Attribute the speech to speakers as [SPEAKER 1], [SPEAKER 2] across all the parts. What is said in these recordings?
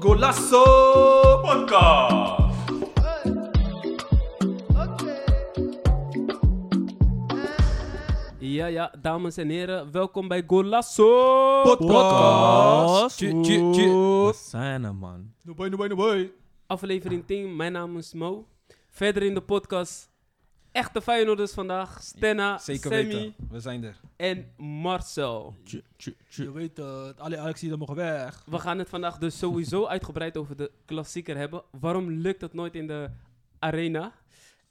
[SPEAKER 1] Golasso Podcast.
[SPEAKER 2] Ja, ja, dames en heren, welkom bij Golasso
[SPEAKER 1] Podcast.
[SPEAKER 2] Tju, tju, tju.
[SPEAKER 3] Wat zijn er, man?
[SPEAKER 1] No boy, no boy, no boy.
[SPEAKER 2] Aflevering 10, mijn naam is Mo. Verder in de podcast, echte Feyenoorders vandaag, Stenna,
[SPEAKER 3] Zeker
[SPEAKER 2] Sammy
[SPEAKER 3] weten. We zijn er.
[SPEAKER 2] en Marcel.
[SPEAKER 1] Je weet eh, het, alle Ajaxiden mogen weg.
[SPEAKER 2] We gaan het vandaag dus sowieso uitgebreid over de klassieker hebben. Waarom lukt dat nooit in de arena?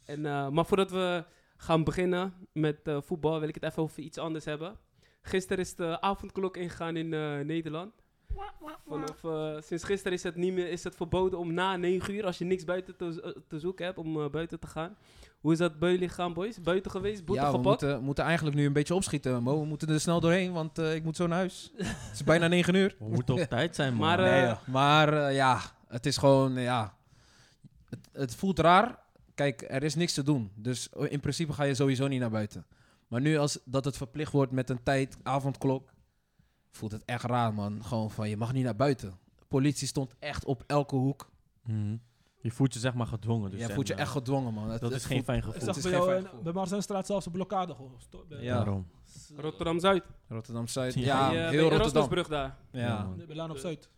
[SPEAKER 2] En, eh, maar voordat we gaan beginnen met eh, voetbal, wil ik het even over iets anders hebben. Gisteren is de avondklok ingegaan in eh, Nederland. Vanaf, eh, sinds gisteren is het, niet meer, is het verboden om na 9 uur, als je niks buiten te, eh, te zoeken hebt, om eh, buiten te gaan. Hoe is dat bij jullie gaan, boys? Buiten geweest? Boete
[SPEAKER 3] ja, we
[SPEAKER 2] gepakt?
[SPEAKER 3] moeten, moeten eigenlijk nu een beetje opschieten, Mo. We moeten er snel doorheen, want eh, ik moet zo naar huis. het is bijna 9 uur.
[SPEAKER 4] We moeten op tijd zijn, man.
[SPEAKER 2] Maar, eh,
[SPEAKER 3] Nee, joh. maar eh, ja, het is gewoon, eh, ja... Het, het voelt raar. Kijk, er is niks te doen. Dus in principe ga je sowieso niet naar buiten. Maar nu als dat het verplicht wordt met een tijd, avondklok... Voelt het echt raar, man. Gewoon van, je mag niet naar buiten. Politie stond echt op elke hoek.
[SPEAKER 4] Mhm. Je voelt je zeg maar gedwongen. Dus
[SPEAKER 3] je
[SPEAKER 4] en,
[SPEAKER 3] voelt je
[SPEAKER 4] eh,
[SPEAKER 3] echt gedwongen, man. Het-
[SPEAKER 4] Dat
[SPEAKER 3] het
[SPEAKER 4] is geen
[SPEAKER 3] voelt-
[SPEAKER 4] fijn
[SPEAKER 1] Ik
[SPEAKER 4] gevoel.
[SPEAKER 3] Het
[SPEAKER 1] zag
[SPEAKER 3] is
[SPEAKER 1] bij
[SPEAKER 3] geen
[SPEAKER 1] jou
[SPEAKER 3] fijn
[SPEAKER 1] in-
[SPEAKER 3] gevoel.
[SPEAKER 1] bij Marzenstraat zelfs een blokkade gehoord. Stop, eh,
[SPEAKER 3] Ja.
[SPEAKER 4] Daarom.
[SPEAKER 2] Rotterdam-Zuid.
[SPEAKER 3] Rotterdam-Zuid.
[SPEAKER 4] Zie je-
[SPEAKER 3] Ja,
[SPEAKER 2] Bij, eh, bij
[SPEAKER 3] heel
[SPEAKER 2] de
[SPEAKER 3] Rotterdam.
[SPEAKER 2] Erasmusbrug daar.
[SPEAKER 4] Ja,
[SPEAKER 3] Ja.
[SPEAKER 4] man.
[SPEAKER 1] bij Laan op Zuid.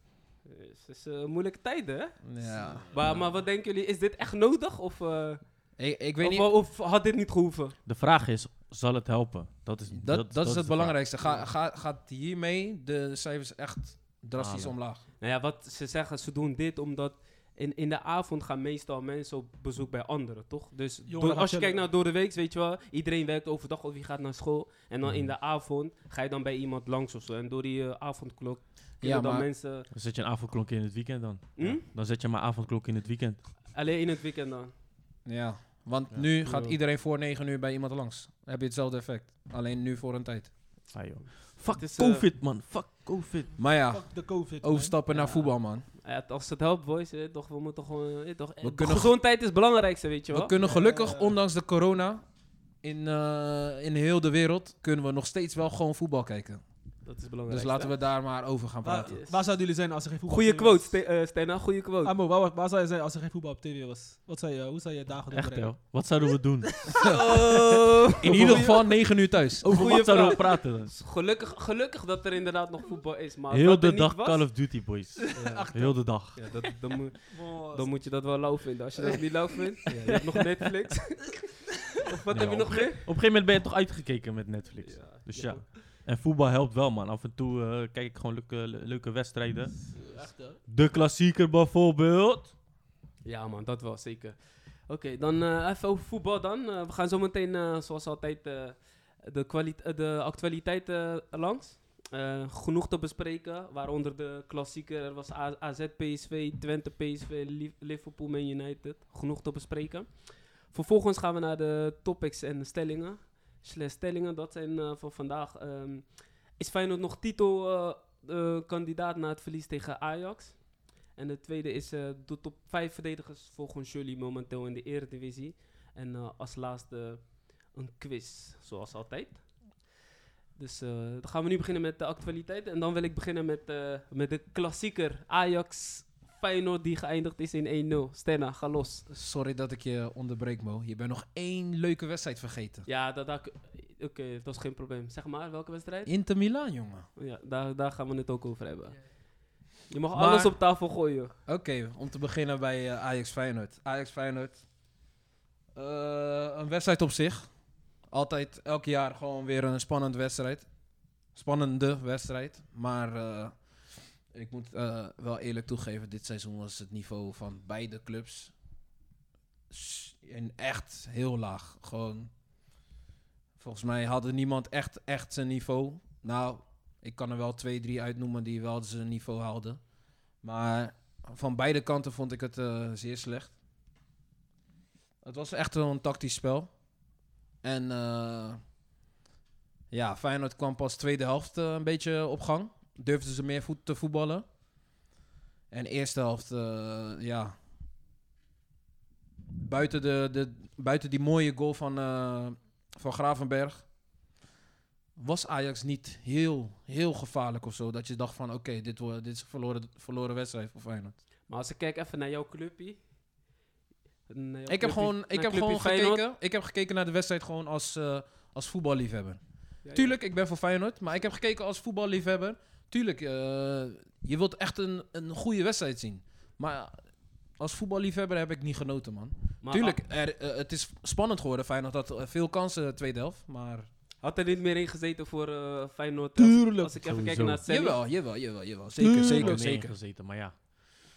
[SPEAKER 2] Dus Het is eh, moeilijke tijden, hè?
[SPEAKER 3] ja.
[SPEAKER 2] Maar, maar wat denken jullie, is dit echt nodig? Of, eh,
[SPEAKER 3] Ik, ik weet
[SPEAKER 2] of,
[SPEAKER 3] niet.
[SPEAKER 2] of had dit niet gehoeven?
[SPEAKER 4] De vraag is, zal het helpen? Dat is,
[SPEAKER 3] Dat,
[SPEAKER 4] dat,
[SPEAKER 3] dat,
[SPEAKER 4] dat
[SPEAKER 3] is
[SPEAKER 4] de
[SPEAKER 3] het
[SPEAKER 4] vraag.
[SPEAKER 3] belangrijkste. Ga, ga, gaat hiermee de cijfers echt drastisch
[SPEAKER 4] Halen.
[SPEAKER 3] omlaag?
[SPEAKER 2] Nou ja, wat ze zeggen, ze doen dit omdat in, in de avond gaan meestal mensen op bezoek bij anderen, toch? Dus
[SPEAKER 1] Jongeren
[SPEAKER 2] door-
[SPEAKER 1] gaan
[SPEAKER 2] als je
[SPEAKER 1] chillen.
[SPEAKER 2] kijkt naar door de week, weet je wel, iedereen werkt overdag of wie gaat naar school. En dan in
[SPEAKER 4] Mhm.
[SPEAKER 2] de avond ga je dan bij iemand langs of zo. En door die eh, avondklok kunnen
[SPEAKER 3] Ja,
[SPEAKER 2] dan
[SPEAKER 3] maar-
[SPEAKER 2] mensen...
[SPEAKER 4] Dan zet je een avondklok in het weekend dan.
[SPEAKER 2] Hm?
[SPEAKER 4] Dan zet je maar avondklok in het weekend.
[SPEAKER 2] Alleen in het weekend dan.
[SPEAKER 3] Ja. Want
[SPEAKER 4] Ja.
[SPEAKER 3] nu gaat iedereen voor 9 uur bij iemand langs. Dan heb je hetzelfde effect. Alleen nu voor een tijd.
[SPEAKER 4] Ah, joh. Fuck
[SPEAKER 2] Het is, eh,
[SPEAKER 4] COVID, man. Fuck COVID.
[SPEAKER 3] Maar ja,
[SPEAKER 1] Fuck de COVID. man.
[SPEAKER 3] overstappen naar
[SPEAKER 2] Ja.
[SPEAKER 3] voetbal, man.
[SPEAKER 2] Nou ja, als het helpt, boys, eh, toch, we moeten gewoon... eh, toch, eh,
[SPEAKER 3] We kunnen-
[SPEAKER 2] gezondheid is het belangrijkste, weet je wel.
[SPEAKER 3] We kunnen gelukkig,
[SPEAKER 1] Eh.
[SPEAKER 3] ondanks de corona, in, eh, in heel de wereld, kunnen we nog steeds wel gewoon voetbal kijken.
[SPEAKER 2] Dat is
[SPEAKER 3] Dus
[SPEAKER 2] belangrijk.
[SPEAKER 3] laten we daar maar over
[SPEAKER 4] Ah,
[SPEAKER 3] gaan
[SPEAKER 1] Waar,
[SPEAKER 3] praten.
[SPEAKER 2] Yes.
[SPEAKER 1] waar zouden jullie zijn als er geen voetbal
[SPEAKER 2] Goeie
[SPEAKER 1] op tv was?
[SPEAKER 2] quote, Ste eh, Stena, goeie quote.
[SPEAKER 1] Amo, waar, waar zou je zijn als er geen voetbal op tv was? Wat zou je, hoe zou je dagen
[SPEAKER 4] Echt,
[SPEAKER 1] doorbrengen?
[SPEAKER 4] joh. Wat zouden we doen?
[SPEAKER 3] In ieder geval 9 uur thuis.
[SPEAKER 4] Over
[SPEAKER 2] Goeie
[SPEAKER 4] wat zouden we
[SPEAKER 2] vraag.
[SPEAKER 4] praten dan?
[SPEAKER 2] Gelukkig, gelukkig dat er inderdaad nog voetbal is, maar als
[SPEAKER 4] Heel
[SPEAKER 2] dat er
[SPEAKER 4] de
[SPEAKER 2] niet
[SPEAKER 4] dag
[SPEAKER 2] was,
[SPEAKER 4] Call of Duty, boys. Heel de dag.
[SPEAKER 2] Ja, dat, dan, moet,
[SPEAKER 1] Wow,
[SPEAKER 2] dan moet je dat wel lauw vinden. Als je dat niet lauw vindt, je hebt nog Netflix. of wat
[SPEAKER 4] Ja,
[SPEAKER 2] heb je nog meer?
[SPEAKER 4] Op een gegeven moment ben je toch uitgekeken met Netflix. Dus ja. En voetbal helpt wel, man. Af en toe eh, kijk ik gewoon leuke, le- leuke wedstrijden.
[SPEAKER 1] eh, Echt, hè?
[SPEAKER 4] De klassieker bijvoorbeeld.
[SPEAKER 2] Ja man, dat wel, zeker. Oké, dan eh, even over voetbal dan. Eh, we gaan zo meteen, eh, zoals altijd, eh, de, kwali- eh, de actualiteit eh, langs. Eh, genoeg te bespreken, waaronder de klassieker. Er was A- AZ, PSV, Twente, PSV, Li- Liverpool, Man United. Genoeg te bespreken. Vervolgens gaan we naar de topics en de stellingen. Slash stellingen, dat zijn eh, van vandaag. Ehm, is Feyenoord nog titelkandidaat na het verlies tegen Ajax? En de tweede is eh, de top 5 verdedigers volgens jullie momenteel in de Eredivisie. En eh, als laatste een quiz, zoals altijd. Dus eh, dan gaan we nu beginnen met de actualiteit. En dan wil ik beginnen met, eh, met de klassieker Ajax Feyenoord die geëindigd is in 1-0. Stenna, ga los.
[SPEAKER 3] Sorry dat ik je onderbreek, Mo. Je bent nog één leuke wedstrijd vergeten.
[SPEAKER 2] Ja, dat, dat, oké, dat is geen probleem. Zeg maar, welke wedstrijd?
[SPEAKER 3] Inter Milan, jongen.
[SPEAKER 2] Ja, daar, daar gaan we het ook over hebben. Je mag
[SPEAKER 3] Maar-
[SPEAKER 2] alles op tafel gooien.
[SPEAKER 3] Oké, om te beginnen bij eh, Ajax Feyenoord. Ajax Feyenoord. Eh, een wedstrijd op zich. Altijd elk jaar gewoon weer een spannende wedstrijd. Spannende wedstrijd. Maar eh, ik moet eh, wel eerlijk toegeven, dit seizoen was het niveau van beide clubs s- in echt heel laag. Gewoon, volgens mij hadden niemand echt, echt zijn niveau. Nou, ik kan er wel twee, drie uitnoemen die wel zijn niveau haalden. Maar van beide kanten vond ik het eh, zeer slecht. Het was echt wel een tactisch spel. En eh, ja, Feyenoord kwam pas tweede helft eh, een beetje op gang. Durfden ze meer voet te voetballen. En eerste helft, eh, ja. Buiten, de, de, buiten die mooie goal van, eh, van Gravenberg was Ajax niet heel, heel gevaarlijk of zo. Dat je dacht van, oké, dit, wordt- dit is een verloren, verloren wedstrijd voor Feyenoord.
[SPEAKER 2] Maar als ik kijk even naar jouw clubje. naar jouw
[SPEAKER 3] Ik heb
[SPEAKER 2] clubje-
[SPEAKER 3] gewoon, ik
[SPEAKER 2] naar
[SPEAKER 3] heb
[SPEAKER 2] clubje
[SPEAKER 3] gewoon
[SPEAKER 2] Feyenoord.
[SPEAKER 3] gekeken, ik heb gekeken naar de wedstrijd gewoon als, eh als voetballiefhebber.
[SPEAKER 2] Ja, ja.
[SPEAKER 3] Tuurlijk, ik ben voor Feyenoord, maar ik heb gekeken als voetballiefhebber. Tuurlijk, eh, je wilt echt een, een goede wedstrijd zien. Maar als voetballiefhebber heb ik niet genoten, man.
[SPEAKER 2] Maar
[SPEAKER 3] Tuurlijk, er, eh, het is spannend geworden. Feyenoord had eh, veel kansen de tweede helft, maar...
[SPEAKER 2] ha- Had er niet meer in gezeten voor eh, Feyenoord? Als-
[SPEAKER 1] Tuurlijk.
[SPEAKER 2] Als ik even kijk
[SPEAKER 4] Sowieso.
[SPEAKER 2] naar Sammy.
[SPEAKER 3] Jawel, jawel, jawel, jawel. Zeker,
[SPEAKER 1] Tuurlijk.
[SPEAKER 3] zeker,
[SPEAKER 4] Ik heb
[SPEAKER 3] zeker.
[SPEAKER 4] gezeten, maar ja.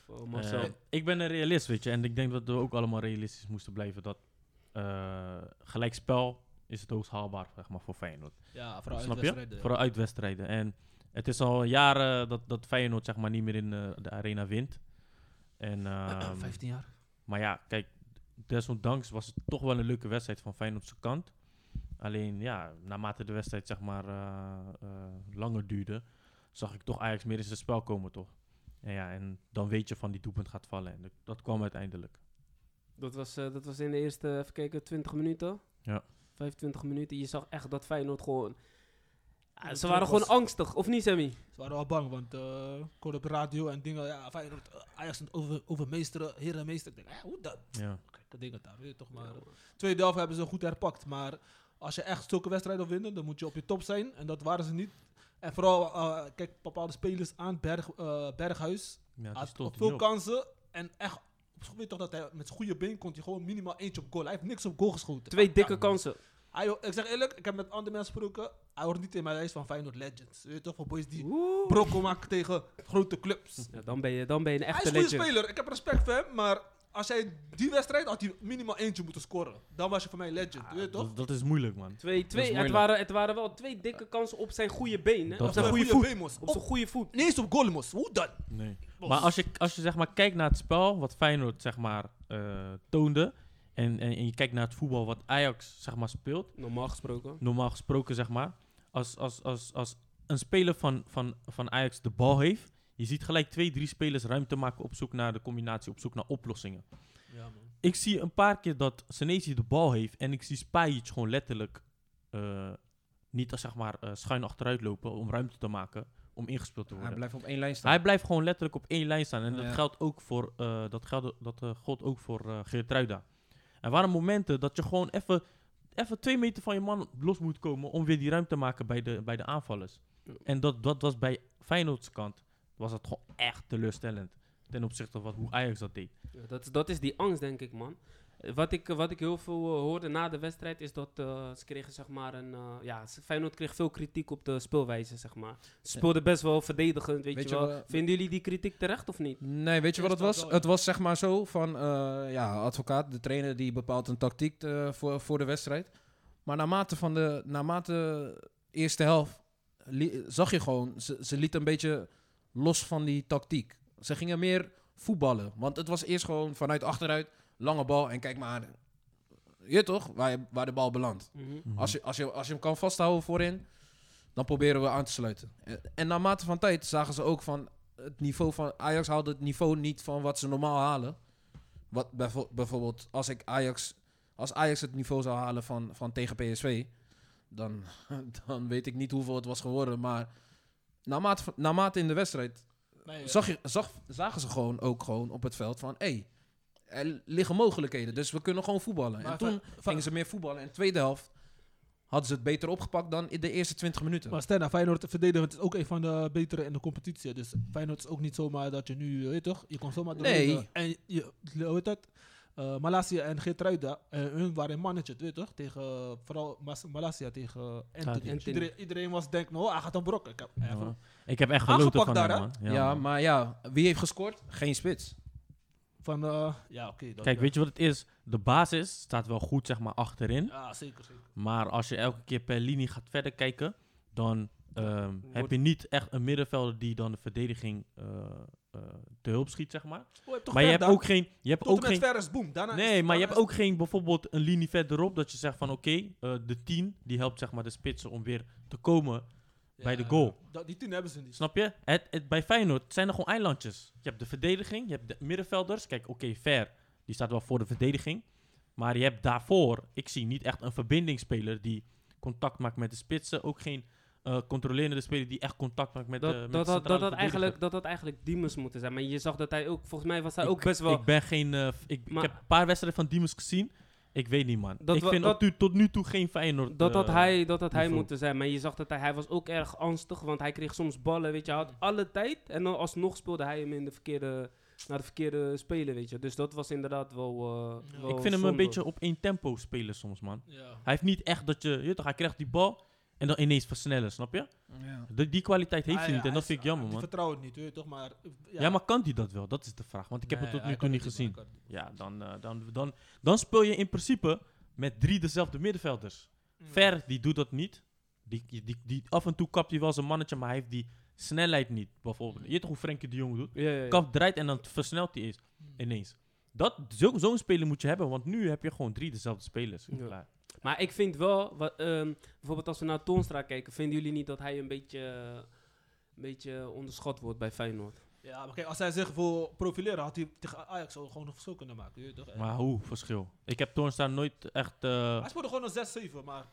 [SPEAKER 2] Oh, Marcel.
[SPEAKER 4] Eh, ik ben een realist, weet je. En ik denk dat we ook allemaal realistisch moesten blijven. Dat eh, gelijkspel is het hoogst haalbaar, zeg maar, voor Feyenoord.
[SPEAKER 1] Ja, vooral
[SPEAKER 4] Snap je?
[SPEAKER 1] uitwedstrijden.
[SPEAKER 4] Vooral uitwedstrijden. En het is al jaren dat, dat Feyenoord, zeg maar, niet meer in eh, de arena wint. En, ehm,
[SPEAKER 1] 15 jaar.
[SPEAKER 4] maar ja, kijk, desondanks was het toch wel een leuke wedstrijd van Feyenoordse kant. Alleen, ja, naarmate de wedstrijd, zeg maar, eh, eh, langer duurde, zag ik toch Ajax meer in zijn spel komen, toch? En ja, en dan weet je van die doelpunt gaat vallen. En dat, dat kwam uiteindelijk.
[SPEAKER 2] Dat was, eh, dat was in de eerste, even kijken, 20 minuten.
[SPEAKER 4] Ja.
[SPEAKER 2] 25 minuten. Je zag echt dat Feyenoord gewoon... Ah,
[SPEAKER 1] Ja,
[SPEAKER 2] ze
[SPEAKER 1] dat
[SPEAKER 2] waren gewoon
[SPEAKER 1] was-
[SPEAKER 2] angstig, of niet, Sammy?
[SPEAKER 1] Ze waren wel bang, want eh, ik hoorde op radio en dingen. Ja, Feyenoord, eh, Ajax aan over, overmeesteren, herenmeester. Ik denk, eh, hoe dat?
[SPEAKER 4] Ja.
[SPEAKER 1] Gekke dingen daar, weet je toch maar. eh, Tweede helft hebben ze goed herpakt, maar als je echt zulke wedstrijden wil winnen, dan moet je op je top zijn. En dat waren ze niet. En vooral, eh, kijk, bepaalde spelers aan, Berg, eh, Berghuis,
[SPEAKER 4] Ja, die
[SPEAKER 1] had
[SPEAKER 4] stond
[SPEAKER 1] op
[SPEAKER 4] er niet
[SPEAKER 1] veel
[SPEAKER 4] op.
[SPEAKER 1] kansen en echt, op- weet toch dat hij met zijn goede been kon hij gewoon minimaal eentje op goal. Hij heeft niks op goal geschoten.
[SPEAKER 2] Twee dikke
[SPEAKER 1] Ja.
[SPEAKER 2] kansen.
[SPEAKER 1] Hij, ho- ik zeg eerlijk, ik heb met andere mensen gesproken, hij hoort niet in mijn lijst van Feyenoord Legends. Weet je toch, van boys die
[SPEAKER 2] Oeh.
[SPEAKER 1] brokken maken tegen grote clubs.
[SPEAKER 2] Ja, dan, ben je, dan ben je een
[SPEAKER 1] hij is
[SPEAKER 2] echte
[SPEAKER 1] een goede
[SPEAKER 2] legend.
[SPEAKER 1] speler, ik heb respect voor hem, maar als hij die wedstrijd had hij minimaal eentje moeten scoren. Dan was je voor mij legend,
[SPEAKER 4] Ah,
[SPEAKER 1] weet je toch?
[SPEAKER 4] dat, dat is moeilijk, man.
[SPEAKER 2] Twee, twee, het,
[SPEAKER 3] moeilijk.
[SPEAKER 2] waren, het waren wel twee dikke kansen op zijn goede been. Hè?
[SPEAKER 4] Dat
[SPEAKER 2] op zijn
[SPEAKER 4] wel.
[SPEAKER 2] goede
[SPEAKER 1] goede
[SPEAKER 2] voet.
[SPEAKER 1] Bemos.
[SPEAKER 2] Op zijn goede voet.
[SPEAKER 1] Nee eens op Golmos. Hoe dan?
[SPEAKER 4] Nee. Maar als je, als je zeg maar kijkt naar het spel wat Feyenoord zeg maar, eh, toonde. En, en, en je kijkt naar het voetbal wat Ajax zeg maar, speelt.
[SPEAKER 2] Normaal gesproken.
[SPEAKER 4] normaal gesproken, zeg maar. Als, als, als, als een speler van, van, van Ajax de bal heeft, je ziet gelijk twee, drie spelers ruimte maken op zoek naar de combinatie, op zoek naar oplossingen.
[SPEAKER 1] Ja, man.
[SPEAKER 4] Ik zie een paar keer dat Senesi de bal heeft en ik zie Spajic gewoon letterlijk eh, niet als zeg maar eh, schuin achteruit lopen om ruimte te maken om ingespeeld te
[SPEAKER 3] Hij
[SPEAKER 4] worden.
[SPEAKER 3] blijft op één lijn staan.
[SPEAKER 4] Hij blijft gewoon letterlijk op één lijn staan. En dat
[SPEAKER 3] Ja.
[SPEAKER 4] geldt ook voor, eh, dat geldt, dat, eh, geldt ook voor eh Geertruida. Er waren momenten dat je gewoon even, even twee meter van je man los moet komen om weer die ruimte te maken bij de, bij de aanvallers.
[SPEAKER 2] Ja.
[SPEAKER 4] En dat, dat was bij Feyenoord's kant, was dat gewoon echt teleurstellend. Ten opzichte van wat, hoe Ajax dat deed.
[SPEAKER 2] Ja, dat, is- dat is die angst, denk ik, man. Eh, Wat ik, wat ik heel veel eh, hoorde na de wedstrijd is dat eh, ze kregen, zeg maar, een... eh, ja, ze- Feyenoord kreeg veel kritiek op de speelwijze, zeg maar. Ze speelden best wel verdedigend, weet,
[SPEAKER 3] Weet
[SPEAKER 2] je
[SPEAKER 3] je
[SPEAKER 2] wel.
[SPEAKER 3] wel-
[SPEAKER 2] Vinden jullie die kritiek terecht of niet?
[SPEAKER 3] Nee, weet je wat het
[SPEAKER 1] Is dat
[SPEAKER 3] was?
[SPEAKER 1] wel, ja.
[SPEAKER 3] Het was zeg maar zo van, eh, ja, advocaat, de trainer die bepaalt een tactiek eh, voor, voor de wedstrijd. Maar naarmate van de, naarmate eerste helft li- zag je gewoon, ze, ze liet een beetje los van die tactiek. Ze gingen meer voetballen, want het was eerst gewoon vanuit achteruit, lange bal en kijk maar, je toch, waar, je- waar de bal belandt.
[SPEAKER 4] Mhm.
[SPEAKER 3] Als je, als, je, als je hem kan vasthouden voorin, dan proberen we aan te sluiten. En, en naarmate van tijd zagen ze ook van het niveau van Ajax haalde het niveau niet van wat ze normaal halen. Wat bijvo- bijvoorbeeld als ik Ajax, als Ajax het niveau zou halen van, van tegen PSV, dan, dan weet ik niet hoeveel het was geworden. Maar naarmate, van- naarmate in de wedstrijd zag je, zag, zagen ze gewoon ook gewoon op het veld van hé, hey, er liggen mogelijkheden, dus we kunnen gewoon voetballen.
[SPEAKER 1] Maar
[SPEAKER 3] en toen
[SPEAKER 1] Fe-
[SPEAKER 3] gingen ze meer voetballen. En de tweede helft hadden ze het beter opgepakt dan in de eerste 20 minuten.
[SPEAKER 1] Maar Sterna, Feyenoord verdedigend is ook een van de betere in de competitie. Dus Feyenoord is ook niet zomaar dat je nu, eh, weet je toch, je komt zomaar
[SPEAKER 3] Nee.
[SPEAKER 1] doorheen, eh, En je, hoe heet dat? Eh Malasia en Geertruida, eh, hun waren een mannetje, weet je toch? Tegen, eh, vooral Mas- Malasia tegen Anthony.
[SPEAKER 4] Ah, Anthony.
[SPEAKER 1] Dus iedereen, iedereen was denk, nou, hij gaat hem brokken. Ik heb
[SPEAKER 4] Ja,
[SPEAKER 1] even-
[SPEAKER 4] man. Ik heb echt genoten
[SPEAKER 1] Aangepakt
[SPEAKER 4] van
[SPEAKER 1] daar,
[SPEAKER 4] hem,
[SPEAKER 1] hè?
[SPEAKER 4] man.
[SPEAKER 3] ja,
[SPEAKER 4] Ja, man.
[SPEAKER 3] maar ja, wie heeft gescoord? Geen spits.
[SPEAKER 1] van, eh, ja, oké. dat-
[SPEAKER 4] Kijk, weet je wat het is? De basis staat wel goed zeg maar, achterin.
[SPEAKER 1] Ja, Ah, zeker, zeker.
[SPEAKER 4] Maar als je elke keer per linie gaat verder kijken, dan ehm, heb
[SPEAKER 2] Wordt-
[SPEAKER 4] je niet echt een middenvelder die dan de verdediging eh, eh, te hulp schiet, zeg maar.
[SPEAKER 1] Oh, toch
[SPEAKER 4] maar je hebt
[SPEAKER 1] Verda.
[SPEAKER 4] ook geen. Je hebt
[SPEAKER 1] Tot en
[SPEAKER 4] ook
[SPEAKER 1] met
[SPEAKER 4] geen
[SPEAKER 1] Veres, boom. Daarna is-
[SPEAKER 4] nee, maar je
[SPEAKER 1] daarna
[SPEAKER 4] hebt
[SPEAKER 1] is-
[SPEAKER 4] ook geen bijvoorbeeld een linie verderop dat je zegt van oké, eh, de 10 die helpt zeg maar de spitsen om weer te komen bij de
[SPEAKER 1] Ja,
[SPEAKER 4] goal.
[SPEAKER 1] dat- die tien hebben ze niet.
[SPEAKER 4] Snap je? Het, het, bij Feyenoord zijn er gewoon eilandjes. Je hebt de verdediging, je hebt de middenvelders. Kijk, oké, Ver, die staat wel voor de verdediging. Maar je hebt daarvoor, ik zie niet echt een verbindingsspeler die contact maakt met de spitsen. Ook geen eh, controlerende speler die echt contact maakt met
[SPEAKER 2] dat,
[SPEAKER 4] de met de
[SPEAKER 2] dat, dat,
[SPEAKER 4] centrale
[SPEAKER 2] dat, dat,
[SPEAKER 4] verdediger.
[SPEAKER 2] eigenlijk, dat dat eigenlijk Diemers moeten zijn. Maar je zag dat hij ook, volgens mij was hij
[SPEAKER 4] Ik-
[SPEAKER 2] ook best wel...
[SPEAKER 4] Ik ben geen... eh, f- ik,
[SPEAKER 2] Maar-
[SPEAKER 4] ik heb een paar wedstrijden van Diemers gezien. Ik weet niet, man.
[SPEAKER 2] Dat
[SPEAKER 4] ik
[SPEAKER 2] wa-
[SPEAKER 4] vind
[SPEAKER 2] dat-
[SPEAKER 4] op tu- tot nu toe geen Feyenoord.
[SPEAKER 2] dat had
[SPEAKER 4] eh,
[SPEAKER 2] hij, dat had hij
[SPEAKER 4] niveau.
[SPEAKER 2] moeten zijn. Maar je zag dat hij, hij was ook erg angstig, want hij kreeg soms ballen, weet je. Hij had alle tijd en dan alsnog speelde hij hem in de verkeerde, naar de verkeerde speler, weet je. Dus dat was inderdaad wel, eh,
[SPEAKER 1] Ja.
[SPEAKER 2] wel
[SPEAKER 4] Ik vind hem een
[SPEAKER 2] zonde.
[SPEAKER 4] beetje op één tempo spelen soms, man.
[SPEAKER 1] Ja.
[SPEAKER 4] Hij heeft niet echt dat je... je weet toch, hij krijgt die bal en dan ineens versnellen, snap je? Die, die kwaliteit heeft
[SPEAKER 1] Ah,
[SPEAKER 4] hij
[SPEAKER 1] ja,
[SPEAKER 4] niet en dat
[SPEAKER 1] is-
[SPEAKER 4] vind ik jammer,
[SPEAKER 1] Die
[SPEAKER 4] man.
[SPEAKER 1] vertrouwt het niet, weet je toch? Maar, eh,
[SPEAKER 4] Ja. maar kan hij dat wel? Dat is de vraag. Want ik heb
[SPEAKER 1] Nee,
[SPEAKER 4] het tot
[SPEAKER 1] hij
[SPEAKER 4] nu toe
[SPEAKER 1] kan
[SPEAKER 4] niet
[SPEAKER 1] het
[SPEAKER 4] gezien.
[SPEAKER 1] maar hij kan
[SPEAKER 4] Ja, dan, eh, dan, dan, dan speel je in principe met drie dezelfde middenvelders.
[SPEAKER 1] het. Mm.
[SPEAKER 4] Ver, die doet dat niet. Die, die, die, die- af en toe kapt hij wel zijn mannetje, maar hij heeft die snelheid niet. Bijvoorbeeld. Je weet toch hoe Frenkie de Jong doet?
[SPEAKER 2] Ja, ja, ja.
[SPEAKER 4] Kapt, draait en dan versnelt hij eens,
[SPEAKER 1] Mm.
[SPEAKER 4] ineens. Dat- zo- Zo'n speler moet je hebben, want nu heb je gewoon drie dezelfde spelers.
[SPEAKER 2] Ja.
[SPEAKER 4] Klaar.
[SPEAKER 2] Maar ik vind wel, wat, ehm, bijvoorbeeld als we naar Toonstra kijken, vinden jullie niet dat hij een beetje, een beetje onderschat wordt bij Feyenoord?
[SPEAKER 1] Mm. Ja, maar kijk, als hij zich wil profileren, had hij tegen Ajax al gewoon een verschil kunnen maken. weet je toch?
[SPEAKER 4] Maar hoe, verschil. Ik heb Toornstra nooit echt... eh
[SPEAKER 1] Hij speelde gewoon een 6-7, maar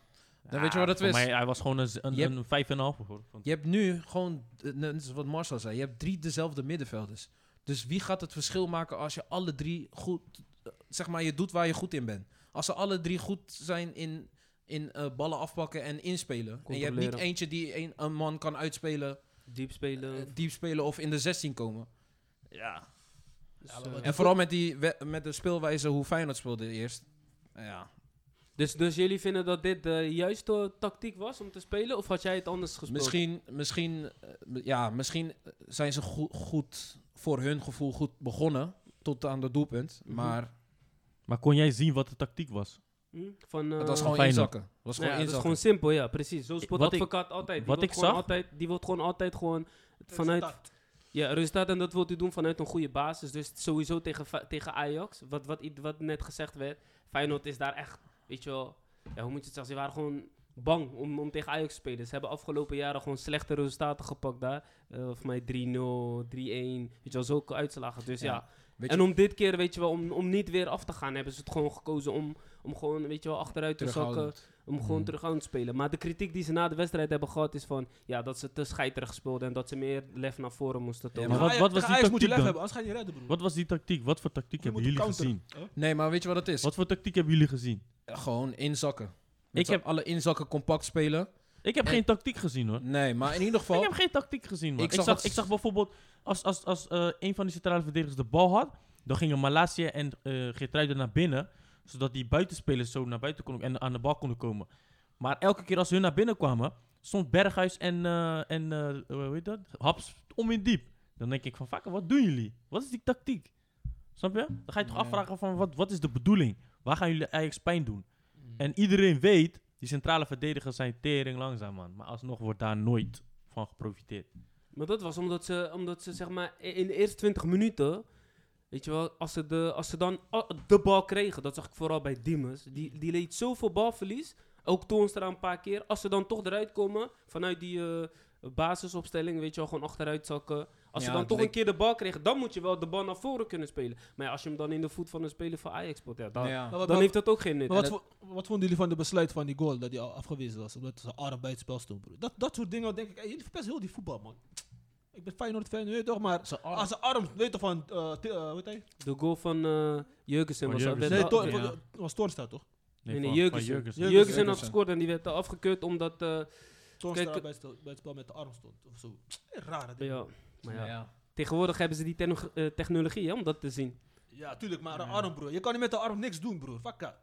[SPEAKER 3] Dan weet je wat het
[SPEAKER 4] voor
[SPEAKER 3] is.
[SPEAKER 4] mij, hij was gewoon een, z- een,
[SPEAKER 3] Je hebt-
[SPEAKER 4] een vijf en een half. hoor. Vond-
[SPEAKER 3] Je hebt nu gewoon, eh, net als wat Marcel zei, je hebt drie dezelfde middenvelders. Dus wie gaat het verschil maken als je alle drie goed, eh, zeg maar, je doet waar je goed in bent? Als ze alle drie goed zijn in, in eh, ballen afpakken en inspelen. En je hebt niet
[SPEAKER 2] Controleren.
[SPEAKER 3] eentje die een, een man kan uitspelen,
[SPEAKER 2] Diep spelen.
[SPEAKER 3] eh, diep spelen of in de 16 komen.
[SPEAKER 4] Ja.
[SPEAKER 2] dus,
[SPEAKER 1] Ja, maar
[SPEAKER 2] eh,
[SPEAKER 1] wat-
[SPEAKER 3] En vooral met, die, we- met de speelwijze hoe Feyenoord speelde eerst. Ja.
[SPEAKER 2] dus, dus jullie vinden dat dit de juiste tactiek was om te spelen? Of had jij het anders gespeeld?
[SPEAKER 3] Misschien, misschien, eh, m- ja, misschien eh, zijn ze goe- goed, voor hun gevoel goed begonnen tot aan de doelpunt.
[SPEAKER 2] Mhm.
[SPEAKER 3] Maar
[SPEAKER 4] Maar kon jij zien wat de tactiek was?
[SPEAKER 2] Hm? Van,
[SPEAKER 3] het
[SPEAKER 2] eh,
[SPEAKER 3] was gewoon
[SPEAKER 4] Feyenoord.
[SPEAKER 3] inzakken. Het was
[SPEAKER 2] Nou ja,
[SPEAKER 3] gewoon
[SPEAKER 2] dat is
[SPEAKER 3] inzakken.
[SPEAKER 2] gewoon simpel, ja, precies. Zo spot
[SPEAKER 4] wat ik-
[SPEAKER 2] advocaat altijd. Die
[SPEAKER 4] wat
[SPEAKER 2] wordt
[SPEAKER 4] ik
[SPEAKER 2] gewoon
[SPEAKER 4] zag-
[SPEAKER 2] Altijd, die wordt gewoon altijd gewoon vanuit...
[SPEAKER 1] resultaat.
[SPEAKER 2] Ja, resultaat en dat wil hij doen vanuit een goede basis. Dus sowieso tegen, Fa- tegen Ajax, wat, wat, i- wat net gezegd werd. Feyenoord is daar echt, weet je wel, ja, hoe moet je het zeggen? Ze waren gewoon bang om, om tegen Ajax te spelen. Ze hebben afgelopen jaren gewoon slechte resultaten gepakt daar. Eh volgens mij 3-0, 3-1, weet je wel, zulke uitslagen. Dus ja,
[SPEAKER 3] Ja, Weet
[SPEAKER 2] en
[SPEAKER 3] je,
[SPEAKER 2] om dit keer, weet je wel, om, om niet weer af te gaan, hebben ze het gewoon gekozen om, om gewoon, weet je wel, achteruit te zakken.
[SPEAKER 3] terughoudend.
[SPEAKER 2] Om gewoon
[SPEAKER 4] Mhm.
[SPEAKER 2] terug aan te spelen. Maar de kritiek die ze na de wedstrijd hebben gehad is van... Ja, dat ze te scheiterig speelden en dat ze meer lef naar voren moesten tonen.
[SPEAKER 4] maar
[SPEAKER 1] Tegen
[SPEAKER 4] wat-
[SPEAKER 1] Ajax-
[SPEAKER 4] wat was
[SPEAKER 1] tegen
[SPEAKER 4] die
[SPEAKER 1] Ajax moet je
[SPEAKER 4] tactiek
[SPEAKER 1] lef
[SPEAKER 4] dan?
[SPEAKER 1] hebben, anders ga je niet redden, broer.
[SPEAKER 4] Wat was die tactiek? Wat voor tactiek
[SPEAKER 1] Je
[SPEAKER 4] hebben
[SPEAKER 1] moet
[SPEAKER 4] jullie
[SPEAKER 1] counteren.
[SPEAKER 4] gezien?
[SPEAKER 1] Huh?
[SPEAKER 3] Nee, maar weet je wat het is?
[SPEAKER 4] Wat voor tactiek hebben jullie gezien?
[SPEAKER 3] Gewoon inzakken.
[SPEAKER 4] Ik
[SPEAKER 3] Ik heb
[SPEAKER 4] heb-
[SPEAKER 3] alle inzakken compact spelen.
[SPEAKER 4] Ik heb
[SPEAKER 3] Eh,
[SPEAKER 4] geen tactiek gezien hoor.
[SPEAKER 3] Nee, maar in ieder
[SPEAKER 4] Ik
[SPEAKER 3] geval.
[SPEAKER 4] heb geen tactiek gezien man.
[SPEAKER 3] Ik
[SPEAKER 4] Ik
[SPEAKER 3] zag
[SPEAKER 4] zag, ik zag,
[SPEAKER 3] wat-
[SPEAKER 4] bijvoorbeeld, als, als, als eh, een van die centrale verdedigers de bal had, dan gingen Malasia en eh Geertruiden naar binnen, zodat die buitenspelers zo naar buiten konden en aan de bal konden komen. Maar elke keer als hun naar binnen kwamen, stond Berghuis en, eh, en eh, hoe heet dat? Haps om in diep. Dan denk ik van, vaker, wat doen jullie? Wat is die tactiek? Snap je? Dan ga je toch
[SPEAKER 3] Ja.
[SPEAKER 4] afvragen van, wat, wat is de bedoeling? Waar gaan jullie Ajax pijn doen?
[SPEAKER 3] Mm.
[SPEAKER 4] En iedereen weet, die centrale verdedigers zijn tering langzaam, man. Maar alsnog wordt daar nooit van geprofiteerd.
[SPEAKER 2] Maar dat was omdat ze, omdat ze zeg maar, i- in de eerste 20 minuten... Weet je wel, als ze, de, als ze dan a- de bal kregen, dat zag ik vooral bij Diemers. Die, die leed zoveel balverlies, ook Toonstra een paar keer. Als ze dan toch eruit komen, vanuit die eh, basisopstelling, weet je wel, gewoon achteruit zakken. Als
[SPEAKER 3] Ja,
[SPEAKER 2] ze dan
[SPEAKER 3] het
[SPEAKER 2] toch
[SPEAKER 3] leek-
[SPEAKER 2] een keer de bal kregen, dan moet je wel de bal naar voren kunnen spelen. Maar ja, als je hem dan in de voet van een speler van Ajax speelt, ja, dan,
[SPEAKER 3] Ja.
[SPEAKER 1] Maar wat-
[SPEAKER 2] dan heeft dat ook geen nut.
[SPEAKER 1] maar
[SPEAKER 2] En
[SPEAKER 1] wat,
[SPEAKER 2] dat-
[SPEAKER 1] vo- wat vonden jullie van de besluit van die goal dat hij al afgewezen was? Omdat zijn arm bij het spel stond, broer. Dat, dat soort dingen denk ik. hey, jullie verpesten heel die voetbal, man. Ik ben Feyenoord fan, weet je toch? Maar
[SPEAKER 3] Zijn arm.
[SPEAKER 1] als zijn arm, weet je toch, van. eh t- eh, hoe heet hij?
[SPEAKER 2] de goal van eh Jurgensen
[SPEAKER 4] Van
[SPEAKER 2] was
[SPEAKER 1] Nee,
[SPEAKER 4] Jurgensen.
[SPEAKER 2] werd al-
[SPEAKER 1] Tor-
[SPEAKER 4] ja.
[SPEAKER 1] eh, was Toornstra, toch?
[SPEAKER 2] Nee, nee, Jurgensen.
[SPEAKER 4] van- van Jurgensen.
[SPEAKER 1] Jurgensen.
[SPEAKER 2] Jurgensen had
[SPEAKER 3] Jurgensen.
[SPEAKER 2] gescoord en die werd al afgekeurd omdat... eh,
[SPEAKER 1] Toornstra
[SPEAKER 2] Kijk,
[SPEAKER 1] bij, het spel- bij het spel met de arm stond. Of zo. Eh, Rare dingen.
[SPEAKER 2] ja, maar ja.
[SPEAKER 3] Ja.
[SPEAKER 2] Tegenwoordig hebben ze die techno- eh, technologie hè, om dat te zien.
[SPEAKER 1] Ja, tuurlijk, maar een arm, broer. Je kan niet met de arm niks doen, broer. Fuck dat.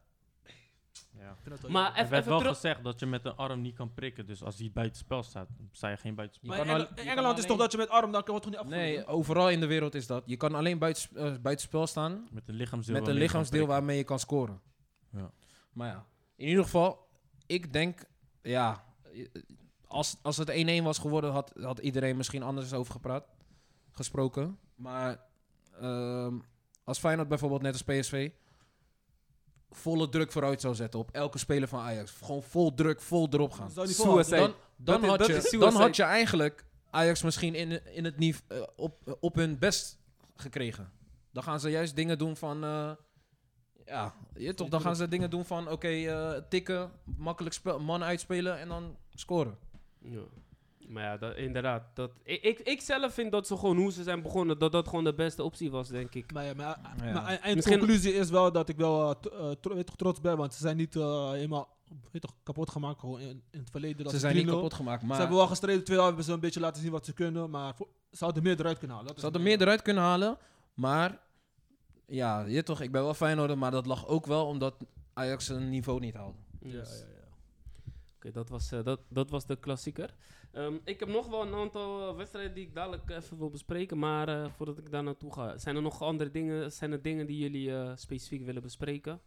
[SPEAKER 4] Ja.
[SPEAKER 1] Ik vind dat wel
[SPEAKER 2] Maar
[SPEAKER 1] jammer.
[SPEAKER 4] Er
[SPEAKER 2] even,
[SPEAKER 4] werd
[SPEAKER 2] even
[SPEAKER 4] wel
[SPEAKER 2] terug.
[SPEAKER 4] gezegd dat je met een arm niet kan prikken. Dus als die buitenspel staat, sta je geen buitenspel.
[SPEAKER 1] Maar
[SPEAKER 3] kan
[SPEAKER 1] in Engel-
[SPEAKER 3] al-
[SPEAKER 1] in
[SPEAKER 3] je kan
[SPEAKER 1] Engeland is toch
[SPEAKER 3] alleen-
[SPEAKER 1] dat je met arm, dan kan je toch niet afgelopen.
[SPEAKER 3] Nee, overal in de wereld is dat. Je kan alleen buiten, buitenspel staan
[SPEAKER 4] Met een lichaamsdeel.
[SPEAKER 3] met een
[SPEAKER 4] waarmee je kan
[SPEAKER 3] lichaamsdeel
[SPEAKER 4] prikken.
[SPEAKER 3] waarmee je kan scoren.
[SPEAKER 4] Ja.
[SPEAKER 3] Maar ja, in ieder geval, ik denk, ja, eh, als, als het 1-1 was geworden, had, had iedereen misschien anders over gepraat, gesproken. Maar ehm, als Feyenoord bijvoorbeeld net als PSV volle druk vooruit zou zetten op elke speler van Ajax. Gewoon vol druk, vol erop gaan.
[SPEAKER 1] Zou die volhouden?
[SPEAKER 2] Suicide.
[SPEAKER 3] Dan, dan,
[SPEAKER 2] Dat is-
[SPEAKER 3] had,
[SPEAKER 2] dat is
[SPEAKER 3] je, dan
[SPEAKER 2] suicide.
[SPEAKER 3] had je eigenlijk Ajax misschien in, in het nief, eh, op, op hun best gekregen. Dan gaan ze juist dingen doen van... eh, Ja, je, toch, dan gaan ze dingen doen van, oké, eh, tikken, makkelijk spel, man uitspelen en dan scoren.
[SPEAKER 2] Ja. Maar ja, dat, inderdaad. Dat, ik, ik, ik zelf vind dat ze gewoon hoe ze zijn begonnen, dat dat gewoon de beste optie was, denk ik.
[SPEAKER 1] Maar, ja, maar,
[SPEAKER 3] Ja.
[SPEAKER 1] maar e- eindconclusie is wel dat ik wel eh, t- eh, tro- weet toch, trots ben, want ze zijn niet eh, helemaal weet toch, kapot gemaakt gewoon in, in het verleden. Dat
[SPEAKER 3] Ze zijn niet
[SPEAKER 1] 3-0.
[SPEAKER 3] kapot gemaakt,
[SPEAKER 1] Ze
[SPEAKER 3] maar
[SPEAKER 1] hebben wel gestreden, twee hebben ze een beetje laten zien wat ze kunnen, maar vo- ze hadden meer eruit kunnen halen. Dat
[SPEAKER 3] ze
[SPEAKER 1] is
[SPEAKER 3] hadden
[SPEAKER 1] mijn-
[SPEAKER 3] meer eruit kunnen halen. Maar ja, je toch, ik ben wel Feyenoorder, maar dat lag ook wel omdat Ajax zijn niveau niet haalde.
[SPEAKER 2] Yes.
[SPEAKER 1] Ja, ja, ja.
[SPEAKER 2] Oké, dat was eh, dat, dat was de klassieker. Ehm, ik heb nog wel een aantal eh, wedstrijden die ik dadelijk even wil bespreken. Maar eh, voordat ik daar naartoe ga, zijn er nog andere dingen? Zijn er dingen die jullie eh, specifiek willen bespreken?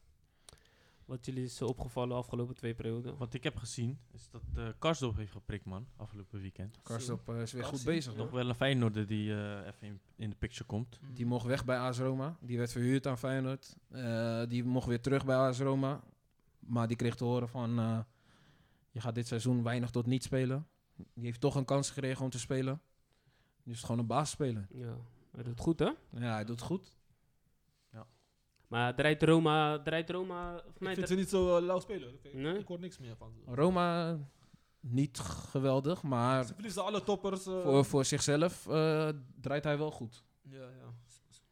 [SPEAKER 2] Wat jullie is eh, opgevallen de afgelopen twee perioden?
[SPEAKER 4] Wat ik heb gezien, is dat eh Karsdorp heeft geprikt, man. Afgelopen weekend.
[SPEAKER 3] Karstorp eh, is weer goed
[SPEAKER 1] Karstorp,
[SPEAKER 3] bezig.
[SPEAKER 1] ja.
[SPEAKER 4] Nog wel een Feyenoorder die eh, even in, in de picture komt.
[SPEAKER 1] Mm.
[SPEAKER 3] Die mocht weg bij AS Roma. Die werd verhuurd aan Feyenoord. Eh, die mocht weer terug bij AS Roma. Maar die kreeg te horen van... eh, je gaat dit seizoen weinig tot niet spelen. Die heeft toch een kans gekregen om te spelen. Die is gewoon een baas spelen.
[SPEAKER 2] Ja, hij doet goed hè?
[SPEAKER 3] Ja, hij doet het goed.
[SPEAKER 2] Maar draait Roma... Draait Roma... of
[SPEAKER 1] Ik
[SPEAKER 2] nee,
[SPEAKER 1] vind
[SPEAKER 2] dra-
[SPEAKER 1] ze niet zo eh, lauw spelen. hoor. Ik,
[SPEAKER 2] Nee?
[SPEAKER 1] ik hoor niks meer van ze.
[SPEAKER 3] Roma eh, niet g- geweldig, maar
[SPEAKER 1] Ze verliezen alle toppers. eh,
[SPEAKER 3] voor, voor zichzelf eh, draait hij wel goed.
[SPEAKER 1] Ja, ja.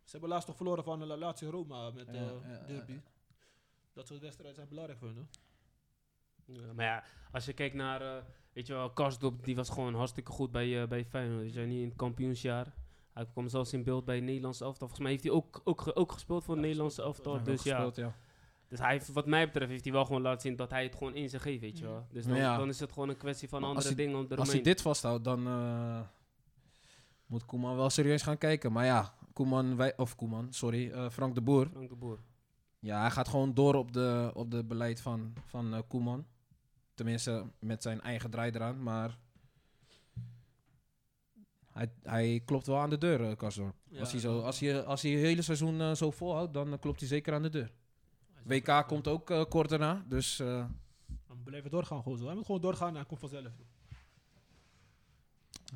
[SPEAKER 1] Ze hebben laatst toch verloren van de Lazio Roma met eh
[SPEAKER 3] Ja, ja, ja,
[SPEAKER 1] derby.
[SPEAKER 3] ja.
[SPEAKER 1] Dat soort wedstrijden zijn belangrijk voor hen.
[SPEAKER 2] Ja, maar ja, als je kijkt naar... eh, weet je wel, Karsdorp, die was gewoon hartstikke goed bij, eh, bij Feyenoord. Weet je, wel, niet in het kampioensjaar. Hij kwam zelfs in beeld bij het Nederlands elftal. Volgens mij heeft hij ook, ook, ge- ook gespeeld voor het
[SPEAKER 1] Ja,
[SPEAKER 2] Nederlands
[SPEAKER 1] gespeeld,
[SPEAKER 2] elftal.
[SPEAKER 3] Hij heeft
[SPEAKER 2] Dus
[SPEAKER 3] wel
[SPEAKER 2] ja,
[SPEAKER 3] gespeeld, ja.
[SPEAKER 2] dus hij heeft, wat mij betreft heeft hij wel gewoon laten zien dat hij het gewoon in zich heeft, weet je wel. Dus dan,
[SPEAKER 3] Ja.
[SPEAKER 2] dan is het gewoon een kwestie van
[SPEAKER 3] Maar als
[SPEAKER 2] andere dingen om
[SPEAKER 3] Als hij
[SPEAKER 2] eromheen.
[SPEAKER 3] dit vasthoudt, dan eh, moet Koeman wel serieus gaan kijken. Maar ja, Koeman, wij, of Koeman, sorry, eh, Frank de Boer.
[SPEAKER 2] Frank de Boer.
[SPEAKER 3] Ja, hij gaat gewoon door op de, op de beleid van, van eh, Koeman. Tenminste, met zijn eigen draai eraan. Maar hij, hij klopt wel aan de deur, eh Karsdorp.
[SPEAKER 1] Ja,
[SPEAKER 3] als, hij
[SPEAKER 1] ja.
[SPEAKER 3] zo, als, hij, als hij het hele seizoen eh, zo volhoudt, dan eh, klopt hij zeker aan de deur. WK komt ook eh, kort daarna, dus... eh,
[SPEAKER 1] We blijven doorgaan gewoon zo. Hij moet gewoon doorgaan en hij komt vanzelf.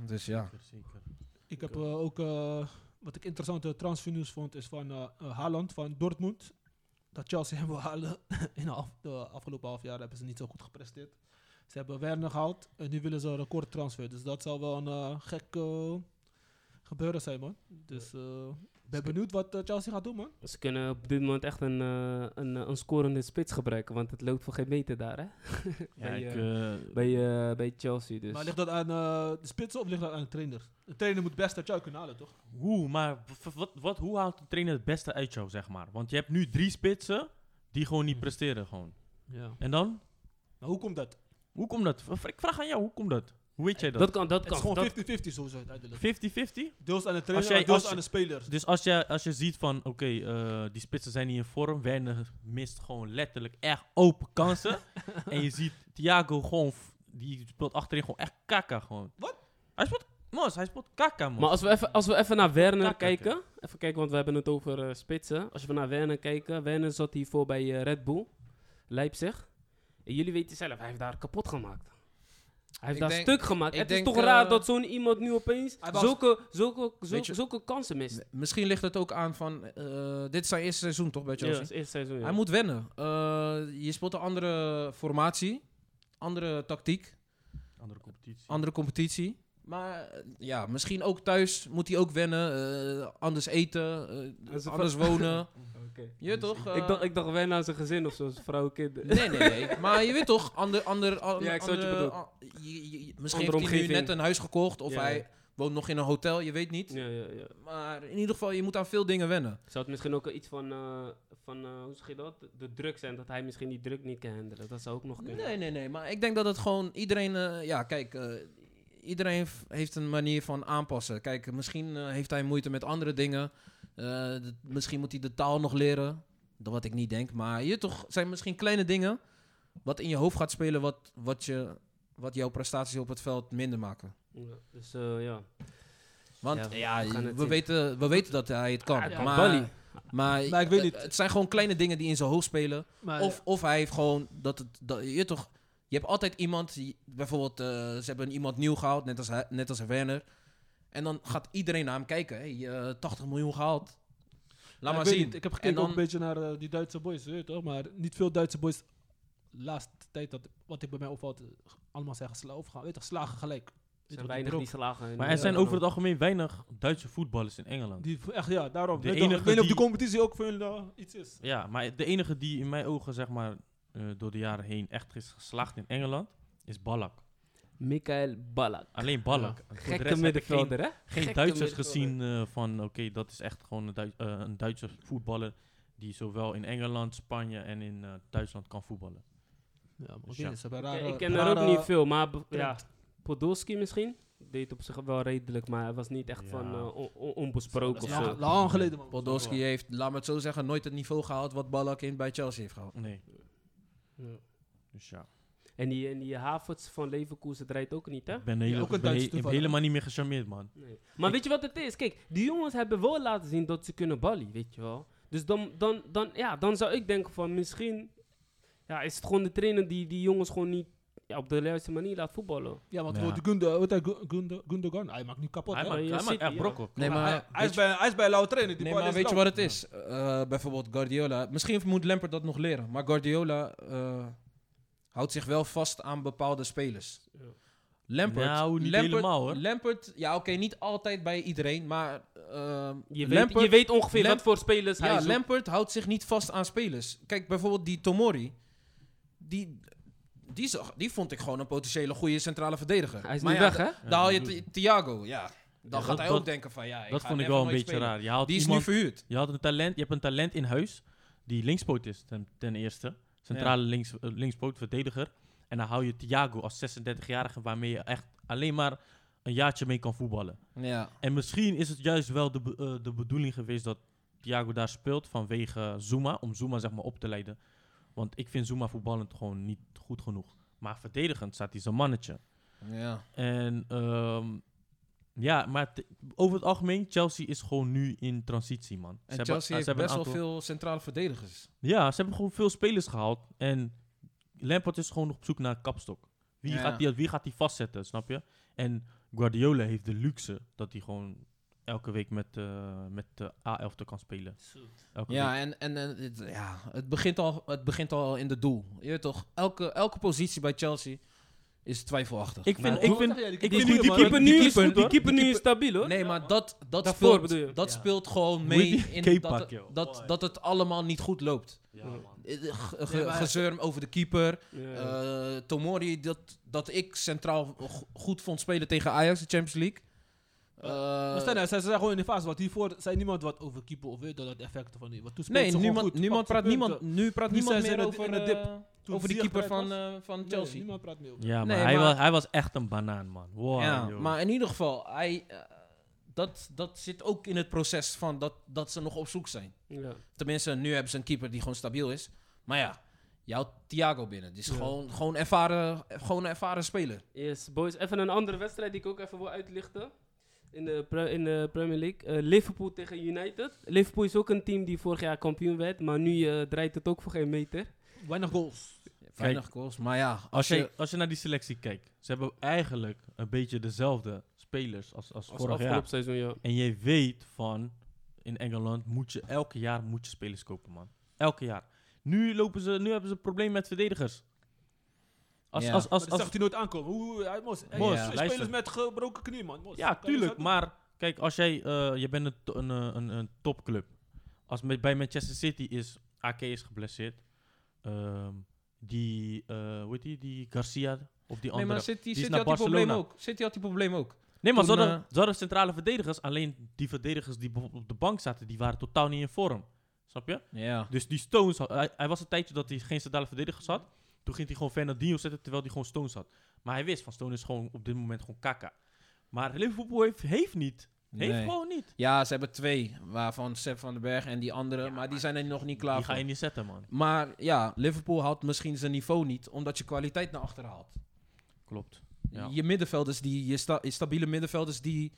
[SPEAKER 3] dus ja.
[SPEAKER 4] Zeker, zeker.
[SPEAKER 1] Ik heb eh, ook eh, wat ik interessante transfernieuws vond is van eh, eh, Haaland van Dortmund. Dat Chelsea hem wil halen. In de, af- de afgelopen half jaar hebben ze niet zo goed gepresteerd. Ze hebben Werner gehaald en nu willen ze een recordtransfer. Dus dat zal wel een eh, gek eh, gebeuren zijn, man. Dus eh, ik ben benieuwd wat eh, Chelsea gaat doen, man.
[SPEAKER 2] Dus Ze kunnen op dit moment echt een, eh, een, eh, een scorende spits gebruiken, want het loopt voor geen meter daar, hè?
[SPEAKER 4] Ja,
[SPEAKER 2] Bij,
[SPEAKER 4] ik, eh,
[SPEAKER 2] Bij, eh, bij Chelsea dus.
[SPEAKER 1] Maar ligt dat aan eh, de spitsen of ligt dat aan de trainer? De trainer moet best dat jou kunnen halen, toch?
[SPEAKER 4] Hoe, maar w- w- wat, wat, hoe haalt de trainer het beste uit jou, zeg maar? Want je hebt nu drie spitsen die gewoon niet presteren, gewoon.
[SPEAKER 1] Ja.
[SPEAKER 4] En dan?
[SPEAKER 1] Maar hoe komt dat?
[SPEAKER 4] Hoe komt dat? V- Ik vraag aan jou, hoe komt dat? Hoe weet jij
[SPEAKER 2] dat
[SPEAKER 4] dat?
[SPEAKER 2] kan, dat
[SPEAKER 1] Het is
[SPEAKER 2] kan.
[SPEAKER 1] gewoon
[SPEAKER 2] Dat,
[SPEAKER 1] 50-50 sowieso uiteindelijk.
[SPEAKER 4] 50-50?
[SPEAKER 1] Deels aan de trainer,
[SPEAKER 4] jij-
[SPEAKER 1] maar deels
[SPEAKER 4] als-
[SPEAKER 1] aan de spelers.
[SPEAKER 4] Dus als je, als je ziet van, oké, eh, die spitsen zijn niet in vorm. Werner mist gewoon letterlijk echt open kansen. en je ziet Thiago gewoon, f- die speelt achterin gewoon echt kaka gewoon.
[SPEAKER 1] Wat?
[SPEAKER 4] Hij speelt, mos, hij speelt kaka, man.
[SPEAKER 2] maar als we, even, als we even naar Werner
[SPEAKER 4] Kaka,
[SPEAKER 2] kijken, even kijken, want we hebben het over eh, spitsen. Als we naar Werner kijken, Werner zat hiervoor bij eh, Red Bull, Leipzig. En jullie weten zelf, hij heeft daar kapot gemaakt. Hij heeft
[SPEAKER 3] Ik
[SPEAKER 2] daar
[SPEAKER 3] denk-
[SPEAKER 2] stuk gemaakt.
[SPEAKER 3] ik
[SPEAKER 2] Het
[SPEAKER 3] denk,
[SPEAKER 2] is toch
[SPEAKER 3] eh,
[SPEAKER 2] raar dat zo'n iemand nu opeens
[SPEAKER 1] Hij was-
[SPEAKER 2] zulke, zulke, zulke,
[SPEAKER 3] je-
[SPEAKER 2] zulke kansen mist.
[SPEAKER 3] Misschien ligt het ook aan van... eh, dit is zijn eerste seizoen, toch, bij
[SPEAKER 2] Ja,
[SPEAKER 3] Chelsea?
[SPEAKER 2] dat is eerste seizoen. ja.
[SPEAKER 3] Hij moet wennen. Eh, je speelt een andere formatie, andere tactiek,
[SPEAKER 4] Andere competitie.
[SPEAKER 3] andere competitie. Maar eh, ja, misschien ook thuis moet hij ook wennen. eh, anders eten, eh,
[SPEAKER 2] Dat is een
[SPEAKER 3] anders wonen.
[SPEAKER 2] Oké.
[SPEAKER 3] Je weet toch? eh,
[SPEAKER 2] ik, dacht, ik dacht wij naar zijn gezin of zo, zijn vrouw, kinderen.
[SPEAKER 3] Nee, nee, nee. Maar je weet toch, ander, ander, an-
[SPEAKER 2] Ja, ik snap wat je
[SPEAKER 3] andere-
[SPEAKER 2] bedoelt.
[SPEAKER 3] an- je- je- je- misschien
[SPEAKER 2] Andere
[SPEAKER 3] heeft hij nu
[SPEAKER 2] omgeving.
[SPEAKER 3] net een huis gekocht of
[SPEAKER 2] Ja.
[SPEAKER 3] hij woont nog in een hotel, je weet niet.
[SPEAKER 2] Ja, ja, ja.
[SPEAKER 3] Maar in ieder geval, je moet aan veel dingen wennen.
[SPEAKER 2] Zou het misschien ook iets van, eh, van eh, hoe zeg je dat? De druk zijn, dat hij misschien die druk niet kan handelen. Dat zou ook nog kunnen.
[SPEAKER 3] Nee, nee, nee. Maar ik denk dat het gewoon iedereen. eh, ja, kijk. eh, iedereen f- heeft een manier van aanpassen. Kijk, misschien eh, heeft hij moeite met andere dingen. Eh, d- misschien moet hij de taal nog leren. Dat wat ik niet denk. Maar je toch zijn misschien kleine dingen. Wat in je hoofd gaat spelen. Wat, wat, je, wat jouw prestaties op het veld minder maken.
[SPEAKER 2] Ja, dus eh, ja.
[SPEAKER 3] Want
[SPEAKER 2] Ja, we
[SPEAKER 3] ja,
[SPEAKER 2] gaan het
[SPEAKER 3] we,
[SPEAKER 2] zien.
[SPEAKER 3] weten, we weten dat hij het kan.
[SPEAKER 2] Hij kan
[SPEAKER 3] maar,
[SPEAKER 2] Bali.
[SPEAKER 3] maar,
[SPEAKER 1] Maar ik weet
[SPEAKER 3] eh,
[SPEAKER 1] niet.
[SPEAKER 3] het zijn gewoon kleine dingen die in zijn hoofd spelen.
[SPEAKER 1] Maar,
[SPEAKER 3] Of, of hij heeft gewoon dat het. Dat, je, weet toch, je hebt altijd iemand, die- bijvoorbeeld, eh, ze hebben iemand nieuw gehaald, net als, hij- net als Werner. En dan gaat iedereen naar hem kijken. Hey, eh, 80 miljoen gehaald. Laat
[SPEAKER 1] Ja,
[SPEAKER 3] maar
[SPEAKER 1] ik weet
[SPEAKER 3] zien.
[SPEAKER 1] niet, ik heb gekeken
[SPEAKER 3] dan-
[SPEAKER 1] ook een beetje naar eh, die Duitse boys, weet je toch? Maar niet veel Duitse boys, laatste tijd, dat, wat ik bij mij opvalt, eh, allemaal zeggen sla of gaan, weet je toch, slagen gelijk.
[SPEAKER 2] Er
[SPEAKER 1] Weet je
[SPEAKER 2] zijn
[SPEAKER 1] toch,
[SPEAKER 2] weinig
[SPEAKER 1] die
[SPEAKER 2] die slagen.
[SPEAKER 4] Maar er zijn
[SPEAKER 2] Ja.
[SPEAKER 4] over het algemeen weinig Duitse voetballers in Engeland.
[SPEAKER 1] druk. Die, echt, ja, daarom.
[SPEAKER 4] De
[SPEAKER 1] weet je toch,
[SPEAKER 4] enige
[SPEAKER 1] ik weet niet of
[SPEAKER 4] die-
[SPEAKER 1] die competitie ook voor jullie eh, iets is.
[SPEAKER 4] Ja, maar de enige die in mijn ogen, zeg maar, eh, door de jaren heen echt is geslaagd in Engeland, is Ballack.
[SPEAKER 2] Mikael Ballack.
[SPEAKER 4] Alleen Ballack. Voor de rest heb
[SPEAKER 2] Gekke
[SPEAKER 4] ik
[SPEAKER 2] middenvelder, hè?
[SPEAKER 4] Geen, geen
[SPEAKER 2] Gekke
[SPEAKER 4] Duitsers
[SPEAKER 2] middenvelder.
[SPEAKER 4] gezien eh, van, oké, dat is echt gewoon een, Duits- eh, een Duitse voetballer die zowel in Engeland, Spanje en in eh, Duitsland kan voetballen.
[SPEAKER 1] Ja, maar
[SPEAKER 4] Dus
[SPEAKER 1] oké,
[SPEAKER 4] ja.
[SPEAKER 1] ze hebben
[SPEAKER 2] Ja,
[SPEAKER 1] rare-
[SPEAKER 2] ik ken er ook
[SPEAKER 1] rare-
[SPEAKER 2] niet veel, maar be- ja,
[SPEAKER 1] trend.
[SPEAKER 2] Podolski misschien deed op zich wel redelijk, maar hij was niet echt
[SPEAKER 4] Ja.
[SPEAKER 2] van eh, on- on-
[SPEAKER 1] Dat
[SPEAKER 2] onbesproken
[SPEAKER 1] is
[SPEAKER 2] of
[SPEAKER 1] lang,
[SPEAKER 2] zo.
[SPEAKER 1] lang geleden, man.
[SPEAKER 3] Podolski heeft, laat me het zo zeggen, nooit het niveau gehaald wat Ballack in bij Chelsea heeft gehaald.
[SPEAKER 4] Nee,
[SPEAKER 2] Ja.
[SPEAKER 4] dus ja.
[SPEAKER 2] En die, en die Havertz van Leverkusen draait ook niet, hè?
[SPEAKER 4] Ik ben, hele-
[SPEAKER 1] Ja, ook een
[SPEAKER 4] ik ben
[SPEAKER 1] Duits
[SPEAKER 4] he- ik ben
[SPEAKER 1] toeval, hè?
[SPEAKER 4] helemaal niet meer gecharmeerd, man.
[SPEAKER 2] Nee. Maar weet je wat het is? Kijk, die jongens hebben wel laten zien dat ze kunnen ballen, weet je wel. Dus dan, dan, dan, ja, dan zou ik denken van misschien ja, is het gewoon de trainer die die jongens gewoon niet ja, op de juiste manier laat voetballen.
[SPEAKER 1] Ja, want
[SPEAKER 4] Ja.
[SPEAKER 1] wordt Gunde, wat hij Gu- Gunde, Gundogan, hij maakt nu kapot.
[SPEAKER 4] Hij
[SPEAKER 1] hè?
[SPEAKER 4] maakt
[SPEAKER 2] je
[SPEAKER 4] hij maakt
[SPEAKER 2] City,
[SPEAKER 4] echt
[SPEAKER 2] ja.
[SPEAKER 4] brok op.
[SPEAKER 3] Nee, maar,
[SPEAKER 1] hij, hij
[SPEAKER 3] weet
[SPEAKER 1] is bij, hij is bij Lau trainen. Die
[SPEAKER 3] Nee,
[SPEAKER 1] bal
[SPEAKER 3] maar
[SPEAKER 1] is
[SPEAKER 3] weet je
[SPEAKER 1] lauw.
[SPEAKER 3] wat het is? Eh, bijvoorbeeld Guardiola. Misschien moet Lampard dat nog leren. Maar Guardiola eh, houdt zich wel vast aan bepaalde spelers.
[SPEAKER 2] Ja.
[SPEAKER 3] Lampard.
[SPEAKER 4] Nou, niet
[SPEAKER 3] Lampard,
[SPEAKER 4] helemaal, hoor.
[SPEAKER 3] Lampard, ja, oké, niet altijd bij iedereen. Maar eh,
[SPEAKER 2] Je weet,
[SPEAKER 3] Lampard,
[SPEAKER 2] je weet ongeveer
[SPEAKER 3] Lam-
[SPEAKER 2] wat voor spelers hij
[SPEAKER 3] ja,
[SPEAKER 2] zoekt.
[SPEAKER 3] Lampard houdt zich niet vast aan spelers. Kijk, bijvoorbeeld die Tomori. Die, die, zag, die vond ik gewoon een potentiële goede centrale verdediger.
[SPEAKER 2] Hij is
[SPEAKER 3] maar
[SPEAKER 2] niet
[SPEAKER 3] ja,
[SPEAKER 2] weg, hè?
[SPEAKER 4] Ja,
[SPEAKER 3] Dan haal je
[SPEAKER 4] dat bedoel
[SPEAKER 3] Thi- Thiago, ja. Dan
[SPEAKER 4] Ja,
[SPEAKER 3] gaat
[SPEAKER 4] dat-
[SPEAKER 3] hij ook
[SPEAKER 4] dat-
[SPEAKER 3] denken van, ja, ik
[SPEAKER 4] dat
[SPEAKER 3] ga
[SPEAKER 4] vond ik
[SPEAKER 3] never
[SPEAKER 4] wel een
[SPEAKER 3] nooit
[SPEAKER 4] beetje
[SPEAKER 3] spelen.
[SPEAKER 4] raar. Je haalt
[SPEAKER 3] Die is
[SPEAKER 4] iemand,
[SPEAKER 3] nu verhuurd.
[SPEAKER 4] Je had een talent, je hebt een talent in huis die linkspoot is ten, ten eerste. Centrale links, eh, linkspoot, verdediger. En dan hou je Thiago als 36-jarige waarmee je echt alleen maar een jaartje mee kan voetballen.
[SPEAKER 3] Ja.
[SPEAKER 4] En misschien is het juist wel de, be- eh, de bedoeling geweest dat Thiago daar speelt vanwege Zuma. Om Zuma zeg maar op te leiden. Want ik vind Zuma voetballend gewoon niet goed genoeg. Maar verdedigend staat hij zijn mannetje.
[SPEAKER 3] ja.
[SPEAKER 4] En ehm, ja, maar t- over het algemeen, Chelsea is gewoon nu in transitie, man. Ze
[SPEAKER 3] En
[SPEAKER 4] hebben-
[SPEAKER 3] Chelsea
[SPEAKER 4] eh, ze
[SPEAKER 3] heeft
[SPEAKER 4] hebben
[SPEAKER 3] best
[SPEAKER 4] een
[SPEAKER 3] wel
[SPEAKER 4] aantal-
[SPEAKER 3] veel centrale verdedigers.
[SPEAKER 4] Ja, ze hebben gewoon veel spelers gehaald. En Lampard is gewoon op zoek naar een kapstok. Wie,
[SPEAKER 3] Ja.
[SPEAKER 4] gaat die, wie gaat die vastzetten, snap je? En Guardiola heeft de luxe dat hij gewoon elke week met, eh, met de A11 kan spelen. Elke
[SPEAKER 3] Ja,
[SPEAKER 4] week.
[SPEAKER 3] en, en, en het, ja, het, begint al, het begint al in de doel. Je weet toch, elke, elke positie bij Chelsea is twijfelachtig.
[SPEAKER 4] Ik vind,
[SPEAKER 2] Maar
[SPEAKER 4] ik
[SPEAKER 1] Doe-
[SPEAKER 4] vind,
[SPEAKER 1] zeg jij, die
[SPEAKER 4] ik
[SPEAKER 2] Die,
[SPEAKER 4] vind
[SPEAKER 2] die,
[SPEAKER 4] die
[SPEAKER 2] keeper nu is
[SPEAKER 3] keeper-
[SPEAKER 2] goed, hoor.
[SPEAKER 3] die
[SPEAKER 2] Die keeper nu
[SPEAKER 3] keeper-
[SPEAKER 2] is stabiel, hoor.
[SPEAKER 3] nee, maar dat, dat,
[SPEAKER 2] Daarvoor
[SPEAKER 3] speelt,
[SPEAKER 2] bedoel je?
[SPEAKER 3] dat
[SPEAKER 4] Ja.
[SPEAKER 3] speelt gewoon
[SPEAKER 4] Moet je
[SPEAKER 3] mee
[SPEAKER 4] die
[SPEAKER 3] in
[SPEAKER 4] K-pak,
[SPEAKER 3] dat,
[SPEAKER 4] joh.
[SPEAKER 3] dat, dat het allemaal niet goed loopt. Eh, eh, ge- ge-
[SPEAKER 1] Ja, maar-
[SPEAKER 3] Gezeur over de keeper.
[SPEAKER 2] Ja.
[SPEAKER 3] eh, Tomori, dat, dat ik centraal go- goed vond spelen tegen Ajax, de Champions League. Eh,
[SPEAKER 1] Maar stel nou, ze ze zijn gewoon in de fase, want hiervoor zei niemand wat over keeper of weet je dat de effecten van die. Want toen speelden
[SPEAKER 3] nee,
[SPEAKER 1] ze gewoon
[SPEAKER 3] niemand,
[SPEAKER 1] goed,
[SPEAKER 3] niemand praat,
[SPEAKER 1] pakten
[SPEAKER 3] niemand,
[SPEAKER 1] punten.
[SPEAKER 3] nu praat
[SPEAKER 1] Nu
[SPEAKER 3] niemand
[SPEAKER 1] zijn ze
[SPEAKER 3] meer
[SPEAKER 1] in de-
[SPEAKER 3] over,
[SPEAKER 1] in de dip.
[SPEAKER 3] eh,
[SPEAKER 1] Toen
[SPEAKER 3] over de
[SPEAKER 1] Ziyech
[SPEAKER 3] keeper
[SPEAKER 1] eruit
[SPEAKER 3] van,
[SPEAKER 1] was,
[SPEAKER 3] eh, van
[SPEAKER 1] nee,
[SPEAKER 3] Chelsea.
[SPEAKER 1] niemand praat meer over.
[SPEAKER 4] ja, maar,
[SPEAKER 3] Nee,
[SPEAKER 4] hij,
[SPEAKER 3] maar-
[SPEAKER 4] was, hij was echt een banaan, man. Wow,
[SPEAKER 3] ja,
[SPEAKER 4] joh.
[SPEAKER 3] maar in ieder geval, hij, eh, dat, dat zit ook in het proces van dat, dat ze nog op zoek zijn.
[SPEAKER 2] Ja.
[SPEAKER 3] Tenminste, nu hebben ze een keeper die gewoon stabiel is. Maar ja, jouw Thiago binnen. Die is
[SPEAKER 2] Ja.
[SPEAKER 3] gewoon, gewoon, ervaren, gewoon een ervaren speler.
[SPEAKER 2] Yes, boys. Even een andere wedstrijd die ik ook even wil uitlichten. In de, pre- in de Premier League. Eh, Liverpool tegen United. Liverpool is ook een team die vorig jaar kampioen werd. Maar nu eh, draait het ook voor geen meter.
[SPEAKER 1] Weinig goals.
[SPEAKER 3] Weinig goals, maar ja. Als,
[SPEAKER 4] Als
[SPEAKER 3] je,
[SPEAKER 4] je, als je naar die selectie kijkt, ze hebben eigenlijk een beetje dezelfde spelers als, als,
[SPEAKER 2] Als
[SPEAKER 4] vorig
[SPEAKER 2] afgelopen
[SPEAKER 4] jaar.
[SPEAKER 2] seizoen, ja.
[SPEAKER 4] En je weet van, in Engeland moet je elke jaar moet je spelers kopen, man. Elke jaar. Nu, lopen ze, nu hebben ze een probleem met verdedigers. Als,
[SPEAKER 3] Ja.
[SPEAKER 4] als,
[SPEAKER 1] Als,
[SPEAKER 4] als,
[SPEAKER 1] dat
[SPEAKER 4] als-
[SPEAKER 1] zag hij nooit aankomen. Hoe, hoe- hij moest. Hey,
[SPEAKER 4] Mos,
[SPEAKER 1] ja,
[SPEAKER 4] luister.
[SPEAKER 1] spelers met gebroken knie, man. Mos,
[SPEAKER 4] ja,
[SPEAKER 1] kan je
[SPEAKER 4] tuurlijk.
[SPEAKER 1] dat
[SPEAKER 4] Maar kijk, als jij, eh, je bent een, to- een, eh, een, een topclub. Als met, bij Manchester City is, AK is geblesseerd. Ehm, die, eh hoe heet die, die Garcia of die
[SPEAKER 3] nee,
[SPEAKER 4] andere.
[SPEAKER 3] maar City,
[SPEAKER 4] is
[SPEAKER 3] City
[SPEAKER 4] naar
[SPEAKER 3] had die probleem
[SPEAKER 4] Barcelona.
[SPEAKER 3] ook. City had die probleem ook.
[SPEAKER 4] Nee, maar ze
[SPEAKER 3] Toen,
[SPEAKER 4] hadden,
[SPEAKER 3] eh,
[SPEAKER 4] ze hadden centrale verdedigers. Alleen die verdedigers die bijvoorbeeld op de bank zaten, die waren totaal niet in vorm. Snap je?
[SPEAKER 3] Ja.
[SPEAKER 4] Dus die Stones, had- hij, hij was een tijdje dat hij geen centrale verdedigers had. Toen ging hij gewoon Fernandinho zetten terwijl hij gewoon Stones had. Maar hij wist van Stones is gewoon op dit moment gewoon kaka. Maar Liverpool heeft, heeft niet. Heeft
[SPEAKER 3] Nee.
[SPEAKER 4] gewoon niet.
[SPEAKER 3] ja, ze hebben twee. Waarvan Sepp van den Berg en die andere. maar die zijn er nog niet klaar
[SPEAKER 4] Die ga
[SPEAKER 3] voor.
[SPEAKER 4] je niet zetten, man.
[SPEAKER 3] Maar ja, Liverpool haalt misschien zijn niveau niet. Omdat je kwaliteit naar achter haalt.
[SPEAKER 4] Klopt. Ja.
[SPEAKER 3] Je middenvelders, die, je, sta- je stabiele middenvelders die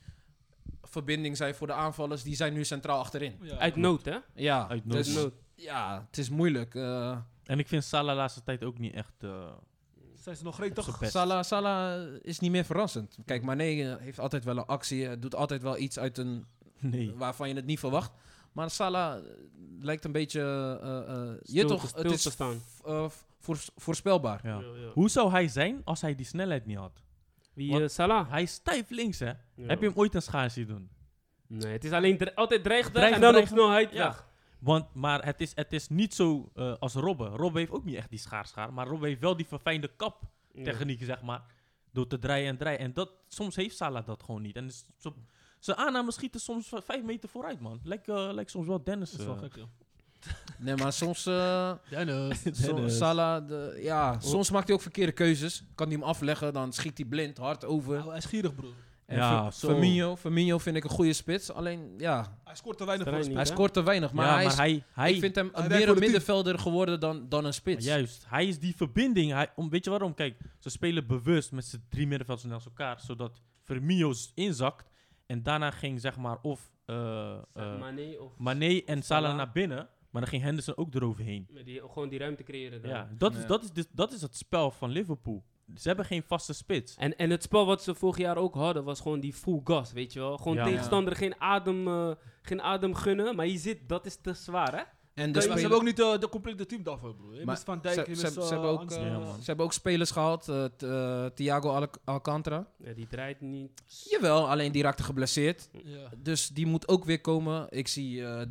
[SPEAKER 3] verbinding zijn voor de aanvallers, die zijn nu centraal achterin.
[SPEAKER 1] zeggen? Ja.
[SPEAKER 2] Uit nood, hè?
[SPEAKER 3] Ja,
[SPEAKER 4] Uit nood.
[SPEAKER 2] Uit
[SPEAKER 3] dus,
[SPEAKER 2] nood.
[SPEAKER 3] ja het is moeilijk. eh
[SPEAKER 4] En ik vind Salah de laatste tijd ook niet echt eh,
[SPEAKER 1] Zijn ze nog
[SPEAKER 4] op
[SPEAKER 1] gretig?
[SPEAKER 4] zijn best.
[SPEAKER 3] Salah, Salah is niet meer verrassend. Kijk, Mané eh, heeft altijd wel een actie, eh, doet altijd wel iets uit een,
[SPEAKER 4] Nee.
[SPEAKER 2] Hm.
[SPEAKER 3] waarvan je het niet verwacht. Maar Salah eh, lijkt een beetje... eh, eh, je
[SPEAKER 2] Stil te-
[SPEAKER 3] toch,
[SPEAKER 2] stil
[SPEAKER 3] het is
[SPEAKER 2] te staan.
[SPEAKER 3] v- eh, voors- voorspelbaar.
[SPEAKER 4] Ja.
[SPEAKER 2] Ja, ja.
[SPEAKER 4] Hoe zou hij zijn als hij die snelheid niet had?
[SPEAKER 2] Wie,
[SPEAKER 4] Wat?
[SPEAKER 2] eh, Salah?
[SPEAKER 4] Hij is stijf links, hè?
[SPEAKER 2] Ja.
[SPEAKER 4] Heb je hem ooit een schaar zien doen?
[SPEAKER 2] Nee, het is alleen dre- altijd dreigweg
[SPEAKER 4] Dreig-
[SPEAKER 2] en dan op
[SPEAKER 4] dreig-
[SPEAKER 2] snelheid
[SPEAKER 4] ja.
[SPEAKER 2] weg.
[SPEAKER 4] Want, maar het is, het is niet zo eh, als Robben. Robben heeft ook niet echt die schaarschaar. Maar Robben heeft wel die verfijnde kaptechniek,
[SPEAKER 2] Ja.
[SPEAKER 4] zeg maar. Door te draaien en draaien. En dat, soms heeft Salah dat gewoon niet. En dus, zo- zijn aannames schieten soms v- vijf meter vooruit, man. Lijkt, eh, lijkt soms wel Dennis.
[SPEAKER 1] Dat is wel
[SPEAKER 4] eh.
[SPEAKER 1] gek, joh.
[SPEAKER 3] Nee, maar soms... eh,
[SPEAKER 1] Dennis.
[SPEAKER 3] So- Salah, de- ja,
[SPEAKER 2] Oh.
[SPEAKER 3] soms maakt hij ook verkeerde keuzes. Kan hij hem afleggen, dan schiet hij blind hard over.
[SPEAKER 1] Oh, hij is gierig, broer.
[SPEAKER 3] En
[SPEAKER 4] Ja,
[SPEAKER 3] Fa-
[SPEAKER 4] zo.
[SPEAKER 3] Firmino, Firmino vind ik een goede spits. Alleen, ja,
[SPEAKER 1] Hij scoort te weinig voor
[SPEAKER 2] Terrein
[SPEAKER 1] de spits.
[SPEAKER 2] niet,
[SPEAKER 3] hij
[SPEAKER 2] hè?
[SPEAKER 3] scoort te weinig. Maar,
[SPEAKER 4] ja,
[SPEAKER 3] hij, is-
[SPEAKER 4] maar hij, hij,
[SPEAKER 3] ik vind hem
[SPEAKER 1] hij werkt
[SPEAKER 3] meer
[SPEAKER 1] voor
[SPEAKER 3] een
[SPEAKER 1] het team.
[SPEAKER 3] middenvelder geworden dan, dan een spits.
[SPEAKER 4] Juist, hij is die verbinding. Hij, om, weet je waarom? Kijk, ze spelen bewust met z'n drie middenvelders naast elkaar, zodat Firmino s- inzakt. En daarna ging zeg maar of eh eh,
[SPEAKER 2] Mané of...
[SPEAKER 4] Mané en Salah
[SPEAKER 2] Salah.
[SPEAKER 4] naar binnen, maar dan ging Henderson ook eroverheen.
[SPEAKER 2] Met die, gewoon die ruimte creëren. daar.
[SPEAKER 4] Ja, dat, is,
[SPEAKER 3] Ja.
[SPEAKER 4] dat, is, dus- dat is het spel van Liverpool. Ze hebben geen vaste spits.
[SPEAKER 2] En, en het spel wat ze vorig jaar ook hadden, was gewoon die full gas, weet je wel. Gewoon
[SPEAKER 4] Ja.
[SPEAKER 2] tegenstander geen adem, eh, geen adem gunnen. Maar je zit, dat is te zwaar, hè?
[SPEAKER 3] En de
[SPEAKER 1] Nee, maar ze
[SPEAKER 3] spelers-
[SPEAKER 1] hebben ook niet eh, de complete team daarvoor, broer. Je
[SPEAKER 3] Maar
[SPEAKER 1] mist Van
[SPEAKER 3] ze-
[SPEAKER 1] Dijk, je
[SPEAKER 3] ze-
[SPEAKER 1] mist,
[SPEAKER 3] ze
[SPEAKER 1] eh,
[SPEAKER 3] hebben ook,
[SPEAKER 1] Hansen.
[SPEAKER 4] eh, Ja, man.
[SPEAKER 3] ze hebben ook spelers gehad. eh, t- eh, Thiago Al- Alcantara.
[SPEAKER 2] Ja, die draait niet.
[SPEAKER 3] Jawel, alleen die raakte geblesseerd.
[SPEAKER 1] Ja.
[SPEAKER 3] Dus die moet ook weer komen. Ik zie eh, eh,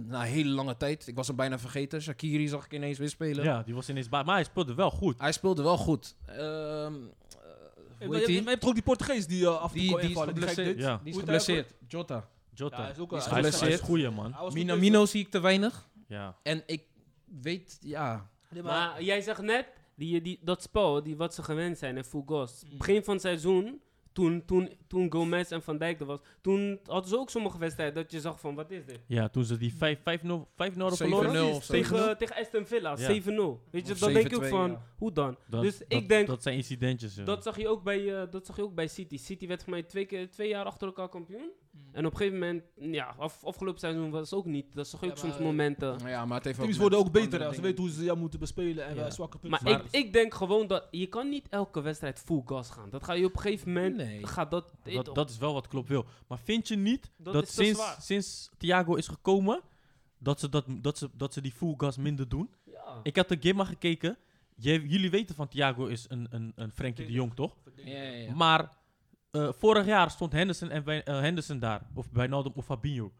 [SPEAKER 3] na een hele lange tijd, ik was hem bijna vergeten. Shakiri zag ik ineens weer spelen.
[SPEAKER 4] Ja, die was ineens ba- Maar hij speelde wel goed.
[SPEAKER 3] Hij speelde wel goed. Ehm, eh,
[SPEAKER 1] Hey,
[SPEAKER 3] hoe
[SPEAKER 1] maar
[SPEAKER 3] heet
[SPEAKER 1] je,
[SPEAKER 3] die?
[SPEAKER 1] je hebt toch ook die Portugees die eh af en toe
[SPEAKER 3] Die,
[SPEAKER 1] kon
[SPEAKER 3] die is
[SPEAKER 1] invallen, die gek
[SPEAKER 3] geblesseerd.
[SPEAKER 1] doet?
[SPEAKER 4] Ja.
[SPEAKER 3] Die is
[SPEAKER 1] Hoe heet hij
[SPEAKER 3] geblesseerd. Jota.
[SPEAKER 4] Jota.
[SPEAKER 1] Ja, hij is ook
[SPEAKER 3] Die is
[SPEAKER 1] eh,
[SPEAKER 4] hij, is, hij is
[SPEAKER 3] geblesseerd.
[SPEAKER 4] goeie, man.
[SPEAKER 1] Hij was goed bezig.
[SPEAKER 3] Minamino zie ik te weinig.
[SPEAKER 4] Ja.
[SPEAKER 3] En ik weet, ja.
[SPEAKER 1] Nee, maar-
[SPEAKER 2] Maar jij zegt net, die, die, dat spel, die, wat ze gewend zijn, en full gas. Begin van het seizoen, toen, toen, toen Gomez en Van Dijk er was, toen hadden ze ook sommige wedstrijden dat je zag van, wat is dit?
[SPEAKER 4] ja, toen ze die 5-0 hadden
[SPEAKER 3] 7-0
[SPEAKER 4] verloren.
[SPEAKER 3] of
[SPEAKER 2] Precies,
[SPEAKER 3] zo.
[SPEAKER 2] tegen, tegen Aston Villa,
[SPEAKER 4] Ja.
[SPEAKER 2] 7-0. Weet je,
[SPEAKER 3] Of
[SPEAKER 2] dan denk ik
[SPEAKER 3] 7-2,
[SPEAKER 2] van,
[SPEAKER 3] ja.
[SPEAKER 2] hoe dan?
[SPEAKER 4] Dat,
[SPEAKER 2] dus
[SPEAKER 4] dat-
[SPEAKER 2] ik denk,
[SPEAKER 4] Dat zijn incidentjes. ja.
[SPEAKER 2] Dat zag, je ook bij, eh, dat zag je ook bij City. City werd voor mij twee, keer, twee jaar achter elkaar kampioen.
[SPEAKER 1] Mm.
[SPEAKER 2] En op een gegeven moment, ja, af, afgelopen seizoen was het ook niet. Dat zag je
[SPEAKER 1] Ja,
[SPEAKER 2] ook
[SPEAKER 1] maar-
[SPEAKER 2] soms momenten.
[SPEAKER 3] Nou Ja, maar het heeft
[SPEAKER 1] Teams
[SPEAKER 3] met
[SPEAKER 1] worden ook beter
[SPEAKER 3] andere
[SPEAKER 1] als ze
[SPEAKER 3] dingen-
[SPEAKER 1] weten hoe ze jou moeten bespelen en
[SPEAKER 4] Ja.
[SPEAKER 1] eh, zwakke punten.
[SPEAKER 2] Maar, ik, ik denk gewoon dat je kan niet elke wedstrijd full gas gaan. Dat ga je op een gegeven moment.
[SPEAKER 3] Nee.
[SPEAKER 2] Gaat dat,
[SPEAKER 4] Dat, dat is wel wat Klopp wil. Maar vind je niet
[SPEAKER 2] Dat
[SPEAKER 4] dat,
[SPEAKER 2] is te zwaar.
[SPEAKER 4] sinds, sinds Thiago is gekomen, dat ze, dat, dat, ze, dat ze die full gas minder doen?
[SPEAKER 2] ja.
[SPEAKER 4] Ik had de Gimma gekeken. J- jullie weten van Thiago is een, een, een Frenkie de Jong, toch?
[SPEAKER 3] Ja, ja, ja.
[SPEAKER 4] Maar eh, vorig jaar stond Henderson, en Wij- eh, Henderson daar. Of Wijnaldum of Fabinho.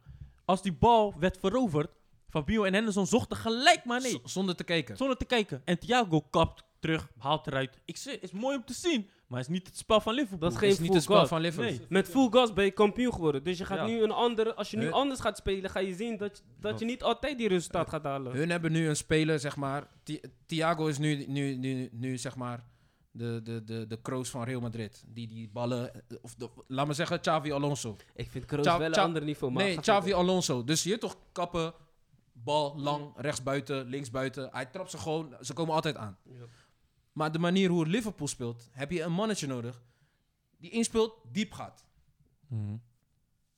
[SPEAKER 4] Als die bal werd veroverd, Fabinho en Henderson zochten gelijk maar nee.
[SPEAKER 3] Z- Zonder te kijken.
[SPEAKER 4] Zonder te kijken. En Thiago kapt terug, haalt eruit. Ik zeg, is mooi om te zien, maar het is niet het spel van Liverpool.
[SPEAKER 2] Dat is
[SPEAKER 3] Het
[SPEAKER 2] geen
[SPEAKER 3] is niet
[SPEAKER 2] full
[SPEAKER 3] het spel
[SPEAKER 2] gas.
[SPEAKER 3] van Liverpool.
[SPEAKER 4] Nee.
[SPEAKER 2] Met full gas ben je kampioen geworden. Dus je gaat
[SPEAKER 4] Ja.
[SPEAKER 2] nu een andere. Als je nu
[SPEAKER 3] Huh?
[SPEAKER 2] anders gaat spelen, ga je zien dat, dat
[SPEAKER 4] Dat-
[SPEAKER 2] je niet altijd die resultaat gaat halen.
[SPEAKER 3] Hun hebben nu een speler, zeg maar. Thi- Thiago is nu, nu, nu, nu zeg maar, de, de, de, de kroos van Real Madrid. Die die ballen, eh, of de- laat maar zeggen, Xavi Alonso.
[SPEAKER 2] Ik vind Kroos
[SPEAKER 3] Tja-
[SPEAKER 2] wel een
[SPEAKER 3] tja-
[SPEAKER 2] ander niveau. Oh, Maar
[SPEAKER 3] nee,
[SPEAKER 2] ga
[SPEAKER 3] Xavi
[SPEAKER 2] verder.
[SPEAKER 3] Alonso. Dus hier toch kappen, bal lang, rechtsbuiten, linksbuiten. Hij trapt ze gewoon, ze komen altijd aan.
[SPEAKER 2] Ja.
[SPEAKER 3] Maar de manier hoe Liverpool speelt, heb je een mannetje nodig die inspeelt, diep gaat.
[SPEAKER 4] Mhm.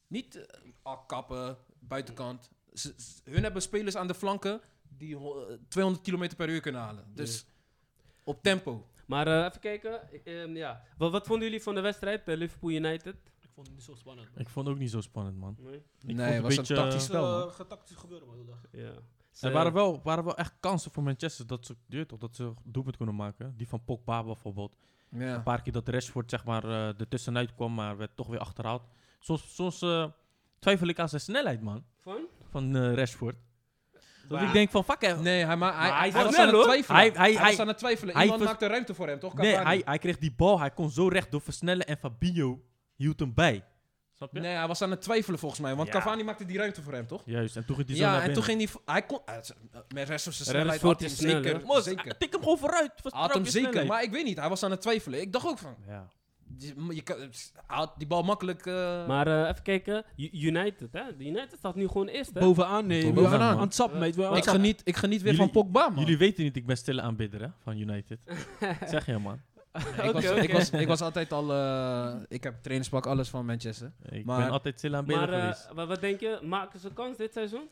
[SPEAKER 3] Niet eh, al kappen, buitenkant. Ze- ze- hun hebben spelers aan de flanken die ho- eh, 200 km per uur kunnen halen. Dus op tempo.
[SPEAKER 2] Maar eh, even kijken. Ik, ehm, ja. wat, wat vonden jullie van de wedstrijd bij Liverpool United?
[SPEAKER 1] Ik vond het niet zo spannend. man.
[SPEAKER 4] Ik vond het ook niet zo spannend, man. Ik
[SPEAKER 3] nee,
[SPEAKER 4] vond
[SPEAKER 3] het
[SPEAKER 4] het
[SPEAKER 3] was
[SPEAKER 4] beetje,
[SPEAKER 3] een
[SPEAKER 4] eh,
[SPEAKER 3] tactisch
[SPEAKER 1] Het is
[SPEAKER 3] spel. man.
[SPEAKER 1] eh, getactisch gebeuren, man. dat dacht ik.
[SPEAKER 2] Ja.
[SPEAKER 4] Er waren wel, waren wel echt kansen voor Manchester dat ze, je weet toch, dat ze doelpunt kunnen maken. Die van Pogba bijvoorbeeld.
[SPEAKER 3] ja.
[SPEAKER 4] Een paar keer dat Rashford zeg maar, eh er tussenuit kwam, maar werd toch weer achterhaald. Soms, soms eh, twijfel ik aan zijn snelheid, man.
[SPEAKER 2] Van?
[SPEAKER 4] Van eh, Rashford. Dat
[SPEAKER 2] Maar-
[SPEAKER 4] ik denk van, fuck hem.
[SPEAKER 3] Nee, hij, maar, hij,
[SPEAKER 2] Maar hij
[SPEAKER 3] hij,
[SPEAKER 2] is
[SPEAKER 3] was
[SPEAKER 2] snel,
[SPEAKER 3] aan het
[SPEAKER 2] hoor.
[SPEAKER 3] twijfelen. Hij,
[SPEAKER 4] Hij- hij-
[SPEAKER 3] was
[SPEAKER 4] hij-
[SPEAKER 3] aan het twijfelen.
[SPEAKER 4] hij
[SPEAKER 3] Iemand
[SPEAKER 4] vers-
[SPEAKER 3] maakte ruimte voor hem, toch?
[SPEAKER 4] Nee,
[SPEAKER 3] Cavani?
[SPEAKER 4] hij, hij kreeg die bal, hij kon zo recht door versnellen en Fabinho hield hem bij. Snap je?
[SPEAKER 3] nee, hij was aan het twijfelen volgens mij. Want
[SPEAKER 4] Ja.
[SPEAKER 3] Cavani maakte die ruimte voor hem, toch?
[SPEAKER 4] Juist, en toen ging hij zo
[SPEAKER 3] ja,
[SPEAKER 4] naar
[SPEAKER 3] en toen
[SPEAKER 4] binnen.
[SPEAKER 3] ging hij... v- hij kon, hij- met rest van zijn snelheid
[SPEAKER 2] Rashford
[SPEAKER 3] had hij
[SPEAKER 2] is
[SPEAKER 3] hem
[SPEAKER 2] snel,
[SPEAKER 3] zeker.
[SPEAKER 4] Mos,
[SPEAKER 3] zeker.
[SPEAKER 4] tik hem gewoon vooruit.
[SPEAKER 3] Hij had
[SPEAKER 4] vertrouw
[SPEAKER 3] hem
[SPEAKER 4] je
[SPEAKER 3] zeker,
[SPEAKER 4] snelheid.
[SPEAKER 3] maar ik weet niet. Hij was aan het twijfelen. Ik dacht ook van...
[SPEAKER 4] Ja.
[SPEAKER 3] Je, je kan, eh, hij had die bal makkelijk... eh,
[SPEAKER 2] Maar eh, even kijken. U- United, hè? De United staat nu gewoon eerst, hè?
[SPEAKER 1] Bovenaan, nee.
[SPEAKER 4] Bovenaan,
[SPEAKER 1] Bovenaan.
[SPEAKER 4] man.
[SPEAKER 1] Aan het sap, mate. We- aan
[SPEAKER 3] ik,
[SPEAKER 1] het sap.
[SPEAKER 3] geniet, ik geniet weer
[SPEAKER 4] Jullie-
[SPEAKER 3] van Pogba, man.
[SPEAKER 4] Jullie weten niet, ik ben stille aanbidder hè, van United. zeg je man.
[SPEAKER 3] ik, was,
[SPEAKER 2] Oké, oké.
[SPEAKER 3] Ik, was, ik was altijd al... eh, ik heb trainingspak, alles van Manchester.
[SPEAKER 4] Ik
[SPEAKER 3] Maar-
[SPEAKER 4] ben altijd stille aanbidder
[SPEAKER 2] maar eh,
[SPEAKER 4] geweest.
[SPEAKER 2] wa- wat denk je? Maken ze kans dit seizoen?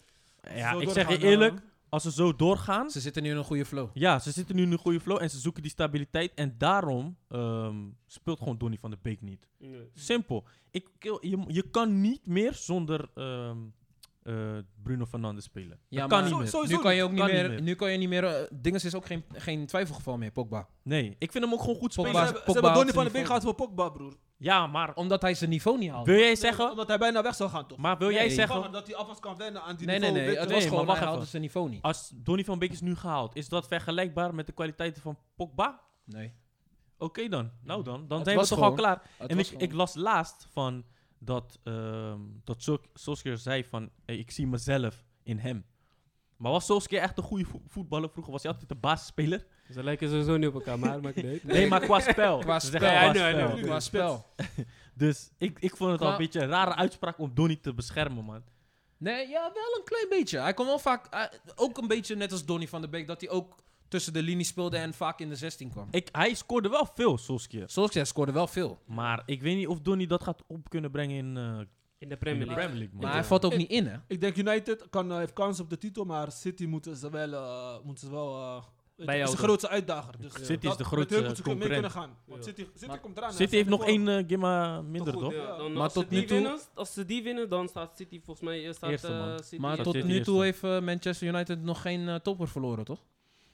[SPEAKER 4] Ja,
[SPEAKER 1] Zo
[SPEAKER 4] ik zeg je
[SPEAKER 1] doorgaan,
[SPEAKER 4] eerlijk,
[SPEAKER 1] eh,
[SPEAKER 4] als ze zo doorgaan.
[SPEAKER 3] Ze zitten nu in een goede flow.
[SPEAKER 4] Ja, ze zitten nu in een goede flow en ze zoeken die stabiliteit. En daarom ehm, speelt gewoon Donny van de Beek niet. Simpel. Ik, ik- je, je kan niet meer zonder ehm eh, Bruno Fernandes spelen.
[SPEAKER 3] Ja,
[SPEAKER 4] dat
[SPEAKER 3] maar-
[SPEAKER 4] kan niet
[SPEAKER 1] Zo-
[SPEAKER 4] meer.
[SPEAKER 1] zo-
[SPEAKER 3] nu kan je ook niet,
[SPEAKER 4] kan niet
[SPEAKER 3] meer,
[SPEAKER 4] meer.
[SPEAKER 3] Nu kan je niet meer... eh, Dinges is ook geen, geen twijfelgeval meer, Pogba.
[SPEAKER 4] Nee, ik vind hem ook gewoon goed
[SPEAKER 1] Ze
[SPEAKER 3] Pogba-
[SPEAKER 4] spelen.
[SPEAKER 1] hebben, ze
[SPEAKER 3] Pogba
[SPEAKER 1] hebben
[SPEAKER 3] had
[SPEAKER 1] Donny
[SPEAKER 3] zijn
[SPEAKER 1] van de Beek
[SPEAKER 3] niveau.
[SPEAKER 1] gehad voor Pogba, broer.
[SPEAKER 4] Ja, maar
[SPEAKER 3] Omdat hij zijn niveau niet haalde.
[SPEAKER 4] wil jij zeggen...
[SPEAKER 1] Omdat hij bijna weg zou gaan, toch?
[SPEAKER 4] Maar wil jij
[SPEAKER 1] Kan,
[SPEAKER 3] Nee.
[SPEAKER 4] zeggen...
[SPEAKER 1] omdat hij alvast kan wennen aan die
[SPEAKER 3] Nee, nee,
[SPEAKER 1] niveau,
[SPEAKER 3] nee.
[SPEAKER 1] weet
[SPEAKER 3] Het
[SPEAKER 1] je
[SPEAKER 4] Nee,
[SPEAKER 3] was
[SPEAKER 1] wel.
[SPEAKER 4] maar
[SPEAKER 3] gewoon,
[SPEAKER 4] wacht
[SPEAKER 3] hij haalde
[SPEAKER 4] even.
[SPEAKER 3] zijn niveau niet.
[SPEAKER 4] Als Donny van Beek is nu gehaald, is dat vergelijkbaar met de kwaliteiten van Pogba?
[SPEAKER 3] Nee.
[SPEAKER 4] Oké dan, nou dan. Dan
[SPEAKER 3] Het
[SPEAKER 4] zijn we
[SPEAKER 3] was
[SPEAKER 4] toch al
[SPEAKER 3] gewoon-
[SPEAKER 4] klaar.
[SPEAKER 3] Het
[SPEAKER 4] en
[SPEAKER 3] was
[SPEAKER 4] ik,
[SPEAKER 3] gewoon-
[SPEAKER 4] ik las laatst van dat, ehm dat Sol- Solskjaer zei van, "Hey, ik zie mezelf in hem. Maar was Solskjaer echt een goede vo- voetballer vroeger? Was hij altijd de basisspeler?
[SPEAKER 2] Ze lijken sowieso niet op elkaar, maar maakt niet uit.
[SPEAKER 4] Nee, maar qua spel.
[SPEAKER 3] Qua
[SPEAKER 4] Ze zeggen
[SPEAKER 3] spel.
[SPEAKER 4] qua
[SPEAKER 2] Ja, nee, nee,
[SPEAKER 4] spel.
[SPEAKER 3] Qua spel.
[SPEAKER 4] Dus ik, ik vond het al
[SPEAKER 3] Qua-
[SPEAKER 4] een beetje een rare uitspraak om Donny te beschermen, man.
[SPEAKER 3] Nee, ja, wel een klein beetje. Hij kon wel vaak... hij- ook een beetje net als Donny van der Beek, dat hij ook tussen de linie speelde en vaak in de 16 kwam.
[SPEAKER 4] Ik, hij scoorde wel veel, Solskjaer.
[SPEAKER 3] Solskjaer scoorde wel veel.
[SPEAKER 4] Maar ik weet niet of Donny dat gaat op kunnen brengen in, eh,
[SPEAKER 2] In de
[SPEAKER 4] in
[SPEAKER 2] Premier
[SPEAKER 4] de
[SPEAKER 2] League.
[SPEAKER 4] Premier League, man.
[SPEAKER 3] Maar hij valt ook
[SPEAKER 1] Ik-
[SPEAKER 3] niet in, hè?
[SPEAKER 1] Ik denk United kan, eh, heeft kans op de titel, maar City moeten ze wel... eh, moeten ze wel eh, weet je, is de
[SPEAKER 2] Bijhouden.
[SPEAKER 1] grootste uitdager. Dus, eh,
[SPEAKER 4] City is de
[SPEAKER 1] dat- met
[SPEAKER 4] grootste
[SPEAKER 1] hun moeten ze mee
[SPEAKER 4] concurrent.
[SPEAKER 1] kunnen gaan. Want
[SPEAKER 2] Ja.
[SPEAKER 1] City, City
[SPEAKER 3] Maar-
[SPEAKER 1] komt eraan. hè.
[SPEAKER 4] City heeft nog
[SPEAKER 1] voor-
[SPEAKER 4] één eh, game minder, toch?
[SPEAKER 1] ja.
[SPEAKER 2] Dan
[SPEAKER 3] Maar
[SPEAKER 2] als,
[SPEAKER 3] tot
[SPEAKER 2] ze
[SPEAKER 3] nu
[SPEAKER 2] die
[SPEAKER 3] toe-
[SPEAKER 2] winnen, als ze die winnen, dan staat City volgens mij eh, staat,
[SPEAKER 4] Eerste, man.
[SPEAKER 2] eh, City
[SPEAKER 3] Maar
[SPEAKER 4] Dat
[SPEAKER 2] eerst.
[SPEAKER 3] tot
[SPEAKER 4] zit
[SPEAKER 3] nu
[SPEAKER 4] eerst
[SPEAKER 3] toe
[SPEAKER 4] in.
[SPEAKER 3] heeft eh, Manchester United nog geen eh, topper verloren, toch?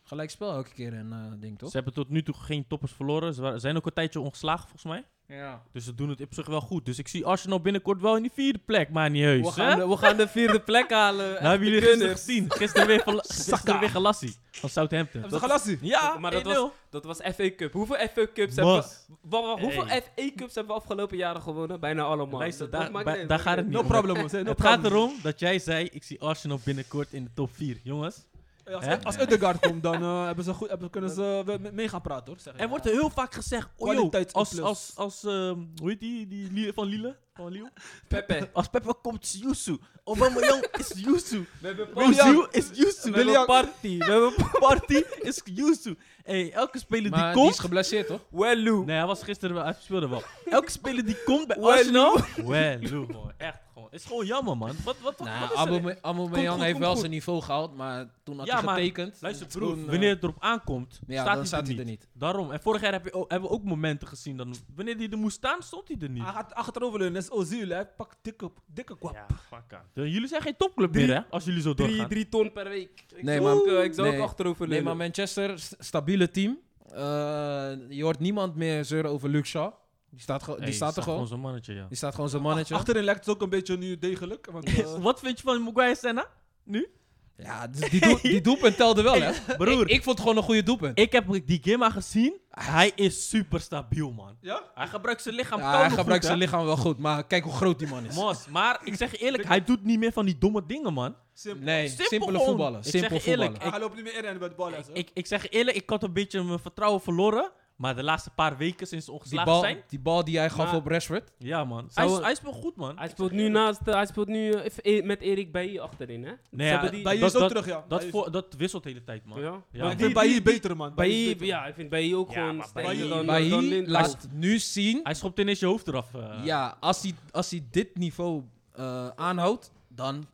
[SPEAKER 3] Gelijk spel elke keer en eh, ding, toch?
[SPEAKER 4] Ze hebben tot nu toe geen toppers verloren. Ze wa- zijn ook een tijdje ongeslagen, volgens mij.
[SPEAKER 3] Ja.
[SPEAKER 4] Dus ze doen het op zich wel goed. Dus ik zie Arsenal binnenkort wel in die vierde plek, maar niet heus.
[SPEAKER 2] We
[SPEAKER 4] hè?
[SPEAKER 2] gaan, de, we gaan de vierde plek halen.
[SPEAKER 4] nou hebben jullie
[SPEAKER 2] kunnen.
[SPEAKER 4] gisteren gezien. Gisteren weer, verla- gisteren weer gelassie van Southampton.
[SPEAKER 1] Hebben ze gelassie?
[SPEAKER 4] ja,
[SPEAKER 2] Maar
[SPEAKER 4] maar
[SPEAKER 2] dat
[SPEAKER 4] dat
[SPEAKER 2] was- Dat was FA Cup. Hoeveel FA Cups hebben we...
[SPEAKER 4] was...
[SPEAKER 2] wa- wa- hoeveel
[SPEAKER 4] Hey.
[SPEAKER 2] FA Cups hebben we afgelopen jaren gewonnen? Bijna allemaal.
[SPEAKER 4] Luister,
[SPEAKER 2] Dat- dat
[SPEAKER 4] daar-
[SPEAKER 2] maakt
[SPEAKER 4] bij-
[SPEAKER 2] niet uit,
[SPEAKER 4] daar
[SPEAKER 2] maakt
[SPEAKER 4] gaat het
[SPEAKER 2] niet
[SPEAKER 1] No
[SPEAKER 4] niet om.
[SPEAKER 1] problem, hoor. No
[SPEAKER 4] Het gaat erom dat jij zei, ik zie Arsenal binnenkort in de top 4, jongens.
[SPEAKER 1] Ja, Als,
[SPEAKER 4] Hè?
[SPEAKER 1] als Ødegaard komt, dan eh, hebben ze goed, hebben, kunnen ze wel mee gaan praten, hoor. Zeg ik.
[SPEAKER 4] Er wordt heel vaak gezegd, oh joh,
[SPEAKER 1] Kwaliteit
[SPEAKER 4] als,
[SPEAKER 1] plus.
[SPEAKER 4] als, als ehm, hoe heet die, die Lie- van Lille? Van Lille?
[SPEAKER 2] uit. Pepe.
[SPEAKER 4] Als Pepe komt, is Yusu. Aubameyang is Yusu.
[SPEAKER 2] We hebben
[SPEAKER 1] Willian.
[SPEAKER 4] Roziel is Yusu.
[SPEAKER 1] We hebben
[SPEAKER 4] Party. We hebben Party is Yusu. Hey, elke speler
[SPEAKER 3] Maar
[SPEAKER 4] die
[SPEAKER 3] die is
[SPEAKER 4] komt...
[SPEAKER 3] geblesseerd, toch?
[SPEAKER 2] Wellu.
[SPEAKER 4] Nee, hij was gisteren wel, hij speelde wel. Elke speler die komt bij
[SPEAKER 2] Wellu.
[SPEAKER 4] Arsenal... Wellu, gewoon. Echt, gewoon. Het is gewoon jammer, man. Wat, wat, wat, wat
[SPEAKER 3] Nou,
[SPEAKER 4] is er?
[SPEAKER 3] Aubame- Aubameyang
[SPEAKER 4] goed,
[SPEAKER 3] heeft
[SPEAKER 4] komt
[SPEAKER 3] wel
[SPEAKER 4] goed.
[SPEAKER 3] zijn niveau gehaald, maar toen had
[SPEAKER 4] Ja,
[SPEAKER 3] hij
[SPEAKER 4] maar
[SPEAKER 3] getekend.
[SPEAKER 4] Luister,
[SPEAKER 3] Toen,
[SPEAKER 4] broer,
[SPEAKER 3] eh,
[SPEAKER 4] wanneer het erop aankomt,
[SPEAKER 3] ja,
[SPEAKER 4] staat,
[SPEAKER 3] dan
[SPEAKER 4] hij,
[SPEAKER 3] staat
[SPEAKER 4] er
[SPEAKER 3] hij
[SPEAKER 4] niet.
[SPEAKER 3] er niet.
[SPEAKER 4] Daarom. En vorig jaar heb je ook- hebben we ook momenten gezien. Dan, wanneer hij er moest staan, stond hij er niet.
[SPEAKER 1] Hij gaat achteroverleunen, net als Ozil, hè. Pak dikke, dikke kwap.
[SPEAKER 4] Ja, fuck aan. De- Eh, Jullie zijn geen topclub meer, hè? Als jullie zo
[SPEAKER 2] Drie,
[SPEAKER 4] doorgaan.
[SPEAKER 2] drie ton per week. Ik
[SPEAKER 3] Nee,
[SPEAKER 2] zou
[SPEAKER 3] maar-
[SPEAKER 2] ook, eh, ik zou
[SPEAKER 3] nee.
[SPEAKER 2] ook achterover
[SPEAKER 3] Nee,
[SPEAKER 2] leunen.
[SPEAKER 3] maar Manchester, st- stabiele team. Eh, je hoort niemand meer zeuren over Luke Shaw. Die staat, ge-
[SPEAKER 4] Hey,
[SPEAKER 3] die staat er gewoon.
[SPEAKER 4] zo'n mannetje, ja.
[SPEAKER 3] Die staat gewoon zijn mannetje.
[SPEAKER 1] Achterin lijkt het ook een beetje nu degelijk. Want, eh,
[SPEAKER 4] Wat vind je van Maguire Senna? Nu?
[SPEAKER 3] Ja, dus die, doel- die doelpunt telde wel, hè?
[SPEAKER 4] Broer, ik,
[SPEAKER 3] Ik vond het gewoon een goede doelpunt.
[SPEAKER 4] heb die Gimma gezien. Hij is super stabiel, man.
[SPEAKER 1] ja?
[SPEAKER 4] Hij gebruikt zijn lichaam.
[SPEAKER 3] Ja,
[SPEAKER 4] kan
[SPEAKER 3] hij
[SPEAKER 4] nog
[SPEAKER 3] gebruikt
[SPEAKER 4] goed,
[SPEAKER 3] zijn lichaam wel goed, maar kijk hoe groot die man
[SPEAKER 4] hè?
[SPEAKER 3] is.
[SPEAKER 4] Mos, maar ik zeg je eerlijk, hij doet niet meer van die domme dingen, man.
[SPEAKER 1] Simpel. Ah,
[SPEAKER 3] Nee,
[SPEAKER 4] Simpel
[SPEAKER 3] simpele
[SPEAKER 4] gewoon.
[SPEAKER 3] voetballen.
[SPEAKER 4] Ik zeg je
[SPEAKER 3] Simpel
[SPEAKER 4] eerlijk,
[SPEAKER 3] voetballen.
[SPEAKER 1] Hij hij loopt niet meer in en met de bal. hè, zo.
[SPEAKER 4] Ik, ik zeg je eerlijk, ik had een beetje mijn vertrouwen verloren. Maar de laatste paar weken sinds ze
[SPEAKER 3] Die
[SPEAKER 4] ongeslagen
[SPEAKER 3] bal,
[SPEAKER 4] zijn.
[SPEAKER 3] die bal die hij gaf
[SPEAKER 2] Maar-
[SPEAKER 3] op Rashford.
[SPEAKER 4] Ja, man.
[SPEAKER 2] Zou-
[SPEAKER 4] Hij, is- hij speelt goed, man.
[SPEAKER 2] Hij speelt nu, naast, eh, hij speelt nu eh, e- met Erik Bailly achterin, hè?
[SPEAKER 4] Nee,
[SPEAKER 2] Ze
[SPEAKER 4] ja,
[SPEAKER 2] hebben die-
[SPEAKER 1] Bailly
[SPEAKER 4] dat-
[SPEAKER 1] is ook
[SPEAKER 4] dat-
[SPEAKER 1] terug, ja.
[SPEAKER 4] Dat,
[SPEAKER 1] Bailly is-
[SPEAKER 4] voor, dat wisselt de hele tijd, man.
[SPEAKER 2] Ja.
[SPEAKER 4] Ja,
[SPEAKER 1] Maar ik
[SPEAKER 4] man.
[SPEAKER 2] die-
[SPEAKER 1] vind Bailly beter, man. Bailly is
[SPEAKER 2] Bailly,
[SPEAKER 1] beter.
[SPEAKER 2] ja, ik vind Bailly ook
[SPEAKER 4] Ja,
[SPEAKER 2] gewoon
[SPEAKER 4] maar
[SPEAKER 2] sterker
[SPEAKER 1] Bailly-
[SPEAKER 2] dan,
[SPEAKER 3] Maar
[SPEAKER 2] dan
[SPEAKER 3] hij
[SPEAKER 2] Lindelof.
[SPEAKER 3] laat nu zien.
[SPEAKER 4] Hij schopt ineens je hoofd eraf. eh.
[SPEAKER 3] Ja, als hij, als hij dit niveau eh, aanhoudt, dan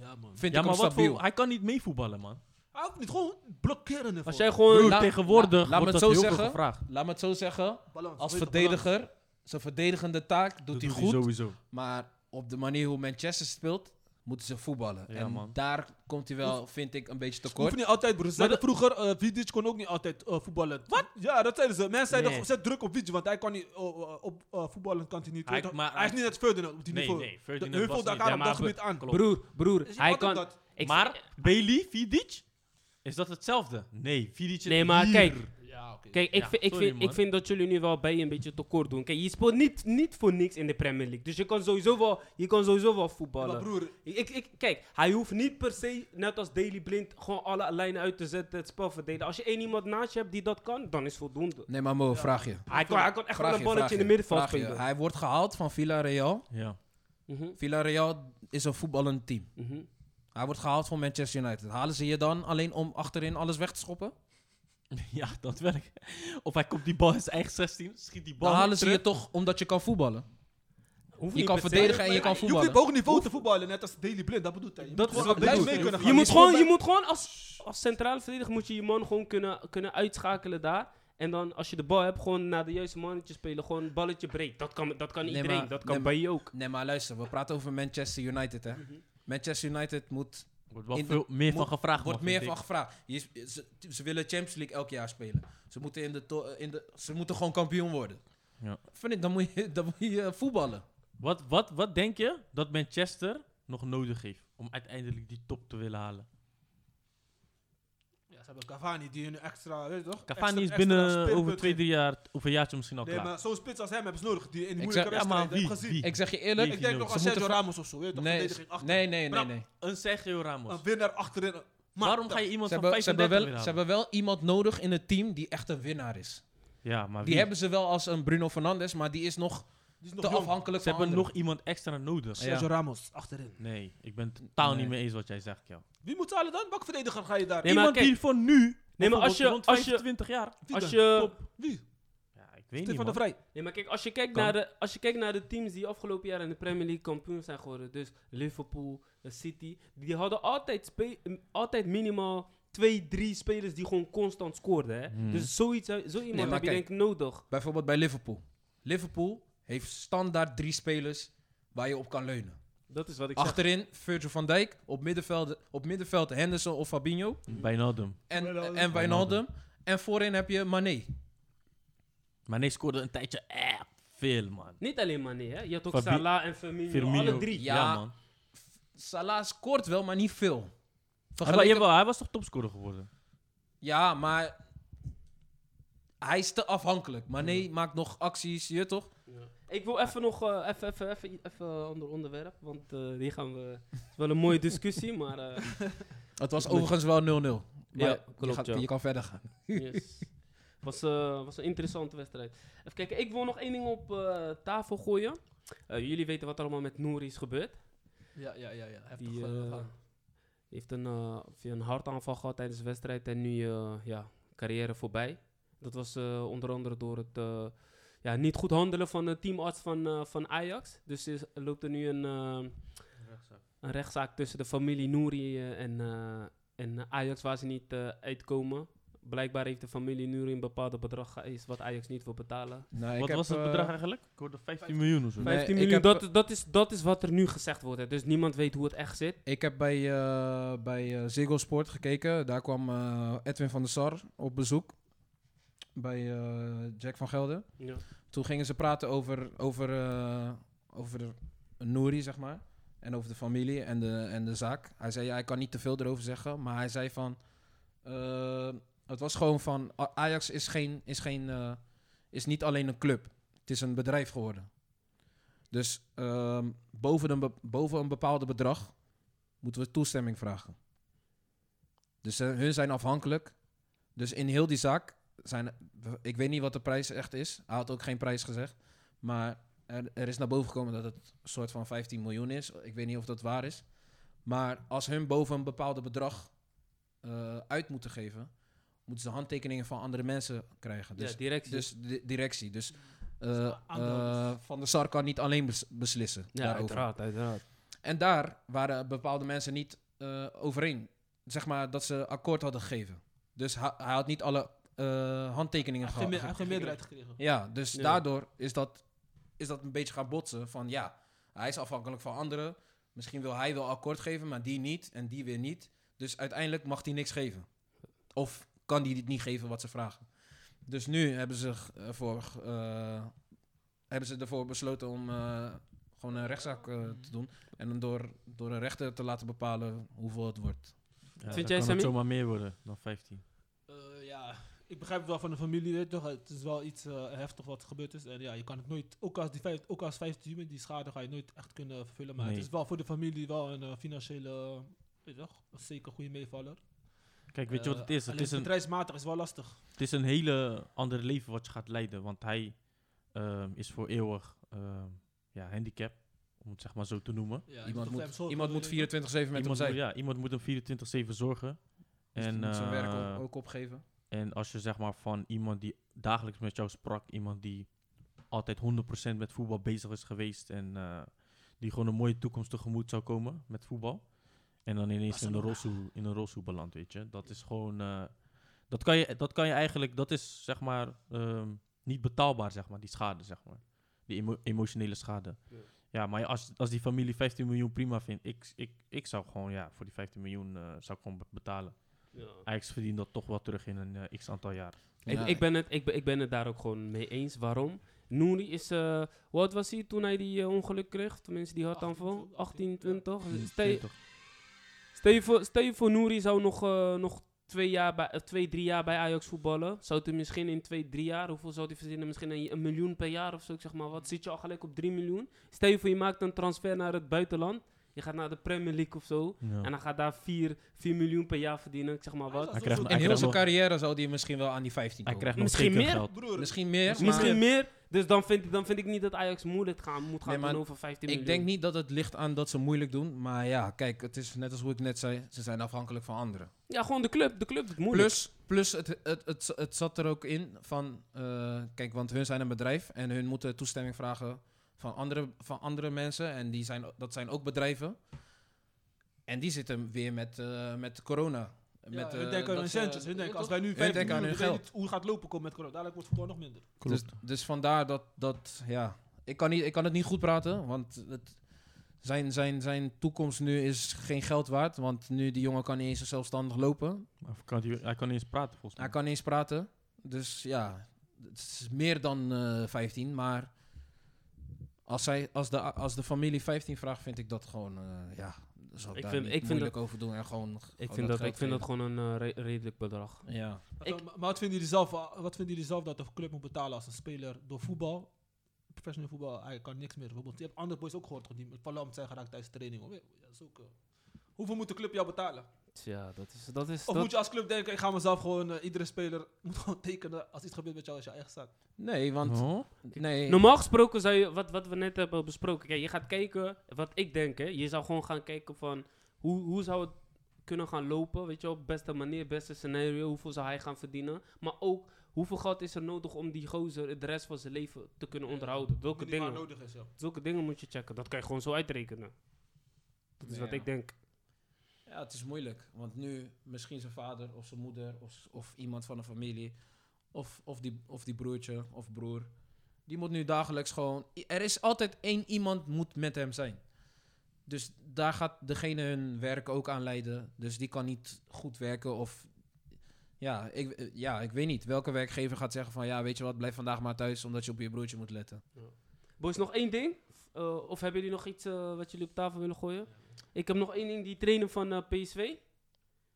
[SPEAKER 1] Ja, man.
[SPEAKER 3] vind
[SPEAKER 4] Ja,
[SPEAKER 3] ik hem
[SPEAKER 4] maar wat
[SPEAKER 3] stabiel.
[SPEAKER 4] voor, hij kan niet meevoetballen, man.
[SPEAKER 1] Hij hoeft niet gewoon blokkeren ervoor.
[SPEAKER 2] Als jij gewoon...
[SPEAKER 4] Broer,
[SPEAKER 3] laat-
[SPEAKER 4] tegenwoordig
[SPEAKER 3] Nou, laat- laat me
[SPEAKER 4] wordt
[SPEAKER 3] het
[SPEAKER 4] dat heel
[SPEAKER 3] zo
[SPEAKER 4] veel
[SPEAKER 3] zeggen.
[SPEAKER 4] gevraagd.
[SPEAKER 3] Laat me het zo zeggen.
[SPEAKER 1] Balans,
[SPEAKER 3] Als
[SPEAKER 1] weet je,
[SPEAKER 3] verdediger, zijn verdedigende taak doet
[SPEAKER 4] Dat
[SPEAKER 3] hij goed.
[SPEAKER 4] sowieso.
[SPEAKER 3] maar op de manier hoe Manchester speelt, moeten ze voetballen.
[SPEAKER 4] Ja,
[SPEAKER 3] en
[SPEAKER 4] man.
[SPEAKER 3] daar komt hij wel, vind ik, een beetje
[SPEAKER 1] Hoeft
[SPEAKER 3] tekort.
[SPEAKER 1] niet altijd, broer. Ze zeiden vroeger, eh Vidic kon ook niet altijd eh, voetballen. Wat? Ja, dat zeiden ze. Mensen zeiden,
[SPEAKER 4] Nee.
[SPEAKER 1] zet druk op Vidic, want hij kan niet, eh, eh, op eh, voetballen kan hij niet.
[SPEAKER 4] Hij-
[SPEAKER 1] Weet je,
[SPEAKER 4] maar
[SPEAKER 1] hij is
[SPEAKER 4] hij-
[SPEAKER 1] niet net Ferdinand op die
[SPEAKER 4] Nee,
[SPEAKER 1] niveau.
[SPEAKER 4] nee, Ferdinand
[SPEAKER 1] de heuvel
[SPEAKER 4] was
[SPEAKER 1] daar
[SPEAKER 4] niet-
[SPEAKER 1] elkaar op
[SPEAKER 4] ja,
[SPEAKER 1] dat
[SPEAKER 4] maar
[SPEAKER 1] gebied aan.
[SPEAKER 4] klopt.
[SPEAKER 2] Broer, broer,
[SPEAKER 1] Is
[SPEAKER 2] hij
[SPEAKER 1] altijd
[SPEAKER 2] kan...
[SPEAKER 1] dat?
[SPEAKER 2] ik-
[SPEAKER 4] Maar Bailey, Vidic? Is dat hetzelfde? Nee, Vidic is
[SPEAKER 2] Nee, maar
[SPEAKER 4] hier.
[SPEAKER 2] kijk,
[SPEAKER 1] Ja, oké.
[SPEAKER 2] Kijk, ik,
[SPEAKER 4] Ja,
[SPEAKER 2] vind, ik,
[SPEAKER 4] sorry,
[SPEAKER 2] vind, ik
[SPEAKER 4] man.
[SPEAKER 2] vind dat jullie nu wel bij een beetje tekort doen. Kijk, je speelt niet, niet voor niks in de Premier League. Dus je kan sowieso wel, je kan sowieso wel
[SPEAKER 1] Maar
[SPEAKER 2] voetballen.
[SPEAKER 1] broer,
[SPEAKER 2] ik, ik, kijk, hij hoeft niet per se, net als Daily Blind, gewoon alle lijnen uit te zetten, het spel verdedigen. Als je één iemand naast je hebt die dat kan, dan is voldoende.
[SPEAKER 3] Nee, maar Mo, vraag je.
[SPEAKER 2] Hij kan, hij kan echt wel
[SPEAKER 3] Vraag
[SPEAKER 2] een balletje
[SPEAKER 3] je, vraag
[SPEAKER 2] in de
[SPEAKER 3] je,
[SPEAKER 2] middenveld
[SPEAKER 3] vraag je.
[SPEAKER 2] spelen.
[SPEAKER 3] Hij wordt gehaald van Villarreal.
[SPEAKER 4] Ja.
[SPEAKER 2] Mhm,
[SPEAKER 3] Villarreal is een voetballend team.
[SPEAKER 2] mhm.
[SPEAKER 3] Hij wordt gehaald van Manchester United. Halen ze je dan alleen om achterin alles weg te schoppen?
[SPEAKER 4] ja, dat werkt. Of hij komt die bal in zijn eigen 16, schiet die bal
[SPEAKER 3] Dan halen ze
[SPEAKER 4] terug.
[SPEAKER 3] je toch omdat je kan voetballen.
[SPEAKER 2] Hoeft
[SPEAKER 3] Je
[SPEAKER 2] niet
[SPEAKER 3] kan
[SPEAKER 2] per se.
[SPEAKER 3] verdedigen en je kan
[SPEAKER 1] je hoeft niet
[SPEAKER 3] voetballen.
[SPEAKER 1] op hoog niveau te voetballen, net als Daily Blind, dat bedoelt hij. Je
[SPEAKER 4] Dat
[SPEAKER 1] moet
[SPEAKER 4] is
[SPEAKER 1] gewoon
[SPEAKER 4] wat
[SPEAKER 1] op
[SPEAKER 4] ik
[SPEAKER 1] mee
[SPEAKER 4] bedoel.
[SPEAKER 1] kunnen gaan.
[SPEAKER 2] Je moet
[SPEAKER 1] speelt
[SPEAKER 2] gewoon,
[SPEAKER 1] bij-
[SPEAKER 2] je moet gewoon als, als centrale verdediger moet je je man gewoon kunnen, kunnen uitschakelen daar. En dan als je de bal hebt, gewoon naar de juiste mannetje spelen. Gewoon een balletje breed. Dat kan, dat kan
[SPEAKER 3] Nee,
[SPEAKER 2] iedereen.
[SPEAKER 3] maar-
[SPEAKER 2] dat kan
[SPEAKER 3] nee,
[SPEAKER 2] bij je ook.
[SPEAKER 3] Nee, maar luister, we praten over Manchester United, hè. Manchester United moet,
[SPEAKER 4] Wordt wel
[SPEAKER 3] In de-
[SPEAKER 4] Mhm. veel meer van
[SPEAKER 3] moet-
[SPEAKER 4] gevraagd.
[SPEAKER 3] wordt
[SPEAKER 4] man,
[SPEAKER 3] meer
[SPEAKER 4] vind
[SPEAKER 3] van
[SPEAKER 4] ik.
[SPEAKER 3] gevraagd. Je, ze, ze willen Champions League elk jaar spelen. Ze moeten, in de to- in de, ze moeten gewoon kampioen worden.
[SPEAKER 4] Ja.
[SPEAKER 3] Vind ik, dan moet je, dan moet je eh, voetballen.
[SPEAKER 4] Wat, wat, wat denk je dat Manchester nog nodig heeft om uiteindelijk die top te willen halen?
[SPEAKER 1] Ja, ze hebben Cavani, die nu extra, weet je toch?
[SPEAKER 4] Cavani
[SPEAKER 1] Extra-
[SPEAKER 4] is
[SPEAKER 1] extra
[SPEAKER 4] binnen
[SPEAKER 1] speelpunt
[SPEAKER 4] over twee,
[SPEAKER 1] geeft.
[SPEAKER 4] drie jaar, of een jaartje misschien al
[SPEAKER 1] Nee,
[SPEAKER 4] klaar.
[SPEAKER 1] maar zo'n spits als hem hebben ze nodig, die in
[SPEAKER 3] Ik
[SPEAKER 1] moeilijke
[SPEAKER 4] zeg- ja, maar
[SPEAKER 1] wedstrijden heb
[SPEAKER 4] wie?
[SPEAKER 1] gezien.
[SPEAKER 4] Wie?
[SPEAKER 3] Ik zeg je eerlijk.
[SPEAKER 1] Ik denk nog aan
[SPEAKER 3] ze moeten
[SPEAKER 1] Sergio Ramos of zo, weet je toch?
[SPEAKER 3] Nee,
[SPEAKER 1] Verdediging achter.
[SPEAKER 3] nee, nee, nee.
[SPEAKER 1] Bra-
[SPEAKER 3] nee.
[SPEAKER 4] Een Sergio Ramos.
[SPEAKER 1] Een winnaar achterin. Maar
[SPEAKER 4] Waarom ga je iemand
[SPEAKER 3] Ze
[SPEAKER 4] van
[SPEAKER 3] hebben,
[SPEAKER 4] 35
[SPEAKER 3] ze, hebben wel,
[SPEAKER 4] willen
[SPEAKER 3] ze
[SPEAKER 4] halen?
[SPEAKER 3] hebben wel iemand nodig in het team die echt een winnaar is.
[SPEAKER 4] Ja, maar
[SPEAKER 3] Die
[SPEAKER 4] wie?
[SPEAKER 3] hebben ze wel als een Bruno Fernandes, maar die is nog
[SPEAKER 1] Die is
[SPEAKER 3] te
[SPEAKER 1] nog jong.
[SPEAKER 3] afhankelijk
[SPEAKER 4] ze
[SPEAKER 3] van
[SPEAKER 4] hebben nog
[SPEAKER 3] anderen.
[SPEAKER 4] iemand extra nodig.
[SPEAKER 1] Sergio
[SPEAKER 3] Ja.
[SPEAKER 1] Ramos, achterin.
[SPEAKER 4] Nee, ik ben totaal
[SPEAKER 3] Nee.
[SPEAKER 4] niet mee eens wat jij zegt, joh.
[SPEAKER 1] Wie moet halen dan? Welke verdediger ga je daar?
[SPEAKER 2] Nee, maar
[SPEAKER 4] iemand
[SPEAKER 2] kijk-
[SPEAKER 4] die voor nu,
[SPEAKER 2] Nee, maar als je-
[SPEAKER 4] bijvoorbeeld
[SPEAKER 2] als
[SPEAKER 4] rond
[SPEAKER 2] je-
[SPEAKER 4] 25 jaar.
[SPEAKER 1] Wie
[SPEAKER 2] Als
[SPEAKER 1] dan?
[SPEAKER 2] je,
[SPEAKER 1] Top. Wie?
[SPEAKER 4] Ja, ik weet
[SPEAKER 1] Stefan de
[SPEAKER 4] eh, niet, man.
[SPEAKER 1] Vrij.
[SPEAKER 2] nee, maar kijk, als je kijkt,
[SPEAKER 4] Kan.
[SPEAKER 2] naar de, als je kijkt naar de teams die afgelopen jaar in de Premier League kampioen zijn geworden, dus Liverpool, eh, City, die hadden altijd, spe- m- altijd minimaal twee, drie spelers die gewoon constant scoorden. Hè?
[SPEAKER 4] Hmm.
[SPEAKER 2] Dus zoiets, eh, zo iemand
[SPEAKER 3] maar
[SPEAKER 2] heb je
[SPEAKER 3] kijk.
[SPEAKER 2] denk ik nodig.
[SPEAKER 3] Bijvoorbeeld bij Liverpool. Liverpool heeft standaard drie spelers waar je op kan leunen.
[SPEAKER 2] Dat is wat ik zeg.
[SPEAKER 3] Achterin Virgil van Dijk, op middenveld, op middenveld Henderson of Fabinho
[SPEAKER 4] Wijnaldum.
[SPEAKER 3] en,
[SPEAKER 1] Wijnaldum.
[SPEAKER 3] en Wijnaldum. En voorin heb je Mané.
[SPEAKER 4] Maar nee, scoorde een tijdje echt veel, man.
[SPEAKER 2] Niet alleen Mané, hè? je had ook
[SPEAKER 4] Fabi-
[SPEAKER 2] Salah en Firmino,
[SPEAKER 4] Firmino.
[SPEAKER 2] alle drie.
[SPEAKER 4] Ja,
[SPEAKER 3] Ja.
[SPEAKER 4] man.
[SPEAKER 3] Salah scoort wel, maar niet veel.
[SPEAKER 4] Hij, wa-
[SPEAKER 3] Vergeleken-
[SPEAKER 4] jawel, hij was toch topscorer geworden?
[SPEAKER 3] Ja, maar hij is te afhankelijk. Mané maakt nog acties, je weet toch?
[SPEAKER 2] Ik wil even nog, eh, even, even, even, even een ander onderwerp, want eh die gaan we, het is wel een mooie discussie, maar eh,
[SPEAKER 3] Het was
[SPEAKER 2] Ik moet-
[SPEAKER 3] overigens wel 0-0. Maar
[SPEAKER 2] Ja, klopt,
[SPEAKER 3] je, gaat-
[SPEAKER 2] ja.
[SPEAKER 3] je kan verder gaan.
[SPEAKER 2] Yes. Was, eh, was een interessante wedstrijd. Even kijken, ik wil nog één ding op eh, tafel gooien. Eh, jullie weten wat er allemaal met Nouri is gebeurd.
[SPEAKER 1] Ja, ja, ja. ja. Heftig.
[SPEAKER 2] Die eh,
[SPEAKER 1] eh,
[SPEAKER 2] heeft een, eh, via een hartaanval gehad tijdens de wedstrijd en nu eh, ja, carrière voorbij. Dat was eh, onder andere door het eh, ja, niet goed handelen van de teamarts van, eh, van Ajax. Dus is, loopt er nu een, eh, een rechtszaak tussen de familie Nouri eh, en, eh, en Ajax waar ze niet eh, uitkomen. Blijkbaar heeft de familie Nouri een bepaald bedrag geëist wat Ajax niet wil betalen.
[SPEAKER 3] Nou,
[SPEAKER 4] Wat
[SPEAKER 3] ik
[SPEAKER 4] was
[SPEAKER 3] heb,
[SPEAKER 4] het
[SPEAKER 3] eh,
[SPEAKER 4] bedrag eigenlijk? Ik hoorde 15 miljoen of zo.
[SPEAKER 3] Nee,
[SPEAKER 2] 15
[SPEAKER 3] ik
[SPEAKER 2] miljoen,
[SPEAKER 3] heb-
[SPEAKER 2] dat, dat, is, dat is wat er nu gezegd wordt. Hè. Dus niemand weet hoe het echt zit.
[SPEAKER 3] Ik heb bij, eh, bij eh, Ziggo Sport gekeken. Daar kwam eh, Edwin van der Sar op bezoek. Bij eh, Jack van Gelder.
[SPEAKER 2] Ja.
[SPEAKER 3] Toen gingen ze praten over, over, eh, over Nouri, zeg maar. En over de familie en de, en de zaak. Hij zei, ja, hij kan niet te veel erover zeggen. Maar hij zei van... eh, het was gewoon van... A- Ajax is, geen, is, geen, eh, is niet alleen een club. Het is een bedrijf geworden. Dus ehm, boven, een be- boven een bepaalde bedrag moeten we toestemming vragen. Dus eh, hun zijn afhankelijk. Dus in heel die zaak zijn. Ik weet niet wat de prijs echt is. Hij had ook geen prijs gezegd. Maar er, er is naar boven gekomen dat het een soort van 15 miljoen is. Ik weet niet of dat waar is. Maar als hun boven een bepaalde bedrag eh, uit moeten geven, moeten ze handtekeningen van andere mensen krijgen. Dus,
[SPEAKER 2] ja, direct.
[SPEAKER 3] dus di- directie. Dus eh,
[SPEAKER 1] aandeelhouders.
[SPEAKER 3] eh, Van der Sar kan niet alleen bes- beslissen.
[SPEAKER 2] ja,
[SPEAKER 3] daarover.
[SPEAKER 2] uiteraard, uiteraard.
[SPEAKER 3] En daar waren bepaalde mensen niet eh, overeen. Zeg maar dat ze akkoord hadden gegeven. Dus ha- hij had niet alle eh, handtekeningen
[SPEAKER 1] Hij heeft geen
[SPEAKER 3] gehad.
[SPEAKER 1] meer- hij heeft geen meerderheid gekregen.
[SPEAKER 3] Ja, dus
[SPEAKER 2] Ja.
[SPEAKER 3] daardoor is dat, is dat een beetje gaan botsen. Van ja, hij is afhankelijk van anderen. Misschien wil hij wel akkoord geven, maar die niet en die weer niet. Dus uiteindelijk mag hij niks geven. Of kan hij niet geven wat ze vragen. Dus nu hebben ze, ervoor, eh, hebben ze ervoor besloten om eh, gewoon een rechtszaak eh, te doen. En hem door, door een rechter te laten bepalen hoeveel het wordt.
[SPEAKER 4] Ja,
[SPEAKER 2] jij,
[SPEAKER 4] dan kan
[SPEAKER 2] Sammy?
[SPEAKER 4] het zomaar meer worden dan 15.
[SPEAKER 1] Eh, ja, ik begrijp het wel van de familie, weet je toch? Het is wel iets eh, heftig wat er gebeurd is. En ja, je kan het nooit, ook als, die vijf, ook als 15 miljoen, die schade ga je nooit echt kunnen vervullen. Maar
[SPEAKER 4] Nee.
[SPEAKER 1] het is wel voor de familie wel een eh, financiële, eh, weet je toch? Zeker goede meevaller.
[SPEAKER 4] Kijk, weet je wat
[SPEAKER 1] Eh,
[SPEAKER 4] het is? Het
[SPEAKER 1] alleen
[SPEAKER 4] is, een,
[SPEAKER 1] bedrijfsmatig is wel lastig.
[SPEAKER 4] het is een hele ander leven wat je gaat leiden. Want hij ehm, is voor eeuwig ehm, ja, handicap, om het zeg maar zo te noemen.
[SPEAKER 1] Ja, je
[SPEAKER 3] iemand
[SPEAKER 1] voor hem
[SPEAKER 3] moet,
[SPEAKER 1] zorgen,
[SPEAKER 3] iemand
[SPEAKER 1] wil
[SPEAKER 3] moet
[SPEAKER 1] je niet.
[SPEAKER 3] 24-7 met hem
[SPEAKER 4] Iemand moet,
[SPEAKER 3] zijn.
[SPEAKER 4] ja, iemand moet hem 24-7 zorgen.
[SPEAKER 3] Dus die
[SPEAKER 4] En,
[SPEAKER 3] moet zijn werk
[SPEAKER 4] eh,
[SPEAKER 3] ook, ook opgeven.
[SPEAKER 4] En als je zeg maar van iemand die dagelijks met jou sprak, iemand die altijd 100% met voetbal bezig is geweest en eh, die gewoon een mooie toekomst tegemoet zou komen met voetbal. En dan ineens in een rolstoel, in een rolstoel belandt, weet je. Dat is gewoon, eh, dat, kan je, dat kan je eigenlijk, dat is zeg maar ehm, niet betaalbaar, zeg maar, die schade, zeg maar. Die emo- emotionele schade. Ja, maar als, als die familie 15 miljoen prima vindt, ik, ik, ik zou gewoon, ja, voor die 15 miljoen eh, zou ik gewoon be- betalen. Ajax verdient dat toch wel terug in een eh, x aantal jaar.
[SPEAKER 2] Ik, ik, ben het, ik, ben, ik ben het daar ook gewoon mee eens. Waarom? Nouri is... eh wat was hij toen hij die eh, ongeluk kreeg? Tenminste, die had dan
[SPEAKER 1] 18,
[SPEAKER 2] voor 18,
[SPEAKER 1] 20,
[SPEAKER 2] 20. Stel je- Stel je voor, stel je voor Nouri zou nog, eh, nog twee, jaar bij, eh, twee, drie jaar bij Ajax voetballen. Zou hij misschien in twee, drie jaar, hoeveel zou hij verdienen? Misschien een, een miljoen per jaar of zo, ik zeg maar. Wat zit je al gelijk op drie miljoen? Stel je voor je maakt een transfer naar het buitenland. Je gaat naar de Premier League of zo.
[SPEAKER 4] Ja.
[SPEAKER 2] En dan gaat daar 4 miljoen per jaar verdienen, ik zeg maar wat.
[SPEAKER 4] Hij krijgt
[SPEAKER 1] En
[SPEAKER 4] nog- hij
[SPEAKER 3] In heel
[SPEAKER 4] krijgt
[SPEAKER 3] zijn
[SPEAKER 4] nog-
[SPEAKER 3] carrière zou die misschien wel aan die 15
[SPEAKER 4] hij
[SPEAKER 3] komen.
[SPEAKER 4] krijgt nog
[SPEAKER 2] Misschien
[SPEAKER 4] zeker
[SPEAKER 2] meer?
[SPEAKER 4] geld.
[SPEAKER 1] Broer,
[SPEAKER 3] Misschien meer, maar
[SPEAKER 2] Misschien meer. Dus dan vind, ik- dan vind ik niet dat Ajax moeilijk gaan, moet gaan
[SPEAKER 3] Nee, maar
[SPEAKER 2] doen over 15
[SPEAKER 3] ik
[SPEAKER 2] miljoen.
[SPEAKER 3] denk niet dat het ligt aan dat ze moeilijk doen. Maar ja, kijk, het is net als hoe ik net zei, ze zijn afhankelijk van anderen.
[SPEAKER 2] Ja, gewoon de club. De club doet moeilijk.
[SPEAKER 3] Plus, plus het, het, het, het zat er ook in van, eh, kijk, want hun zijn een bedrijf en hun moeten toestemming vragen van andere, van andere mensen. En die zijn, dat zijn ook bedrijven. En die zitten weer met, eh, met corona.
[SPEAKER 1] met,
[SPEAKER 3] met, eh,
[SPEAKER 1] hun denken aan
[SPEAKER 3] dat
[SPEAKER 1] hun
[SPEAKER 3] ze-
[SPEAKER 1] centjes. Hun denken, als wij nu
[SPEAKER 3] Hun
[SPEAKER 1] 15
[SPEAKER 3] denken aan
[SPEAKER 1] miljoen,
[SPEAKER 3] hun
[SPEAKER 1] we weten
[SPEAKER 3] geld.
[SPEAKER 1] niet hoe het gaat lopen komt met corona. Dadelijk wordt voetbal nog minder.
[SPEAKER 3] Dus,
[SPEAKER 4] Klopt.
[SPEAKER 3] dus vandaar dat, dat ja. Ik kan, niet, ik kan het niet goed praten, want het, zijn, zijn, zijn toekomst nu is geen geld waard. Want nu die jongen kan niet eens zelfstandig lopen.
[SPEAKER 4] Maar kan hij, hij kan niet eens praten volgens mij.
[SPEAKER 3] Hij kan niet eens praten. Dus ja, het is meer dan eh 15. Maar als, zij, als, de, als de familie 15 vraagt, vind ik dat gewoon, eh, ja, daar zal ik,
[SPEAKER 2] Ik
[SPEAKER 3] daar
[SPEAKER 2] vind-
[SPEAKER 3] niet
[SPEAKER 2] ik vind
[SPEAKER 3] moeilijk over doen. En gewoon,
[SPEAKER 2] ik
[SPEAKER 3] gewoon
[SPEAKER 2] vind, Oh, dat,
[SPEAKER 3] geld
[SPEAKER 2] ik vind dat
[SPEAKER 3] geven.
[SPEAKER 2] gewoon een eh, re- redelijk bedrag.
[SPEAKER 3] Ja.
[SPEAKER 1] Maar,
[SPEAKER 2] Ik-
[SPEAKER 1] maar wat, vinden jullie zelf, eh, wat vinden jullie zelf dat de club moet betalen als een speler door voetbal? Professioneel voetbal, hij kan niks meer. Bijvoorbeeld, je hebt andere boys ook gehoord, toch, die met verlamd zijn geraakt tijdens training. hoor. Dat is ook, eh, hoeveel moet de club jou betalen?
[SPEAKER 2] Ja, dat is... Dat is
[SPEAKER 1] Of
[SPEAKER 2] dat-
[SPEAKER 1] moet je als club denken, ik ga mezelf gewoon, eh, iedere speler moet gewoon tekenen als iets gebeurt met jou als je eigen staat.
[SPEAKER 3] Nee, want...
[SPEAKER 4] Oh.
[SPEAKER 3] Nee,
[SPEAKER 2] Normaal gesproken zou je, wat, wat we net hebben besproken, kijk, je gaat kijken, wat ik denk, hè, je zou gewoon gaan kijken van hoe, hoe zou het kunnen gaan lopen, weet je wel, beste manier, beste scenario, hoeveel zou hij gaan verdienen, maar ook hoeveel geld is er nodig om die gozer de rest van zijn leven te kunnen onderhouden. Zulke,
[SPEAKER 1] Minimaal
[SPEAKER 2] dingen,
[SPEAKER 1] nodig is, ja.
[SPEAKER 2] zulke dingen moet je checken, dat kan je gewoon zo uitrekenen. Dat is
[SPEAKER 3] Ja.
[SPEAKER 2] wat ik denk.
[SPEAKER 3] Ja, het is moeilijk. Want nu misschien zijn vader of zijn moeder of, s- of iemand van de familie. Of, of, die, of die broertje of broer. Die moet nu dagelijks gewoon... i- Er is altijd één iemand moet met hem zijn. Dus daar gaat degene hun werk ook aan leiden. Dus die kan niet goed werken of... Ja ik, eh, ja, ik weet niet. Welke werkgever gaat zeggen van... Ja, weet je wat, blijf vandaag maar thuis omdat je op je broertje moet letten.
[SPEAKER 2] Boys, nog één ding? Eh, of hebben jullie nog iets eh, wat jullie op tafel willen gooien? Ik heb nog één ding, die trainer van eh, PSV.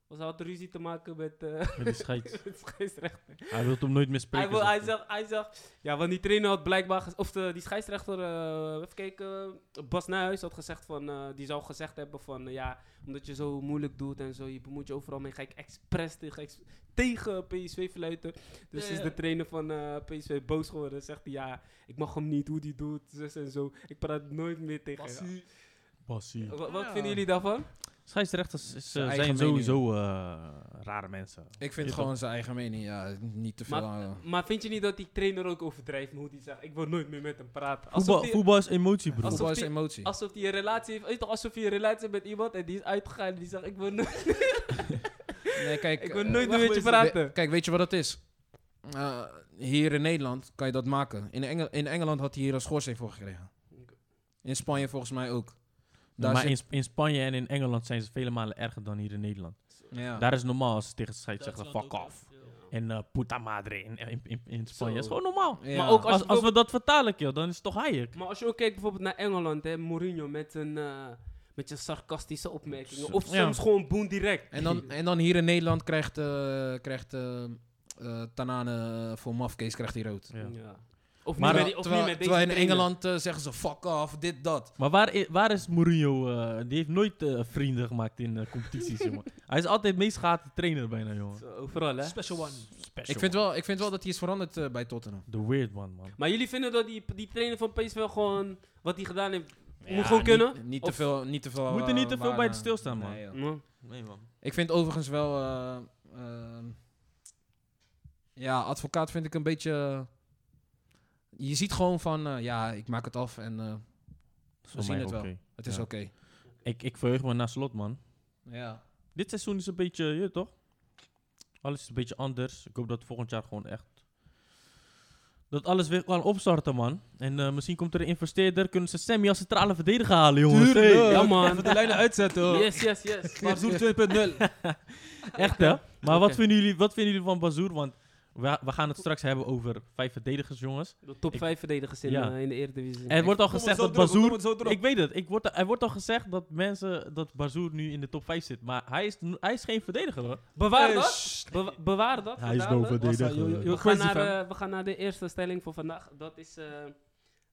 [SPEAKER 2] Was had ruzie te maken met... eh,
[SPEAKER 4] Met die scheids.
[SPEAKER 2] Het is scheidsrechter.
[SPEAKER 4] Hij wil hem nooit meer spreken.
[SPEAKER 2] Hij, wil, hij,
[SPEAKER 4] zegt hij.
[SPEAKER 2] zegt, hij zegt, ja, want die trainer had blijkbaar, ge- of de, die scheidsrechter, eh, even kijken, Bas Nijhuis had gezegd van, eh, die zou gezegd hebben van, eh, ja, omdat je zo moeilijk doet en zo, je bemoeit je overal mee, ga ik expres tegen, ex- tegen PSV fluiten. Dus
[SPEAKER 1] Ja,
[SPEAKER 2] is
[SPEAKER 1] ja.
[SPEAKER 2] de trainer van eh, PSV boos geworden, zegt hij, ja, ik mag hem niet, hoe die doet, zus en zo, ik praat nooit meer tegen hem.
[SPEAKER 1] Passie.
[SPEAKER 4] Bassie.
[SPEAKER 2] Wa- Wat
[SPEAKER 3] Ja.
[SPEAKER 2] vinden jullie daarvan?
[SPEAKER 4] Scheidsrechters is, eh,
[SPEAKER 3] eigen
[SPEAKER 4] zijn
[SPEAKER 3] mening.
[SPEAKER 4] sowieso eh, rare mensen.
[SPEAKER 3] Ik vind
[SPEAKER 4] Je
[SPEAKER 3] gewoon zijn eigen mening. Ja, niet te veel...
[SPEAKER 2] Maar,
[SPEAKER 3] aan-
[SPEAKER 2] maar vind je niet dat die trainer ook overdrijft, hoe die zegt, ik wil nooit meer met hem praten? Alsof
[SPEAKER 4] Voetbal,
[SPEAKER 2] die-
[SPEAKER 4] voetbal is emotie, broer.
[SPEAKER 2] Alsof
[SPEAKER 3] Voetbal is
[SPEAKER 2] die-
[SPEAKER 3] emotie.
[SPEAKER 2] Alsof hij een relatie heeft. Weet je toch, alsof je een relatie hebt met iemand en die is uitgegaan en die zegt: Ik wil, no-
[SPEAKER 3] Nee, kijk,
[SPEAKER 2] ik wil
[SPEAKER 3] eh,
[SPEAKER 2] nooit meer met je
[SPEAKER 3] We-
[SPEAKER 2] praten.
[SPEAKER 3] kijk, weet je wat dat is? Eh, hier in Nederland kan je dat maken. In, Engel- in Engeland had hij hier een schorsing voor gekregen. In Spanje volgens mij ook. Daar
[SPEAKER 4] maar
[SPEAKER 3] zit-
[SPEAKER 4] in, Sp- in Spanje en in Engeland zijn ze vele malen erger dan hier in Nederland.
[SPEAKER 3] ja.
[SPEAKER 4] Daar is normaal als ze tegen de scheidsrechter
[SPEAKER 1] Duitsland
[SPEAKER 4] zeggen: fuck
[SPEAKER 1] ook,
[SPEAKER 4] off.
[SPEAKER 1] ja.
[SPEAKER 4] En eh puta madre in, in, in, in Spanje.
[SPEAKER 2] Zo.
[SPEAKER 4] is gewoon normaal.
[SPEAKER 3] Ja.
[SPEAKER 2] Maar ook als,
[SPEAKER 4] Als,
[SPEAKER 2] je
[SPEAKER 4] als we
[SPEAKER 2] bijvoorbeeld-
[SPEAKER 4] dat vertalen, joh, dan is het toch Hayek.
[SPEAKER 2] Maar als je ook kijkt bijvoorbeeld naar Engeland, hè, Mourinho met een. eh, met je sarcastische opmerkingen. Of
[SPEAKER 4] Ja.
[SPEAKER 2] soms gewoon boem direct.
[SPEAKER 3] En, dan, en dan hier in Nederland krijgt, eh, krijgt eh, eh, Tanane voor mafkees krijgt hij rood.
[SPEAKER 4] Ja.
[SPEAKER 2] Ja. Of, niet met,
[SPEAKER 4] Maar
[SPEAKER 3] terwijl,
[SPEAKER 2] die- of
[SPEAKER 3] terwijl-
[SPEAKER 2] niet met deze
[SPEAKER 3] terwijl in
[SPEAKER 2] trainer.
[SPEAKER 3] Engeland eh, zeggen ze fuck off, dit, dat.
[SPEAKER 4] Maar waar, i- waar is Mourinho? eh, die heeft nooit eh, vrienden gemaakt in eh, competities, jongen. Hij is altijd de meest gehate trainer bijna, jongen.
[SPEAKER 2] Zo, overal, hè?
[SPEAKER 1] Special one.
[SPEAKER 4] Special.
[SPEAKER 3] Ik vind, wel, ik vind wel dat hij is veranderd eh, bij Tottenham.
[SPEAKER 4] The weird one, man.
[SPEAKER 2] Maar jullie vinden dat die, die trainer van PSV wel gewoon. wat hij gedaan heeft.
[SPEAKER 4] Ja,
[SPEAKER 2] moet gewoon kunnen?
[SPEAKER 3] Niet te
[SPEAKER 2] Of-
[SPEAKER 3] veel, niet te veel.
[SPEAKER 4] We moeten niet
[SPEAKER 3] eh,
[SPEAKER 4] te veel bij
[SPEAKER 3] waarde-
[SPEAKER 4] het stilstaan, man.
[SPEAKER 3] Nee, joh.
[SPEAKER 2] Ja.
[SPEAKER 4] Nee, man.
[SPEAKER 3] Ik vind overigens wel. eh, ehm, ja, advocaat vind ik een beetje. Je ziet gewoon van. eh, ja, ik maak het af en eh,
[SPEAKER 4] Is
[SPEAKER 3] we
[SPEAKER 4] voor
[SPEAKER 3] zien
[SPEAKER 4] mij
[SPEAKER 3] het wel.
[SPEAKER 4] oké.
[SPEAKER 3] Het is
[SPEAKER 4] Ja.
[SPEAKER 3] oké.
[SPEAKER 4] Ik, ik verheug me naar slot, man.
[SPEAKER 3] Ja.
[SPEAKER 4] Dit seizoen is een beetje, je weet toch? Alles is een beetje anders. Ik hoop dat volgend jaar gewoon echt dat alles weer kan opstarten, man. En eh, misschien komt er een investeerder, kunnen ze Sammy als centrale verdediger halen, jongens.
[SPEAKER 1] Tuurlijk.
[SPEAKER 4] Hey,
[SPEAKER 2] Ja, man.
[SPEAKER 1] Even de lijnen uitzetten. hoor.
[SPEAKER 2] Yes, yes, yes.
[SPEAKER 1] Barzoer 2.0.
[SPEAKER 4] Echt, hè? Maar
[SPEAKER 2] Oké.
[SPEAKER 4] wat, vinden jullie, wat vinden jullie van Bazoer? Want we, we gaan het straks hebben over vijf verdedigers, jongens.
[SPEAKER 2] De top
[SPEAKER 4] Ik-
[SPEAKER 2] 5 verdedigers in,
[SPEAKER 4] Ja.
[SPEAKER 2] eh, in de Eredivisie.
[SPEAKER 4] Er wordt al
[SPEAKER 1] Kom het
[SPEAKER 4] gezegd
[SPEAKER 1] zo
[SPEAKER 4] dat
[SPEAKER 1] terug, we
[SPEAKER 4] Bazoer...
[SPEAKER 1] komen het zo terug.
[SPEAKER 4] Ik weet het. Ik word, er wordt al gezegd dat mensen... Dat Bazoer nu in de top 5 zit. Maar hij is, hij is geen verdediger, hoor.
[SPEAKER 2] Bewaar
[SPEAKER 1] Eh,
[SPEAKER 2] dat.
[SPEAKER 1] shh.
[SPEAKER 2] Bewa- bewaar dat.
[SPEAKER 4] Hij is
[SPEAKER 2] bewaar
[SPEAKER 4] no
[SPEAKER 2] dat.
[SPEAKER 1] verdediger. Yo, yo, yo,
[SPEAKER 2] We gaan,
[SPEAKER 1] crazy
[SPEAKER 2] naar,
[SPEAKER 1] fan.
[SPEAKER 2] eh, we gaan naar de eerste stelling voor vandaag. Dat is, eh,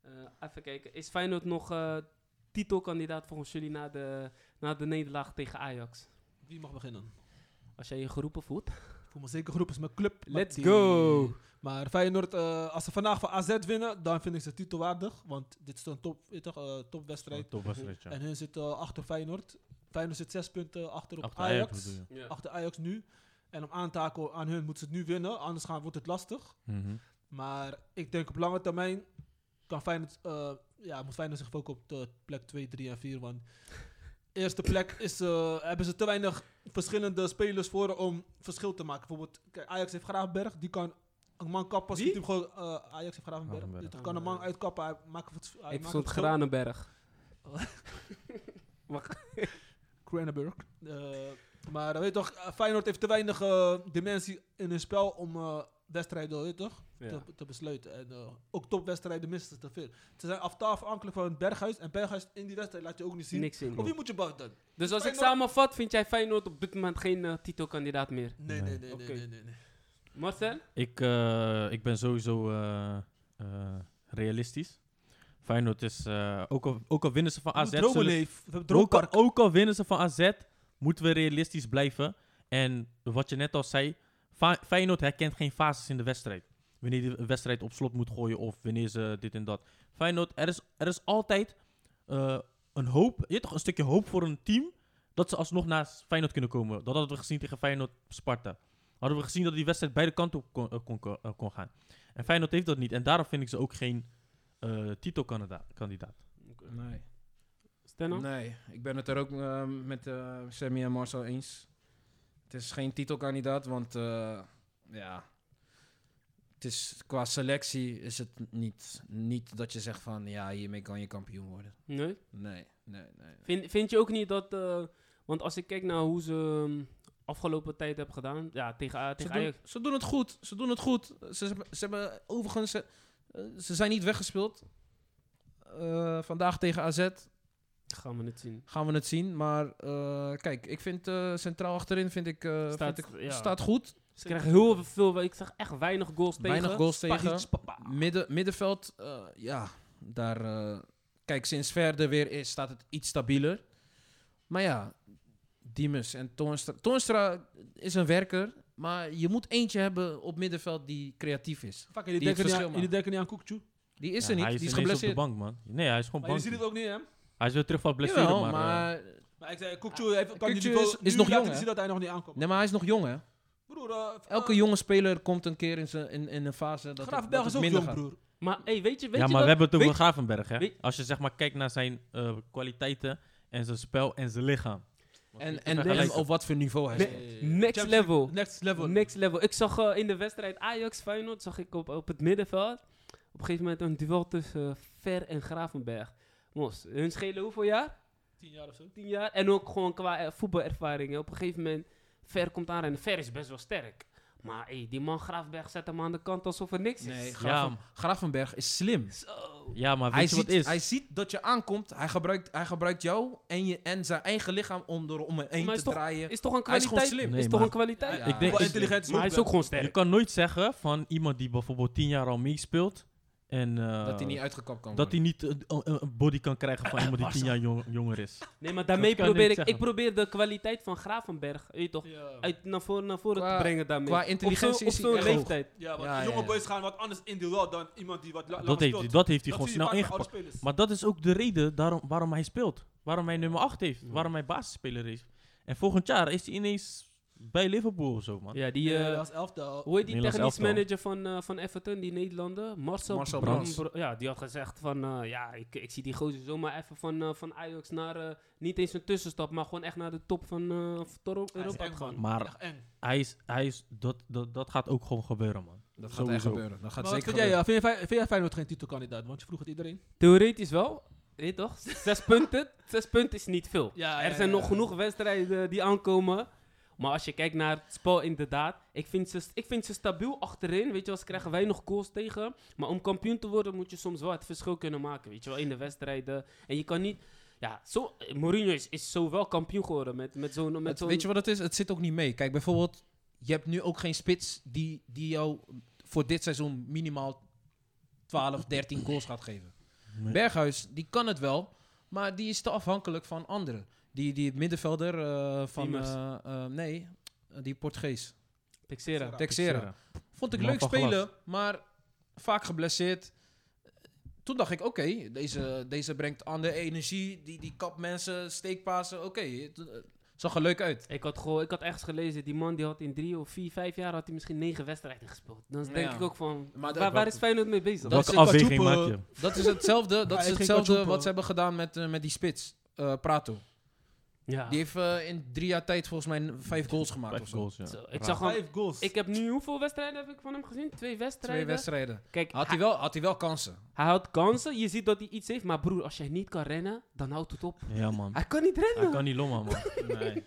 [SPEAKER 2] eh, even kijken, is Feyenoord nog eh, titelkandidaat volgens jullie na de, na de nederlaag tegen Ajax?
[SPEAKER 1] Wie mag beginnen?
[SPEAKER 2] Als jij je geroepen voelt.
[SPEAKER 1] Ik voel me zeker groep is mijn club. maar
[SPEAKER 2] Let's
[SPEAKER 1] die-
[SPEAKER 2] go!
[SPEAKER 1] Maar Feyenoord, eh, als ze vandaag van AZ winnen, dan vind ik ze titelwaardig. Want dit is een top, weet je toch, eh, topwedstrijd.
[SPEAKER 4] Topwedstrijd, Oh, ja.
[SPEAKER 1] En hun zitten eh, achter Feyenoord. Feyenoord zit zes punten achter op
[SPEAKER 4] Achter
[SPEAKER 1] Ajax.
[SPEAKER 4] Ajax bedoel
[SPEAKER 1] achter Ajax nu. En om aan te haken aan hun moeten ze het nu winnen, anders gaan, wordt het lastig.
[SPEAKER 4] Mhm.
[SPEAKER 1] Maar ik denk op lange termijn kan Feyenoord, eh, ja, moet Feyenoord zich focussen op de plek 2, 3 en 4. Want eerste plek is, eh, hebben ze te weinig verschillende spelers voor om verschil te maken. Bijvoorbeeld, kijk, Ajax heeft Gravenberg, die kan een man kappen. als
[SPEAKER 2] Wie?
[SPEAKER 1] hij hem gewoon, eh, Ajax heeft Gravenberg,
[SPEAKER 4] Gravenberg.
[SPEAKER 1] die kan een man uitkappen. Hij maakt het, hij
[SPEAKER 2] Ik
[SPEAKER 1] maakt
[SPEAKER 2] verstond
[SPEAKER 1] het verschil.
[SPEAKER 2] Granenberg.
[SPEAKER 1] Kranenburg. maar eh, weet je toch, eh, Feyenoord heeft te weinig eh, dimensie in hun spel om eh, wedstrijden weet je toch,
[SPEAKER 2] Ja.
[SPEAKER 1] te, te besluiten. En eh, ook topwedstrijden missen ze te veel. Ze zijn af- afhankelijk van Berghuis. En Berghuis in die wedstrijd laat je ook niet zien.
[SPEAKER 2] Niks in.
[SPEAKER 1] Op wie moet je bouwen dan?
[SPEAKER 2] Dus als ik
[SPEAKER 1] Feyenoord-
[SPEAKER 2] samenvat, vind jij Feyenoord op dit moment geen eh, titelkandidaat meer?
[SPEAKER 1] Nee, nee, nee,
[SPEAKER 2] Oké.
[SPEAKER 1] nee, nee, nee, nee.
[SPEAKER 2] Marcel?
[SPEAKER 4] Ik, eh, ik ben sowieso eh, eh, realistisch. Feyenoord is, eh, ook, al, ook al winnen ze van
[SPEAKER 1] We
[SPEAKER 4] AZ...
[SPEAKER 1] moeten dromen
[SPEAKER 4] zullen-
[SPEAKER 1] leven. We hebben
[SPEAKER 4] ook, al,
[SPEAKER 1] droompark.
[SPEAKER 4] ook al winnen ze van AZ, moeten we realistisch blijven. En wat je net al zei, Fa- Feyenoord herkent geen fases in de wedstrijd. Wanneer die een wedstrijd op slot moet gooien of wanneer ze dit en dat. Feyenoord, er is, er is altijd eh, een hoop, je hebt toch een stukje hoop voor een team dat ze alsnog naast Feyenoord kunnen komen. Dat hadden we gezien tegen Feyenoord Sparta. Hadden we gezien dat die wedstrijd beide kanten op kon, eh, kon, eh, kon gaan. En Feyenoord heeft dat niet. En daarom vind ik ze ook geen eh titelkandidaat.
[SPEAKER 3] Nee.
[SPEAKER 2] Stenno?
[SPEAKER 3] Nee, ik ben het er ook eh, met eh, Sammy en Marcel eens. Het is geen titelkandidaat, want eh, ja, het is, qua selectie is het niet, niet dat je zegt van ja, hiermee kan je kampioen worden.
[SPEAKER 2] Nee?
[SPEAKER 3] Nee, nee, nee.
[SPEAKER 2] Vind, vind je ook niet dat... eh, want als ik kijk naar hoe ze ehm, afgelopen tijd hebben gedaan... Ja, tegen, A-
[SPEAKER 3] Ze
[SPEAKER 2] tegen
[SPEAKER 3] doen,
[SPEAKER 2] Ajax...
[SPEAKER 3] ze doen het goed, ze doen het goed. Ze, hebben- ze hebben overigens, eh, eh, ze zijn niet weggespeeld. Eh, vandaag tegen AZ
[SPEAKER 2] Gaan we het zien.
[SPEAKER 3] gaan we het zien, maar eh, kijk, ik vind eh, centraal achterin vind ik, eh,
[SPEAKER 2] Staat-
[SPEAKER 3] vind ik,
[SPEAKER 2] ja.
[SPEAKER 3] staat goed.
[SPEAKER 2] Ze krijgen heel veel... Ik zag echt weinig goals tegen.
[SPEAKER 3] Weinig goals tegen.
[SPEAKER 2] Pagic, papa.
[SPEAKER 3] Midden, middenveld, eh, ja, daar. eh, kijk, sinds verder weer is, staat het iets stabieler. Maar ja, Diemus en Toornstra. Toornstra is een werker, maar je moet eentje hebben op middenveld die creatief is.
[SPEAKER 1] Fuck, jullie
[SPEAKER 3] Die
[SPEAKER 1] denken
[SPEAKER 3] het
[SPEAKER 1] niet aan-
[SPEAKER 3] verschil
[SPEAKER 1] jullie
[SPEAKER 3] maken.
[SPEAKER 1] denken niet aan Koekju.
[SPEAKER 3] Die is
[SPEAKER 4] Ja,
[SPEAKER 3] er niet,
[SPEAKER 4] Hij is,
[SPEAKER 3] die is
[SPEAKER 4] ineens
[SPEAKER 3] geblesseerd.
[SPEAKER 4] op de bank, man. Nee, hij is gewoon
[SPEAKER 1] Maar je
[SPEAKER 4] bank.
[SPEAKER 1] ziet het ook niet, hè?
[SPEAKER 4] Hij is weer terug van blessure,
[SPEAKER 3] Jawel,
[SPEAKER 4] maar...
[SPEAKER 3] maar,
[SPEAKER 4] eh,
[SPEAKER 1] Maar ik zei, Koekju heeft- kan die
[SPEAKER 3] Ah, Kukçu
[SPEAKER 1] niveau
[SPEAKER 3] is- is
[SPEAKER 1] nu
[SPEAKER 3] nog
[SPEAKER 1] laten
[SPEAKER 3] jong, hè?
[SPEAKER 1] zien dat hij nog niet aankomt.
[SPEAKER 3] nee, maar hij is nog jong, hè?
[SPEAKER 1] Broer, eh,
[SPEAKER 3] Elke
[SPEAKER 1] eh,
[SPEAKER 3] jonge speler komt een keer in, zijn, in, in een fase dat, het- dat
[SPEAKER 1] Gravenberg
[SPEAKER 3] het
[SPEAKER 1] is ook
[SPEAKER 3] minder
[SPEAKER 1] jong,
[SPEAKER 3] gaat.
[SPEAKER 1] broer.
[SPEAKER 2] Maar hey, weet je, weet
[SPEAKER 4] ja,
[SPEAKER 2] je
[SPEAKER 4] maar
[SPEAKER 2] dat-
[SPEAKER 4] we hebben het over
[SPEAKER 2] weet-
[SPEAKER 4] Gravenberg, hè.
[SPEAKER 2] weet-
[SPEAKER 4] Als je zeg maar kijkt naar zijn eh, kwaliteiten en zijn spel en zijn lichaam.
[SPEAKER 3] En, en,
[SPEAKER 4] Nee.
[SPEAKER 3] en op wat voor niveau hij
[SPEAKER 2] Nee.
[SPEAKER 3] speelt.
[SPEAKER 2] Next
[SPEAKER 1] Champions
[SPEAKER 2] level.
[SPEAKER 1] League, Next level.
[SPEAKER 2] Next level. Ik zag eh, in de wedstrijd Ajax Feyenoord zag ik op, op het middenveld op een gegeven moment een duel tussen eh, Ver en Gravenberg. Mos, hun schelen hoeveel jaar?
[SPEAKER 1] Tien jaar of zo.
[SPEAKER 2] Tien jaar. En ook gewoon qua eh, voetbalervaring. hè. Op een gegeven moment Ver komt aan en Ver is best wel sterk. Maar hey, die man Gravenberg zet hem aan de kant alsof er niks
[SPEAKER 3] Nee,
[SPEAKER 2] is.
[SPEAKER 3] Graven- Gravenberg is slim.
[SPEAKER 2] Zo.
[SPEAKER 4] Ja, maar weet
[SPEAKER 3] Hij
[SPEAKER 4] je wat
[SPEAKER 3] ziet,
[SPEAKER 4] het is?
[SPEAKER 3] hij ziet dat je aankomt. Hij gebruikt, hij gebruikt jou en, je, en zijn eigen lichaam om er om heen
[SPEAKER 2] Maar
[SPEAKER 3] te
[SPEAKER 2] is toch-
[SPEAKER 3] draaien.
[SPEAKER 2] Is toch een
[SPEAKER 3] Hij is
[SPEAKER 2] kwaliteit?
[SPEAKER 3] gewoon slim.
[SPEAKER 4] Nee,
[SPEAKER 2] is toch
[SPEAKER 4] maar-
[SPEAKER 2] een kwaliteit?
[SPEAKER 3] Ja.
[SPEAKER 4] Ik denk-
[SPEAKER 1] Wel
[SPEAKER 4] ik-
[SPEAKER 1] intelligent
[SPEAKER 2] Maar hij is ook gewoon
[SPEAKER 4] Je
[SPEAKER 2] sterk.
[SPEAKER 4] kan nooit zeggen van iemand die bijvoorbeeld tien jaar al meespeelt... En, eh,
[SPEAKER 3] dat hij niet uitgekapt kan
[SPEAKER 4] dat hij
[SPEAKER 3] worden.
[SPEAKER 4] niet eh, een- een een body kan krijgen van iemand die tien jaar jong- jonger is.
[SPEAKER 2] Nee, maar daarmee
[SPEAKER 4] kan je
[SPEAKER 2] probeer
[SPEAKER 4] niet
[SPEAKER 2] ik... Ik
[SPEAKER 4] zeggen.
[SPEAKER 2] probeer de kwaliteit van Gravenberg, weet je toch,
[SPEAKER 1] Ja.
[SPEAKER 2] uit naar voren, naar voren
[SPEAKER 3] Qua-
[SPEAKER 2] te brengen daarmee.
[SPEAKER 3] qua intelligentie
[SPEAKER 2] op zo'n-
[SPEAKER 3] is hij
[SPEAKER 2] op
[SPEAKER 3] echt
[SPEAKER 2] zo'n
[SPEAKER 3] hoog.
[SPEAKER 2] leeftijd.
[SPEAKER 1] Ja, want
[SPEAKER 3] Ja,
[SPEAKER 1] jonge
[SPEAKER 3] ja, ja.
[SPEAKER 1] boys gaan wat anders in de wel dan iemand die wat la- langer
[SPEAKER 4] Dat heeft,
[SPEAKER 1] speelt.
[SPEAKER 4] hij- dat heeft hij
[SPEAKER 1] Dat
[SPEAKER 4] gewoon
[SPEAKER 1] zie je
[SPEAKER 4] snel
[SPEAKER 1] vaak bij oude
[SPEAKER 4] ingepakt.
[SPEAKER 1] spelers.
[SPEAKER 4] Maar dat is ook de reden daarom, waarom hij speelt. Waarom hij nummer 8 heeft. Waarom hij basisspeler is. En volgend jaar is hij ineens bij Liverpool of zo, man.
[SPEAKER 2] Ja, die...
[SPEAKER 1] Ja,
[SPEAKER 2] eh,
[SPEAKER 1] dat is elftal.
[SPEAKER 2] Hoe heet die
[SPEAKER 4] Nederlands
[SPEAKER 2] technisch
[SPEAKER 4] elftal.
[SPEAKER 2] manager van, eh, van Everton, die Nederlander? Marcel,
[SPEAKER 3] Marcel
[SPEAKER 2] Bram-
[SPEAKER 3] Brands.
[SPEAKER 2] Br- Ja, die had gezegd van, eh, ja, ik, ik zie die gozer zomaar even van, eh, van Ajax naar, eh, niet eens een tussenstap, maar gewoon echt naar de top van eh, van Tor-
[SPEAKER 1] Hij is
[SPEAKER 2] Europa
[SPEAKER 1] eng,
[SPEAKER 2] gaan.
[SPEAKER 1] man.
[SPEAKER 4] Maar
[SPEAKER 1] Echt eng.
[SPEAKER 4] hij is, hij is, dat, dat, dat gaat ook gewoon gebeuren, man.
[SPEAKER 3] Dat gaat echt
[SPEAKER 4] Sowieso.
[SPEAKER 3] gebeuren. Dat gaat
[SPEAKER 1] Maar wat
[SPEAKER 3] zeker
[SPEAKER 1] vind, jij,
[SPEAKER 3] gebeuren.
[SPEAKER 1] eh, vind, jij, Fey- vind jij Feyenoord geen titelkandidaat? Want je vroeg het iedereen.
[SPEAKER 2] Theoretisch wel. Weet je toch? Zes punten. Zes punten is niet veel.
[SPEAKER 1] Ja,
[SPEAKER 2] er zijn nog genoeg wedstrijden die aankomen. Maar als je kijkt naar het spel, inderdaad. Ik vind ze, ik vind ze stabiel achterin. Weet je wel, ze krijgen weinig goals tegen. Maar om kampioen te worden moet je soms wel het verschil kunnen maken. Weet je wel, in de wedstrijden. En je kan niet... Ja, zo, Mourinho is, is zo wel kampioen geworden met, met zo'n... Met
[SPEAKER 3] Het-
[SPEAKER 2] zo'n
[SPEAKER 3] weet je wat het is? Het zit ook niet mee. Kijk, bijvoorbeeld, je hebt nu ook geen spits die, die jou voor dit seizoen minimaal 12, 13 goals gaat geven.
[SPEAKER 4] Nee.
[SPEAKER 3] Berghuis, die kan het wel, maar die is te afhankelijk van anderen. Die, die middenvelder eh, van...
[SPEAKER 2] Immers.
[SPEAKER 3] eh, eh, nee, eh, die Portugees.
[SPEAKER 2] Texera.
[SPEAKER 3] Texera. Vond ik
[SPEAKER 4] Man
[SPEAKER 3] leuk
[SPEAKER 4] van glas.
[SPEAKER 3] spelen, maar vaak geblesseerd. Toen dacht ik, oké, deze, deze brengt andere energie. Die, die kapt mensen, steekpasen. Oké, het, eh, zag er leuk uit.
[SPEAKER 2] Ik had, gewoon, ik had ergens gelezen, die man die had in drie of vier, vijf jaar had hij misschien negen wedstrijden gespeeld. Dan denk
[SPEAKER 3] Ja.
[SPEAKER 2] ik ook van,
[SPEAKER 3] Maar dat-
[SPEAKER 2] waar, waar is Feyenoord mee bezig?
[SPEAKER 3] Dat
[SPEAKER 4] Welke
[SPEAKER 3] is-
[SPEAKER 4] afweging maak
[SPEAKER 1] Kajupe,
[SPEAKER 4] je?
[SPEAKER 3] Dat is hetzelfde, dat
[SPEAKER 1] Hij
[SPEAKER 3] is
[SPEAKER 1] ging
[SPEAKER 3] hetzelfde
[SPEAKER 1] kachoepen.
[SPEAKER 3] wat ze hebben gedaan met, eh, met die spits, eh, Prato.
[SPEAKER 2] ja.
[SPEAKER 3] Die heeft eh, in drie jaar tijd volgens mij n- vijf goals gemaakt of
[SPEAKER 4] Vijf
[SPEAKER 3] zo.
[SPEAKER 4] goals, ja.
[SPEAKER 2] Zo, ik
[SPEAKER 4] Raar.
[SPEAKER 2] zag hem,
[SPEAKER 1] Vijf goals.
[SPEAKER 2] Ik heb nu hoeveel wedstrijden heb ik van hem gezien? Twee wedstrijden.
[SPEAKER 3] Twee wedstrijden.
[SPEAKER 2] Kijk,
[SPEAKER 3] Had hij, wel, had hij wel kansen.
[SPEAKER 2] hij had kansen. Je ziet dat hij iets heeft. Maar broer, als jij niet kan rennen, dan houdt het op.
[SPEAKER 4] Ja, man.
[SPEAKER 2] Hij kan niet rennen.
[SPEAKER 4] Hij kan niet lommen, man. Nee.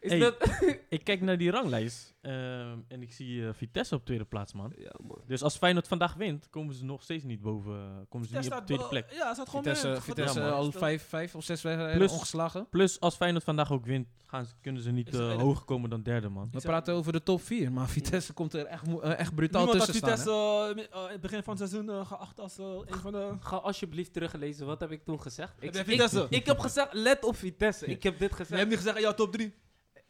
[SPEAKER 2] Is
[SPEAKER 4] Hey.
[SPEAKER 2] dat...
[SPEAKER 4] Ik kijk naar die ranglijst ehm, en ik zie eh, Vitesse op tweede plaats, man.
[SPEAKER 2] Ja, man.
[SPEAKER 4] Dus als Feyenoord vandaag wint, komen ze nog steeds niet boven. Komen ze
[SPEAKER 1] Daar
[SPEAKER 4] niet op de
[SPEAKER 1] staat
[SPEAKER 4] tweede
[SPEAKER 1] wel-
[SPEAKER 4] plek.
[SPEAKER 1] Ja, hij staat gewoon
[SPEAKER 3] Vitesse,
[SPEAKER 1] weer-
[SPEAKER 3] Vitesse
[SPEAKER 4] Ja, man.
[SPEAKER 3] al vijf, vijf of zes wedstrijden
[SPEAKER 4] Plus-
[SPEAKER 3] ongeslagen.
[SPEAKER 4] Plus, als Feyenoord vandaag ook wint, gaan ze, kunnen ze niet
[SPEAKER 1] Is het
[SPEAKER 4] eh,
[SPEAKER 1] eerder?
[SPEAKER 4] hoger komen dan derde, man.
[SPEAKER 3] We
[SPEAKER 1] zeg-
[SPEAKER 3] praten over de top vier, maar Vitesse komt er echt, mo- eh, echt brutaal
[SPEAKER 1] Niemand had
[SPEAKER 3] tussen staan.
[SPEAKER 1] Vitesse
[SPEAKER 3] hè.
[SPEAKER 1] eh, mi- eh, in het begin van het seizoen eh, geacht als eh, een van de...
[SPEAKER 2] Ga alsjeblieft teruglezen. Wat heb ik toen gezegd? Ik,
[SPEAKER 1] jij
[SPEAKER 2] ik,
[SPEAKER 1] Vitesse?
[SPEAKER 2] ik heb gezegd, let op Vitesse. Ik heb dit
[SPEAKER 1] Je
[SPEAKER 2] gezegd.
[SPEAKER 1] hebt niet gezegd, ja, top 3.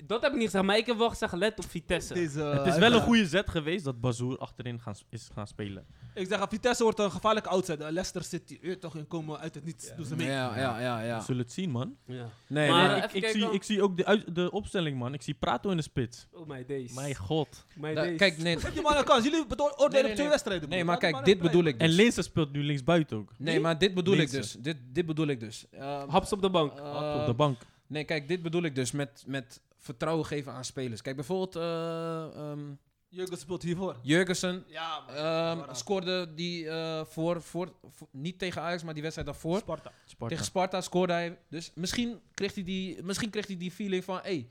[SPEAKER 2] Dat heb ik niet gezegd, maar ik heb wel gezegd, let op Vitesse.
[SPEAKER 4] Het is wel een goede zet geweest dat Bazoer achterin gaan, s- is gaan spelen.
[SPEAKER 1] Ik zeg, eh, Vitesse wordt een gevaarlijke outsider. Leicester City, eh, toch, en komen uit het niets. Doen ze mee.
[SPEAKER 3] Ja, ja, ja.
[SPEAKER 4] We
[SPEAKER 3] ja.
[SPEAKER 4] zullen het zien, man.
[SPEAKER 2] Ja.
[SPEAKER 3] Nee,
[SPEAKER 2] Maar-
[SPEAKER 3] nee.
[SPEAKER 2] even
[SPEAKER 4] ik, ik,
[SPEAKER 2] kijken
[SPEAKER 4] zie,
[SPEAKER 2] dan.
[SPEAKER 4] ik zie ook de, uit- de opstelling, man. Ik zie Prato in de spits.
[SPEAKER 2] Oh my days.
[SPEAKER 4] Mijn god.
[SPEAKER 2] my
[SPEAKER 3] Da-
[SPEAKER 2] days.
[SPEAKER 3] Nou, kijk, nee,
[SPEAKER 1] Geef die man een kans. Jullie bedo- oordelen
[SPEAKER 3] Nee, nee,
[SPEAKER 1] op twee
[SPEAKER 3] nee.
[SPEAKER 1] wedstrijden.
[SPEAKER 3] nee,
[SPEAKER 1] broer.
[SPEAKER 3] maar
[SPEAKER 1] Laat die
[SPEAKER 3] kijk,
[SPEAKER 1] man
[SPEAKER 3] dit
[SPEAKER 1] even
[SPEAKER 3] bedoel ik
[SPEAKER 4] En
[SPEAKER 3] dus.
[SPEAKER 4] Linse speelt nu linksbuiten ook.
[SPEAKER 3] Nee, maar dit bedoel ik
[SPEAKER 4] Links.
[SPEAKER 3] dus. Dit, dit bedoel ik dus. Eh,
[SPEAKER 2] Haps op de bank.
[SPEAKER 4] Hap op
[SPEAKER 3] eh,
[SPEAKER 4] de bank.
[SPEAKER 3] Nee, kijk, dit bedoel ik dus met, met vertrouwen geven aan spelers. Kijk, bijvoorbeeld eh ehm,
[SPEAKER 1] Jurgen speelt hiervoor.
[SPEAKER 3] Jurgensen
[SPEAKER 1] Ja, man.
[SPEAKER 3] ehm,
[SPEAKER 1] Waarom?
[SPEAKER 3] scoorde die eh, voor, voor, voor- niet tegen Ajax, maar die wedstrijd daarvoor.
[SPEAKER 1] Sparta.
[SPEAKER 4] Sparta.
[SPEAKER 3] Tegen Sparta scoorde hij. Dus misschien kreeg hij die, misschien kreeg hij die feeling van, hé, hey,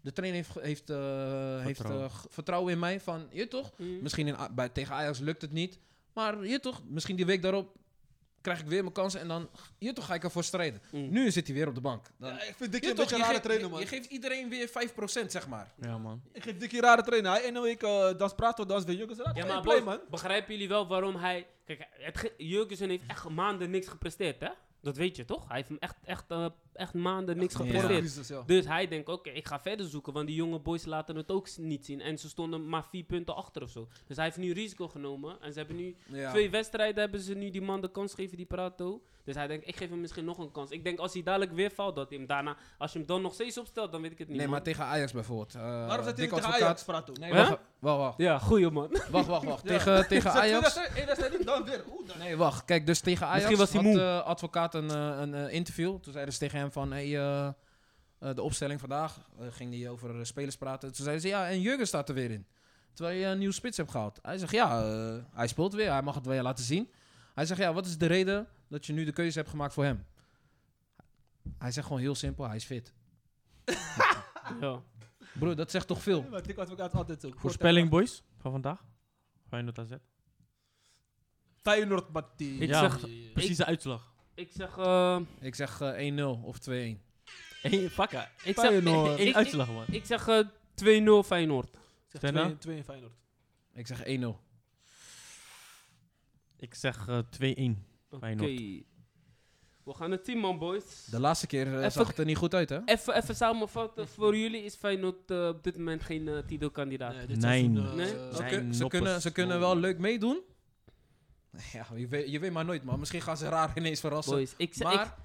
[SPEAKER 3] de trainer heeft, ge- heeft, eh, heeft eh, g- vertrouwen in mij. Van, je toch?
[SPEAKER 2] Mm.
[SPEAKER 3] Misschien in, A- bij, tegen Ajax lukt het niet. Maar je toch? Misschien die week daarop krijg ik weer mijn kansen en dan, je toch, ga ik ervoor strijden.
[SPEAKER 2] Mm.
[SPEAKER 3] Nu zit hij weer op de bank. Dan,
[SPEAKER 1] Ja, ik vind Dikkie
[SPEAKER 3] je,
[SPEAKER 1] een beetje een
[SPEAKER 3] je,
[SPEAKER 1] rare
[SPEAKER 3] geeft,
[SPEAKER 1] trainer,
[SPEAKER 3] je-
[SPEAKER 1] man.
[SPEAKER 3] je geeft iedereen weer 5%, zeg maar.
[SPEAKER 4] Ja, man.
[SPEAKER 1] Ik geef Dikkie een rare trainer. Hij ene week eh dans praten, dans weer Jurgen.
[SPEAKER 2] Ja,
[SPEAKER 1] Ja,
[SPEAKER 2] maar
[SPEAKER 1] maar blij,
[SPEAKER 2] boys,
[SPEAKER 1] man.
[SPEAKER 2] Begrijpen jullie wel waarom hij... Kijk, het ge- Jurgensen heeft echt maanden niks gepresteerd, hè? Dat weet je toch? Hij heeft hem echt, echt, eh, echt maanden niks
[SPEAKER 3] Ja.
[SPEAKER 1] Voor de
[SPEAKER 2] gepresteerd.
[SPEAKER 1] crisis, ja.
[SPEAKER 2] Dus hij denkt, oké, ik ga verder zoeken, want die jonge boys laten het ook s- niet zien. En ze stonden maar vier punten achter of zo. Dus hij heeft nu risico genomen. En ze hebben nu twee wedstrijden, hebben ze nu die man de kans gegeven, die Prato. Dus hij denkt, ik geef hem misschien nog een kans. Ik denk, als hij dadelijk weer valt, dat hij hem daarna... Als je hem dan nog steeds opstelt, dan weet ik het niet,
[SPEAKER 3] Nee, maar
[SPEAKER 2] man.
[SPEAKER 3] tegen Ajax bijvoorbeeld. eh,
[SPEAKER 1] Waarom zet hij
[SPEAKER 3] Dick
[SPEAKER 1] tegen
[SPEAKER 3] Advocaat-
[SPEAKER 1] Ajax praten?
[SPEAKER 3] Nee,
[SPEAKER 2] Hè?
[SPEAKER 3] wacht, wacht, wacht.
[SPEAKER 2] Ja, goeie man.
[SPEAKER 3] Wacht, wacht, wacht. Tegen, tegen
[SPEAKER 1] Zet twee
[SPEAKER 3] Ajax.
[SPEAKER 1] wedstrijden, één wedstrijd in, dan weer. Oeh, dan-
[SPEAKER 3] Nee, wacht. Kijk, dus tegen Ajax
[SPEAKER 2] Misschien was hij
[SPEAKER 3] had
[SPEAKER 2] moe.
[SPEAKER 3] eh, advocaat een, eh, een eh, interview. Toen zeiden ze tegen hem van, hey, eh, eh, de opstelling vandaag. Eh, ging hij over eh, spelers praten. Toen zeiden ze, ja, en Jurgen staat er weer in. Terwijl je een nieuw spits hebt gehaald. Hij zegt, ja, eh, hij speelt weer. Hij mag het weer laten zien. Hij zegt, ja, wat is de reden dat je nu de keuze hebt gemaakt voor hem? Hij zegt gewoon heel simpel, hij is fit.
[SPEAKER 2] ja.
[SPEAKER 3] Broer, dat zegt toch veel?
[SPEAKER 1] Nee, maar Dick Advocaat altijd zo.
[SPEAKER 4] Voorspelling, boys, van vandaag. Feyenoord AZ.
[SPEAKER 1] Feyenoord, Matti.
[SPEAKER 2] Ik
[SPEAKER 4] Ja.
[SPEAKER 2] zeg,
[SPEAKER 4] Precieze uitslag.
[SPEAKER 2] ik zeg, eh,
[SPEAKER 3] Ik zeg eh, 1-0 of 2-1.
[SPEAKER 4] Eén fakka.
[SPEAKER 2] ik zeg,
[SPEAKER 1] Feyenoord.
[SPEAKER 4] Eén
[SPEAKER 2] ik, ik,
[SPEAKER 4] uitslag, man.
[SPEAKER 2] ik zeg eh, 2-0 Feyenoord.
[SPEAKER 1] Zeg
[SPEAKER 4] Tenna?
[SPEAKER 1] twee- twee in Feyenoord.
[SPEAKER 3] Ik zeg 1-0.
[SPEAKER 4] Ik zeg eh, 2-1.
[SPEAKER 2] Oké.
[SPEAKER 4] Feyenoord.
[SPEAKER 2] We gaan het zien, man, boys.
[SPEAKER 3] De laatste keer eh,
[SPEAKER 2] Even-
[SPEAKER 3] zag het er niet goed uit, hè?
[SPEAKER 2] Even, even samenvatten, voor jullie is Feyenoord eh, op dit moment geen eh, titelkandidaat.
[SPEAKER 1] dit
[SPEAKER 4] Nee.
[SPEAKER 1] seizoen, eh,
[SPEAKER 2] Nee?
[SPEAKER 1] eh,
[SPEAKER 3] Ze,
[SPEAKER 4] Zijn
[SPEAKER 3] kun- ze,
[SPEAKER 4] noppers.
[SPEAKER 3] kunnen, ze kunnen wel leuk meedoen. Ja, je weet, je weet maar nooit, man. Misschien gaan ze raar ineens verrassen.
[SPEAKER 2] Boys, ik, zeg- ik,
[SPEAKER 3] maar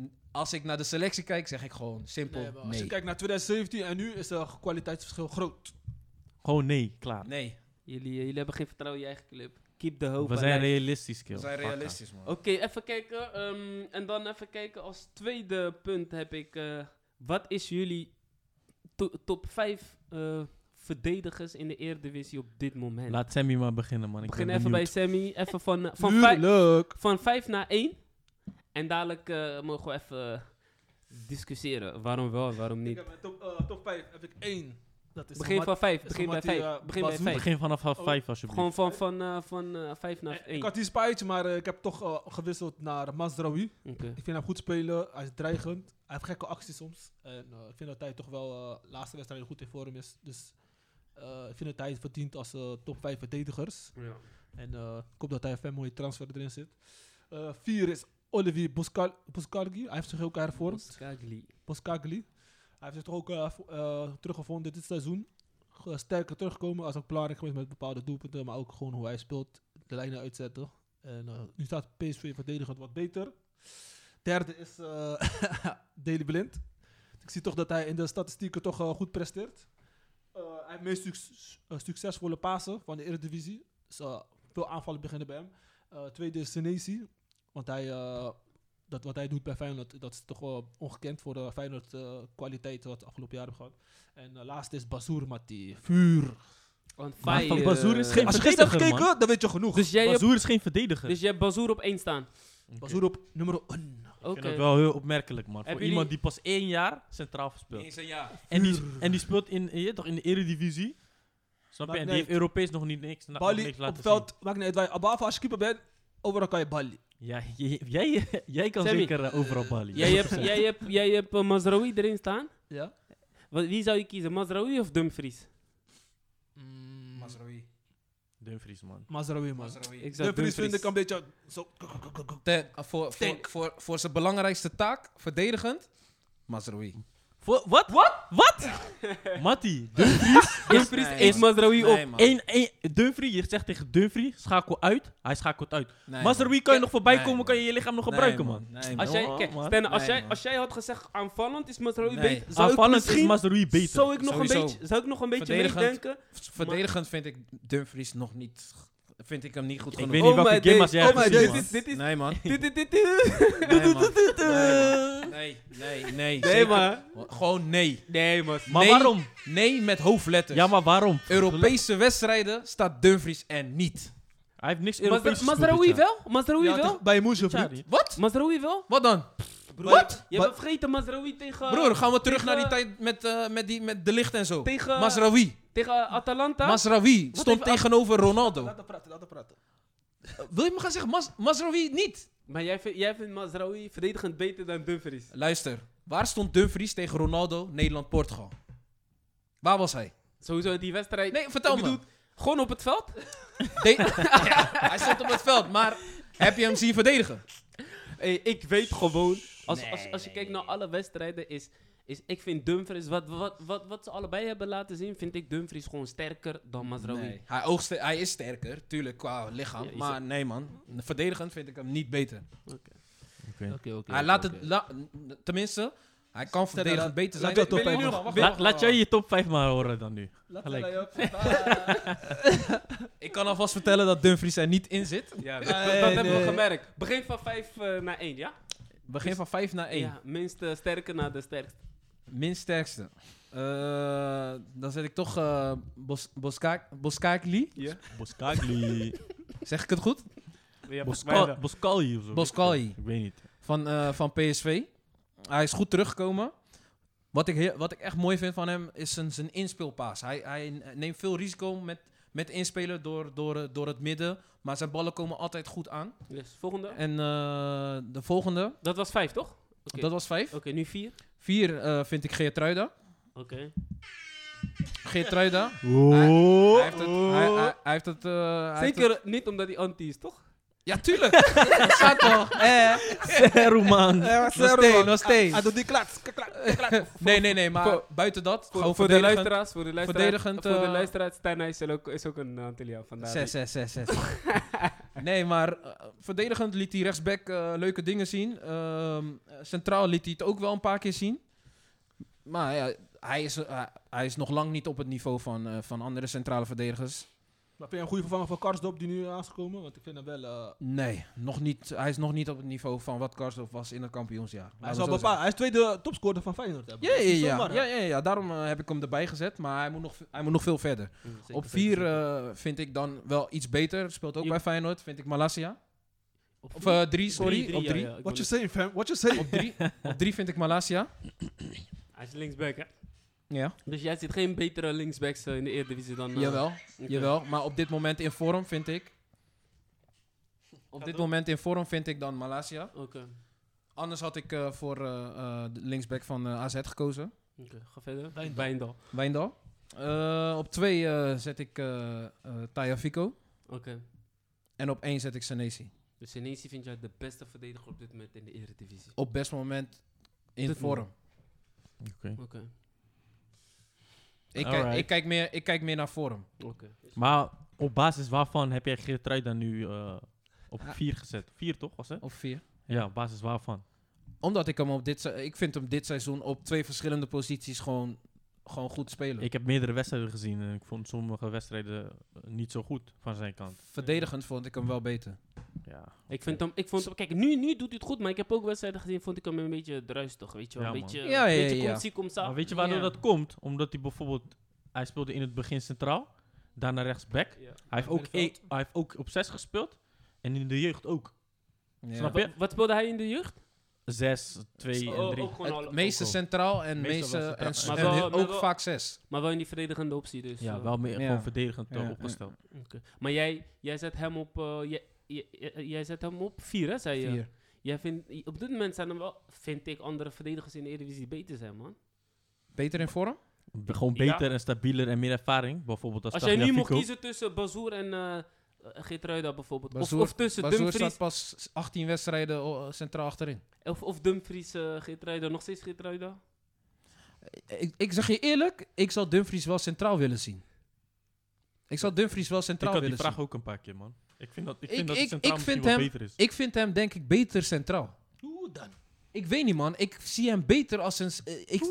[SPEAKER 3] n- als ik naar de selectie kijk, zeg ik gewoon simpel
[SPEAKER 1] Nee,
[SPEAKER 3] nee.
[SPEAKER 1] maar als je kijkt naar 2017 en nu is het kwaliteitsverschil groot.
[SPEAKER 4] Gewoon nee, klaar.
[SPEAKER 3] Nee,
[SPEAKER 2] jullie, eh, jullie hebben geen vertrouwen in je eigen club. Keep the hope
[SPEAKER 4] We zijn
[SPEAKER 2] alive.
[SPEAKER 4] realistisch, kill.
[SPEAKER 3] we zijn
[SPEAKER 4] Fakka.
[SPEAKER 3] realistisch, man.
[SPEAKER 2] Oké, even kijken. ehm, en dan even kijken. Als tweede punt heb ik... eh, wat is jullie to- top 5 verdedigers in de Eredivisie op dit moment.
[SPEAKER 4] Laat Sammy maar beginnen, man. Ik
[SPEAKER 2] Ik begin
[SPEAKER 4] ben
[SPEAKER 2] even bij
[SPEAKER 4] benieuwd.
[SPEAKER 2] Sammy. Even van, eh, van, vijf,
[SPEAKER 1] Tuurlijk.
[SPEAKER 2] van vijf naar één. En dadelijk eh, mogen we even discussiëren. Waarom wel, waarom
[SPEAKER 1] Ik
[SPEAKER 2] niet.
[SPEAKER 1] heb mijn top, eh, top 5 heb ik één. Dat is
[SPEAKER 2] Begin
[SPEAKER 1] Samad-
[SPEAKER 2] van vijf.
[SPEAKER 1] is
[SPEAKER 2] Begin bij
[SPEAKER 1] Samad die,
[SPEAKER 2] vijf.
[SPEAKER 1] eh,
[SPEAKER 2] Begin bij
[SPEAKER 1] Bazou-
[SPEAKER 2] vijf.
[SPEAKER 4] Begin vanaf half
[SPEAKER 1] Oh,
[SPEAKER 4] vijf, alsjeblieft.
[SPEAKER 2] Gewoon van, van, eh, van eh, vijf naar
[SPEAKER 1] Ik
[SPEAKER 2] één.
[SPEAKER 1] had die spijtje, maar eh, ik heb toch eh, gewisseld naar Mazraoui.
[SPEAKER 2] Oké.
[SPEAKER 1] Ik vind hem goed spelen. Hij is dreigend. Hij heeft gekke acties soms. En eh, ik vind dat hij toch wel eh, de laatste wedstrijd goed in vorm is. Dus eh, ik vind dat hij het verdient als eh, top 5 verdedigers. En eh, ik hoop dat hij even een mooie transfer erin zit. Eh, vier is Olivier Buscal- Buscagli. Hij heeft zich ook hervormd.
[SPEAKER 2] Boskagli.
[SPEAKER 1] Boskagli. Hij heeft zich toch ook eh, vo- eh, teruggevonden dit seizoen. Ge- Sterker terugkomen als ook belangrijk geweest met bepaalde doelpunten, maar ook gewoon hoe hij speelt, de lijnen uitzetten. En eh, nu staat PSV verdedigend wat beter. Derde is eh Deli Blind. Ik zie toch dat hij in de statistieken toch eh, goed presteert. Eh, hij heeft meest suc- eh, succesvolle pasen van de Eredivisie. Dus, eh, veel aanvallen beginnen bij hem. Eh, tweede is Senesi. Want hij, eh, dat wat hij doet bij Feyenoord, dat is toch wel ongekend voor de Feyenoord eh, kwaliteit wat de afgelopen jaren hebben gehad. En eh, laatste is Bazoer, Matti. Vuur.
[SPEAKER 2] On
[SPEAKER 4] Maar
[SPEAKER 2] fire.
[SPEAKER 4] Van Bazoer is geen
[SPEAKER 1] eh, Als je gisteren hebt
[SPEAKER 4] verdediger,
[SPEAKER 1] gekeken, dan weet je genoeg.
[SPEAKER 2] Dus jij, hebt,
[SPEAKER 4] Bazoer is geen verdediger.
[SPEAKER 2] dus jij hebt Bazoer op één staan.
[SPEAKER 4] Oké.
[SPEAKER 1] Bazoer op nummer 1.
[SPEAKER 2] Oké.
[SPEAKER 4] Ik vind dat wel heel opmerkelijk, man.
[SPEAKER 2] Hebben
[SPEAKER 4] Voor
[SPEAKER 2] jullie-
[SPEAKER 4] iemand die pas één jaar centraal speelt.
[SPEAKER 3] Eens een jaar.
[SPEAKER 4] En die, en die speelt in, je, weet toch, in de eredivisie. Snap je?
[SPEAKER 1] Maar
[SPEAKER 4] en die
[SPEAKER 1] nee.
[SPEAKER 4] heeft Europees nog niet niks, nog
[SPEAKER 1] Bali
[SPEAKER 4] niks
[SPEAKER 1] op
[SPEAKER 4] laten
[SPEAKER 1] het veld, maakt niet uit waar je, behalve als je keeper bent, overal kan je Bali.
[SPEAKER 4] zien. Ja, jij, jij, jij kan
[SPEAKER 2] Sammy.
[SPEAKER 4] zeker eh, overal Bali.
[SPEAKER 2] Jij hebt, jij hebt, jij hebt eh, Mazraoui erin staan.
[SPEAKER 1] Ja?
[SPEAKER 2] Wat, wie zou je kiezen, Mazraoui of Dumfries?
[SPEAKER 3] Mm. Mazraoui.
[SPEAKER 4] Dumfries, man.
[SPEAKER 1] Mazraoui, man.
[SPEAKER 3] Mazraoui.
[SPEAKER 2] Ik zou
[SPEAKER 1] Dumfries vind ik een beetje zo...
[SPEAKER 3] Ten- eh, voor, voor,
[SPEAKER 2] Ten-
[SPEAKER 3] voor, voor zijn belangrijkste taak, verdedigend, Mazraoui.
[SPEAKER 4] Voor, wat? Wat? Wat? Matty, Dumfries, Dumfries
[SPEAKER 3] Nee,
[SPEAKER 4] is
[SPEAKER 2] Is Mazraoui
[SPEAKER 3] Nee,
[SPEAKER 2] op?
[SPEAKER 3] man.
[SPEAKER 4] Eén, één, Dumfries, je zegt tegen Dumfries, schakel uit. Hij schakelt uit.
[SPEAKER 3] Nee,
[SPEAKER 4] Mazraoui
[SPEAKER 3] man.
[SPEAKER 4] kan je nog voorbij
[SPEAKER 3] Nee,
[SPEAKER 4] komen,
[SPEAKER 3] man.
[SPEAKER 4] kan je je lichaam nog
[SPEAKER 3] Nee,
[SPEAKER 4] gebruiken, man.
[SPEAKER 3] Nee, man.
[SPEAKER 2] Als jij,
[SPEAKER 4] Oh,
[SPEAKER 2] kijk,
[SPEAKER 4] man.
[SPEAKER 2] Stenna, als,
[SPEAKER 3] Nee,
[SPEAKER 2] jij,
[SPEAKER 3] man.
[SPEAKER 2] als jij had gezegd aanvallend is Mazraoui
[SPEAKER 3] Nee.
[SPEAKER 2] beter. zou ik
[SPEAKER 4] Aanvallend is
[SPEAKER 2] misschien-
[SPEAKER 4] Mazraoui beter.
[SPEAKER 2] Zou ik nog een
[SPEAKER 3] Sowieso.
[SPEAKER 2] beetje, zou ik nog een beetje
[SPEAKER 3] Verdedigend.
[SPEAKER 2] meedenken?
[SPEAKER 3] Verdedigend vind ik Dumfries nog niet. Vind ik hem niet goed
[SPEAKER 4] Ik
[SPEAKER 3] genoeg.
[SPEAKER 4] weet niet welke
[SPEAKER 2] Oh my
[SPEAKER 4] game
[SPEAKER 2] days,
[SPEAKER 4] jij hebt
[SPEAKER 2] my
[SPEAKER 4] gezien,
[SPEAKER 2] days,
[SPEAKER 4] man.
[SPEAKER 2] dit- dit is-
[SPEAKER 3] Nee, man.
[SPEAKER 2] dit- dit- dit- dit-
[SPEAKER 3] Nee, man. Nee, nee, nee.
[SPEAKER 2] Nee,
[SPEAKER 3] zeker.
[SPEAKER 2] man.
[SPEAKER 3] Gewoon nee.
[SPEAKER 2] Nee, Dus- man.
[SPEAKER 4] Maar
[SPEAKER 3] Nee.
[SPEAKER 4] waarom?
[SPEAKER 3] Nee met hoofdletters.
[SPEAKER 4] Ja, maar waarom?
[SPEAKER 3] Europese wedstrijden staat Dumfries er niet.
[SPEAKER 4] Hij heeft niks
[SPEAKER 2] Mazra-
[SPEAKER 4] Europees gespeeld
[SPEAKER 2] Mazraoui
[SPEAKER 4] dit jaar.
[SPEAKER 2] wel? Mazraoui wel?
[SPEAKER 1] Bij Moesje, vriend.
[SPEAKER 4] Tjari.
[SPEAKER 3] Wat?
[SPEAKER 2] Mazraoui wel?
[SPEAKER 3] Wat dan?
[SPEAKER 2] Wat? Je
[SPEAKER 1] Wat?
[SPEAKER 2] hebt vergeten Mazraoui tegen...
[SPEAKER 3] Broer, gaan we terug
[SPEAKER 2] tegen-
[SPEAKER 3] naar die tijd met, eh, met, die, met de licht en zo.
[SPEAKER 2] Tegen-
[SPEAKER 3] Masraoui.
[SPEAKER 2] Tegen Atalanta?
[SPEAKER 3] Masraoui stond
[SPEAKER 2] even af-
[SPEAKER 3] tegenover Ronaldo.
[SPEAKER 1] Laat hem praten, laat hem praten.
[SPEAKER 3] Wil je me gaan zeggen, Mas Masraoui niet?
[SPEAKER 2] Maar jij, vindt- jij vindt Mazraoui verdedigend beter dan Dumfries.
[SPEAKER 3] Luister, waar stond Dumfries tegen Ronaldo, Nederland-Portugal? Waar was hij?
[SPEAKER 2] Sowieso die wedstrijd.
[SPEAKER 3] Nee, vertel
[SPEAKER 2] Ik
[SPEAKER 3] me.
[SPEAKER 2] bedoel, Gewoon op het veld?
[SPEAKER 3] De- Ja, hij stond op het veld, maar heb je hem zien verdedigen?
[SPEAKER 2] Hey, ik weet gewoon. Als,
[SPEAKER 3] Nee,
[SPEAKER 2] als, als je
[SPEAKER 3] nee,
[SPEAKER 2] kijkt
[SPEAKER 3] nee,
[SPEAKER 2] naar alle wedstrijden, is, is. Ik vind Dumfries. Wat, wat, wat, wat ze allebei hebben laten zien, vind ik Dumfries gewoon sterker dan Mazraoui.
[SPEAKER 3] Nee. Hij, oogst, hij is sterker, tuurlijk, qua lichaam.
[SPEAKER 2] E. Ja, je
[SPEAKER 3] maar nee, man. Verdedigend vind ik hem niet beter.
[SPEAKER 4] Oké.
[SPEAKER 2] Oké, oké.
[SPEAKER 3] hij laat het... la- n- tenminste, hij kan verdedigend
[SPEAKER 1] laat-
[SPEAKER 3] beter zijn.
[SPEAKER 1] laat dat op-
[SPEAKER 3] Wacht,
[SPEAKER 1] Wil-
[SPEAKER 3] wacht, wacht,
[SPEAKER 4] Laat-
[SPEAKER 3] wacht,
[SPEAKER 4] Laat
[SPEAKER 3] wacht.
[SPEAKER 4] jij je top 5 maar horen dan nu. Gelijk.
[SPEAKER 3] Ik kan alvast vertellen dat Dumfries er niet in zit.
[SPEAKER 2] Ja, dat,
[SPEAKER 1] Nee,
[SPEAKER 2] dat
[SPEAKER 1] nee.
[SPEAKER 2] hebben we gemerkt. Begin van 5 naar 1, ja?
[SPEAKER 3] Begin van 5 naar 1.
[SPEAKER 2] Ja, minst eh, sterker naar de sterkste.
[SPEAKER 3] Minst sterkste. Eh, dan zet ik toch eh Bos, Boska- Boskakli.
[SPEAKER 2] Ja?
[SPEAKER 4] Boskagli.
[SPEAKER 3] Zeg ik het goed?
[SPEAKER 4] Boska- Boscali of zo.
[SPEAKER 3] Boscali.
[SPEAKER 4] Ik weet niet.
[SPEAKER 3] Van, eh, van PSV. Hij is goed teruggekomen. Wat ik, heel- wat ik echt mooi vind van hem is zijn, zijn inspeelpaas. Hij, hij neemt veel risico met, met inspelen door, door, eh, door het midden. Maar zijn ballen komen altijd goed aan.
[SPEAKER 2] Yes, volgende.
[SPEAKER 3] En eh, de volgende,
[SPEAKER 2] Dat was 5, toch? Oké,
[SPEAKER 3] dat was vijf.
[SPEAKER 2] Oké, nu 4.
[SPEAKER 3] Vier eh, vind ik Geertruida.
[SPEAKER 2] Oké.
[SPEAKER 3] Geertruida.
[SPEAKER 4] Oh.
[SPEAKER 3] Hij heeft het. Hij, hij, hij heeft het eh, hij heeft
[SPEAKER 2] Zeker niet omdat hij anti is, toch?
[SPEAKER 3] het- Ja, tuurlijk. Dat staat toch. Eh,
[SPEAKER 4] Seruman.
[SPEAKER 3] nog steeds, nog steeds.
[SPEAKER 1] Hij doet die klats. kak, klak.
[SPEAKER 3] Nee, nee, nee, maar
[SPEAKER 2] voor-
[SPEAKER 3] buiten dat.
[SPEAKER 2] Voor,
[SPEAKER 3] gewoon
[SPEAKER 2] voor de
[SPEAKER 3] verdedigend.
[SPEAKER 2] luisteraars, voor de luisteraars.
[SPEAKER 3] verdedigend,
[SPEAKER 2] voor de
[SPEAKER 3] eh,
[SPEAKER 2] luisteraars, Stijn is ook, is ook een eh, Antilia vandaag.
[SPEAKER 3] Zes, zes, zes, zes. nee, maar eh, verdedigend liet hij rechtsback eh, leuke dingen zien. Ehm, eh, centraal liet hij het ook wel een paar keer zien. Maar ja, hij is, eh, hij is nog lang niet op het niveau van, eh, van andere centrale verdedigers.
[SPEAKER 1] Maar vind je een goede vervanger voor Karsdorp die nu aangekomen? Want ik vind hem wel... eh,
[SPEAKER 3] Nee, nog niet, hij is nog niet op het niveau van wat Karsdorp was in het kampioensjaar.
[SPEAKER 1] hij,
[SPEAKER 3] Laten
[SPEAKER 1] zal
[SPEAKER 3] we zo
[SPEAKER 1] bepaal, hij is tweede topscorer van Feyenoord. Hebben.
[SPEAKER 3] Ja,
[SPEAKER 1] Dat is niet
[SPEAKER 3] ja, ja,
[SPEAKER 1] zomaar, hè?
[SPEAKER 3] ja, ja, ja. daarom eh, heb ik hem erbij gezet. Maar hij moet nog, hij moet nog veel verder. op vier eh, vind ik dan wel iets beter. Speelt ook
[SPEAKER 2] Je-
[SPEAKER 3] bij Feyenoord, vind ik Malasia. Of
[SPEAKER 2] vier?
[SPEAKER 3] eh, drie, sorry.
[SPEAKER 2] Drie,
[SPEAKER 3] op,
[SPEAKER 2] ja,
[SPEAKER 3] drie.
[SPEAKER 2] ja, ik
[SPEAKER 1] What
[SPEAKER 2] wou
[SPEAKER 1] you saying, fam? What you saying?
[SPEAKER 3] op drie. Op drie vind ik Malasia.
[SPEAKER 2] net- Hij is linksback, hè?
[SPEAKER 3] Ja.
[SPEAKER 2] Dus jij ziet geen betere linksbacks eh, in de Eredivisie dan... eh,
[SPEAKER 3] Jawel,
[SPEAKER 2] oké.
[SPEAKER 3] jawel. Maar op dit moment in vorm vind ik... Op dit
[SPEAKER 2] door.
[SPEAKER 3] moment in vorm vind ik dan Malasia.
[SPEAKER 2] Oké,
[SPEAKER 3] Anders had ik eh, voor eh, eh, de linksback van eh, AZ gekozen.
[SPEAKER 2] oké, ga verder.
[SPEAKER 1] Wijndal.
[SPEAKER 2] Wijndal.
[SPEAKER 3] Wijndal. Eh, op twee eh, zet ik eh eh Taya Fico.
[SPEAKER 2] Oké.
[SPEAKER 3] En op één zet ik Senesi.
[SPEAKER 2] Dus Senesi vind jij de beste verdediger op dit moment in de Eredivisie?
[SPEAKER 3] Op best moment in
[SPEAKER 2] Dit
[SPEAKER 3] vorm.
[SPEAKER 2] Oké,
[SPEAKER 3] Ik kijk,
[SPEAKER 4] Alright.
[SPEAKER 3] ik, kijk meer, ik kijk meer naar vorm.
[SPEAKER 2] oké.
[SPEAKER 4] Maar op basis waarvan heb jij Geertrui dan nu eh, op
[SPEAKER 3] Ah.
[SPEAKER 4] vier gezet? Vier toch, was het?
[SPEAKER 3] Op vier.
[SPEAKER 4] Ja, op basis waarvan?
[SPEAKER 3] Omdat ik hem op dit se- Ik vind hem dit seizoen op twee verschillende posities gewoon, gewoon goed spelen.
[SPEAKER 4] Ik heb meerdere wedstrijden gezien en ik vond sommige wedstrijden eh, niet zo goed van zijn kant.
[SPEAKER 3] Verdedigend vond ik hem wel beter.
[SPEAKER 4] Ja,
[SPEAKER 2] Ik, vind hem, ik vond hem... Kijk, nu, nu doet hij het goed, maar ik heb ook wedstrijden gezien, vond ik hem een beetje druistig, weet je wel.
[SPEAKER 4] Ja,
[SPEAKER 2] een
[SPEAKER 4] man.
[SPEAKER 2] beetje,
[SPEAKER 3] Ja, ja,
[SPEAKER 2] beetje
[SPEAKER 3] ja, ja.
[SPEAKER 2] komt-ie, komt-za.
[SPEAKER 4] Maar weet je waardoor
[SPEAKER 3] Ja.
[SPEAKER 4] dat komt? Omdat hij bijvoorbeeld... Hij speelde in het begin centraal, daarna rechtsback.
[SPEAKER 2] Ja.
[SPEAKER 4] Hij heeft, ook
[SPEAKER 1] middenveld.
[SPEAKER 4] één- hij heeft ook op zes gespeeld. En in de jeugd ook.
[SPEAKER 3] Ja.
[SPEAKER 4] Snap je?
[SPEAKER 2] Wat, wat speelde hij in de jeugd?
[SPEAKER 4] Zes, twee
[SPEAKER 2] Oh,
[SPEAKER 4] en drie.
[SPEAKER 2] ook gewoon alle-
[SPEAKER 3] Het meeste
[SPEAKER 4] ook wel.
[SPEAKER 3] centraal en
[SPEAKER 4] Meestal
[SPEAKER 3] meeste
[SPEAKER 4] wel
[SPEAKER 3] en,
[SPEAKER 4] centraal.
[SPEAKER 3] en
[SPEAKER 2] Maar wel-
[SPEAKER 3] ook
[SPEAKER 2] maar wel-
[SPEAKER 3] vaak zes.
[SPEAKER 2] Maar wel in die verdedigende optie, dus...
[SPEAKER 4] Ja,
[SPEAKER 2] eh,
[SPEAKER 4] wel meer
[SPEAKER 3] Ja.
[SPEAKER 4] gewoon verdedigend eh,
[SPEAKER 3] Ja, ja,
[SPEAKER 4] opgesteld.
[SPEAKER 2] oké. Maar jij, jij zet hem op... eh, jij, jij- jij- jij zet hem op vier, hè, zei je?
[SPEAKER 3] Vier.
[SPEAKER 2] Jij vindt, op dit moment zijn er wel, vind ik, andere verdedigers in de Eredivisie die beter zijn, man.
[SPEAKER 3] Beter in vorm?
[SPEAKER 4] Be- Gewoon
[SPEAKER 2] Ja.
[SPEAKER 4] beter en stabieler en meer ervaring. Bijvoorbeeld als,
[SPEAKER 2] Als jij nu mocht
[SPEAKER 4] Tagliafico.
[SPEAKER 2] kiezen tussen Bazoer en eh Geertruida bijvoorbeeld. Of,
[SPEAKER 3] Bazoer-
[SPEAKER 2] of tussen
[SPEAKER 3] Bazoer
[SPEAKER 2] Dumfries
[SPEAKER 3] staat pas 18 wedstrijden oh, centraal achterin.
[SPEAKER 2] Of, of Dumfries, eh Geertruida, nog steeds Geertruida?
[SPEAKER 3] Ik, ik zeg je eerlijk, ik zou Dumfries wel centraal willen zien. Ik zou Dumfries wel
[SPEAKER 4] Ik
[SPEAKER 3] centraal
[SPEAKER 4] had die
[SPEAKER 3] willen zien.
[SPEAKER 4] vraag ook een paar keer, man. Ik vind dat, ik
[SPEAKER 3] Ik-
[SPEAKER 4] vind dat het
[SPEAKER 3] ik-
[SPEAKER 4] centraal
[SPEAKER 3] ik
[SPEAKER 4] misschien
[SPEAKER 3] vind
[SPEAKER 4] wel
[SPEAKER 3] hem-
[SPEAKER 4] beter is.
[SPEAKER 3] Ik vind hem denk ik beter centraal.
[SPEAKER 1] Hoe dan?
[SPEAKER 3] Ik weet niet, man. Ik zie hem beter als een... s- eh, Ik,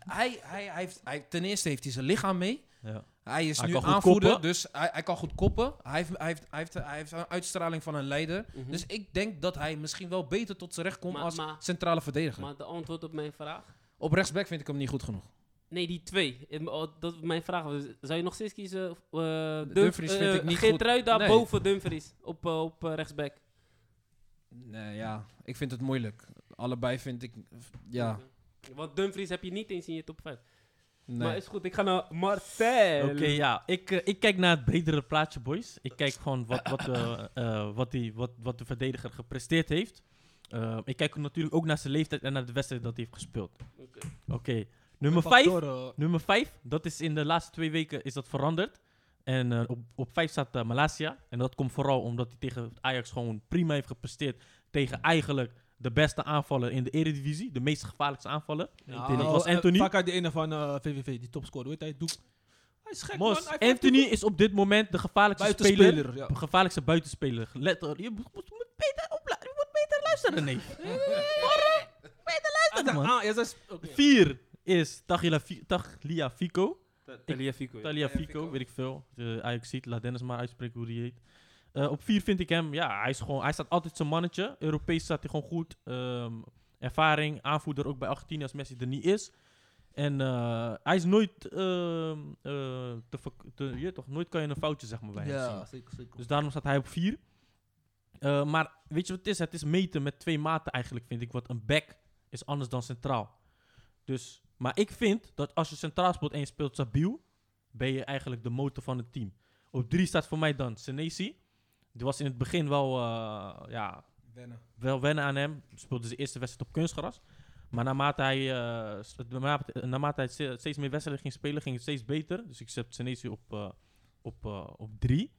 [SPEAKER 3] Hij, hij, hij heeft, hij, ten eerste heeft hij zijn lichaam mee.
[SPEAKER 4] Ja.
[SPEAKER 3] Hij is
[SPEAKER 4] Hij
[SPEAKER 3] nu
[SPEAKER 4] kan goed
[SPEAKER 3] aanvoerder,
[SPEAKER 4] koppen.
[SPEAKER 3] dus hij, hij kan goed koppen. Hij heeft, hij, heeft, hij, heeft, hij heeft een uitstraling van een leider.
[SPEAKER 2] Mhm.
[SPEAKER 3] Dus ik denk dat hij misschien wel beter tot zijn recht komt
[SPEAKER 2] Maar-
[SPEAKER 3] als
[SPEAKER 2] maar-
[SPEAKER 3] centrale verdediger.
[SPEAKER 2] Maar de antwoord op mijn vraag?
[SPEAKER 3] Op rechtsback vind ik hem niet goed genoeg.
[SPEAKER 2] Nee, die twee. In- oh, Dat mijn vraag was, zou je nog steeds kiezen? eh Dumf-
[SPEAKER 3] Dumfries
[SPEAKER 2] eh,
[SPEAKER 3] vind ik niet goed.
[SPEAKER 2] Geertruida
[SPEAKER 3] Nee.
[SPEAKER 2] boven Dumfries op, eh, op eh, rechtsback.
[SPEAKER 3] Nee, ja. Ik vind het moeilijk. Allebei vind ik... Ja,
[SPEAKER 2] Oké. Want Dumfries heb je niet eens in je top 5.
[SPEAKER 3] nee.
[SPEAKER 2] Maar is goed, ik ga naar Marcel.
[SPEAKER 4] Oké, ja. Ik, eh, ik kijk naar het bredere plaatje, boys. Ik kijk gewoon wat, wat, eh, eh, wat, die, wat, wat de verdediger gepresteerd heeft. Eh, ik kijk natuurlijk ook naar zijn leeftijd en naar de wedstrijd dat hij heeft gespeeld.
[SPEAKER 2] Oké.
[SPEAKER 4] Oké, nummer
[SPEAKER 1] Een
[SPEAKER 4] 5.
[SPEAKER 1] factor, eh,
[SPEAKER 4] Nummer 5, dat is in de laatste twee weken is dat veranderd. En eh, op, op 5 staat eh, Malasia. En dat komt vooral omdat hij tegen Ajax gewoon prima heeft gepresteerd. Tegen eigenlijk de beste aanvallen in de Eredivisie. De meest gevaarlijkste aanvallen.
[SPEAKER 1] Nou,
[SPEAKER 4] dat was
[SPEAKER 1] eh,
[SPEAKER 4] Anthony.
[SPEAKER 1] Vaak uit de ene van eh, VVV, die topscorer. Weet hij, Doek. Hij is gek,
[SPEAKER 4] Mos,
[SPEAKER 1] man. Hij heeft
[SPEAKER 4] Anthony is op dit moment de gevaarlijkste
[SPEAKER 1] buitenspeler.
[SPEAKER 4] speler.
[SPEAKER 1] ja.
[SPEAKER 4] De gevaarlijkste buitenspeler. Let er, je moet, moet- moet beter opla- je moet beter luisteren, nee.
[SPEAKER 1] Ah,
[SPEAKER 4] man.
[SPEAKER 1] ah, ja, dat is- oké.
[SPEAKER 4] 4 is Tagliafi- Tagliafico.
[SPEAKER 2] Taliafico. ja.
[SPEAKER 4] Talia Fico, weet ik veel. De Ajax ziet, laat Dennis maar uitspreken hoe die heet. Eh, op vier vind ik hem, ja, hij, is gewoon, hij staat altijd zijn mannetje. Europees staat hij gewoon goed. Ehm, ervaring, aanvoerder ook bij 18 als Messi er niet is. En eh, hij is nooit, ehm, eh, te, verk- te- je weet toch, nooit kan je een foutje zeg maar, bij hem zien.
[SPEAKER 1] Ja, zeker, zeker.
[SPEAKER 4] Dus daarom staat hij op 4. maar weet je wat het is? Het is meten met twee maten eigenlijk, vind ik. Want een back is anders dan centraal. Dus, maar ik vind dat als je centraal speelt en je speelt stabiel, ben je eigenlijk de motor van het team. Op 3 staat voor mij dan Senesi. Die was in het begin wel, eh, ja, wel wennen aan hem. Speelde zijn eerste wedstrijd op kunstgras. Maar naarmate hij, eh, s- naarmate, naarmate hij ste- steeds meer wedstrijden ging spelen, ging het steeds beter. Dus ik zet Senesi op, eh, op, eh, op drie.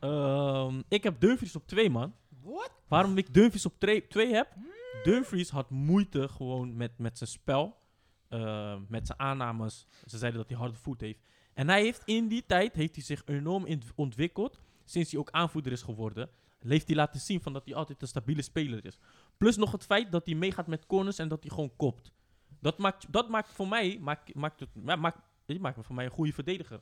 [SPEAKER 4] Ehm, ik heb Dumfries op twee, man.
[SPEAKER 1] What?
[SPEAKER 4] Waarom ik Dumfries op tre- twee heb? Dumfries had moeite gewoon met, met zijn spel. eh, met zijn aannames. Ze zeiden dat hij harde voet heeft. En hij heeft in die tijd heeft hij zich enorm in- ontwikkeld. Sinds hij ook aanvoerder is geworden. Heeft hij laten zien van dat hij altijd een stabiele speler is. Plus nog het feit dat hij meegaat met corners en dat hij gewoon kopt. Dat maakt, dat maakt voor mij, maakt, maakt, het, ja, maakt, die maakt hem voor mij een goede verdediger.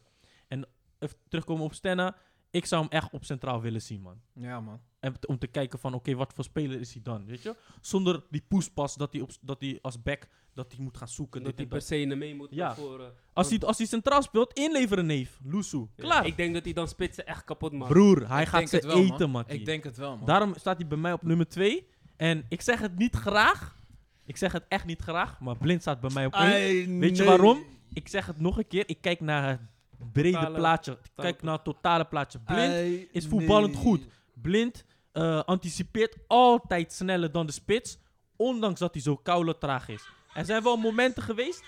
[SPEAKER 4] En even terugkomen op Stenna. Ik zou hem echt op centraal willen zien, man.
[SPEAKER 3] Ja, man.
[SPEAKER 4] En t- om te kijken van, oké, wat voor speler is hij dan, weet je? Zonder die poespas dat hij, op, dat hij als back dat hij moet gaan zoeken.
[SPEAKER 2] Dat
[SPEAKER 4] dit
[SPEAKER 2] hij
[SPEAKER 4] en
[SPEAKER 2] per
[SPEAKER 4] dat.
[SPEAKER 2] se in de mee moet eh,
[SPEAKER 4] Ja.
[SPEAKER 2] naar voren.
[SPEAKER 4] Als, hij, als hij centraal speelt, inleveren neef. Loesoe.
[SPEAKER 2] Ja,
[SPEAKER 4] Klaar.
[SPEAKER 2] Ik denk dat hij dan spitsen echt kapot maakt.
[SPEAKER 4] Broer, hij
[SPEAKER 3] Ik
[SPEAKER 4] gaat
[SPEAKER 3] denk
[SPEAKER 4] ze
[SPEAKER 3] het wel,
[SPEAKER 4] eten, man.
[SPEAKER 3] Ik denk het wel, man.
[SPEAKER 4] Oh. Daarom staat hij bij mij op nummer 2. En ik zeg het niet graag. Ik zeg het echt niet graag. Maar Blind staat bij mij op 1. Weet je waarom? Ik zeg het nog een keer. Ik kijk naar het brede
[SPEAKER 2] Totale-
[SPEAKER 4] plaatje. Ik kijk naar het totale plaatje. Blind is voetballend goed. Blind eh, anticipeert altijd sneller dan de spits. Ondanks dat hij zo koude traag is. Er zijn wel momenten geweest.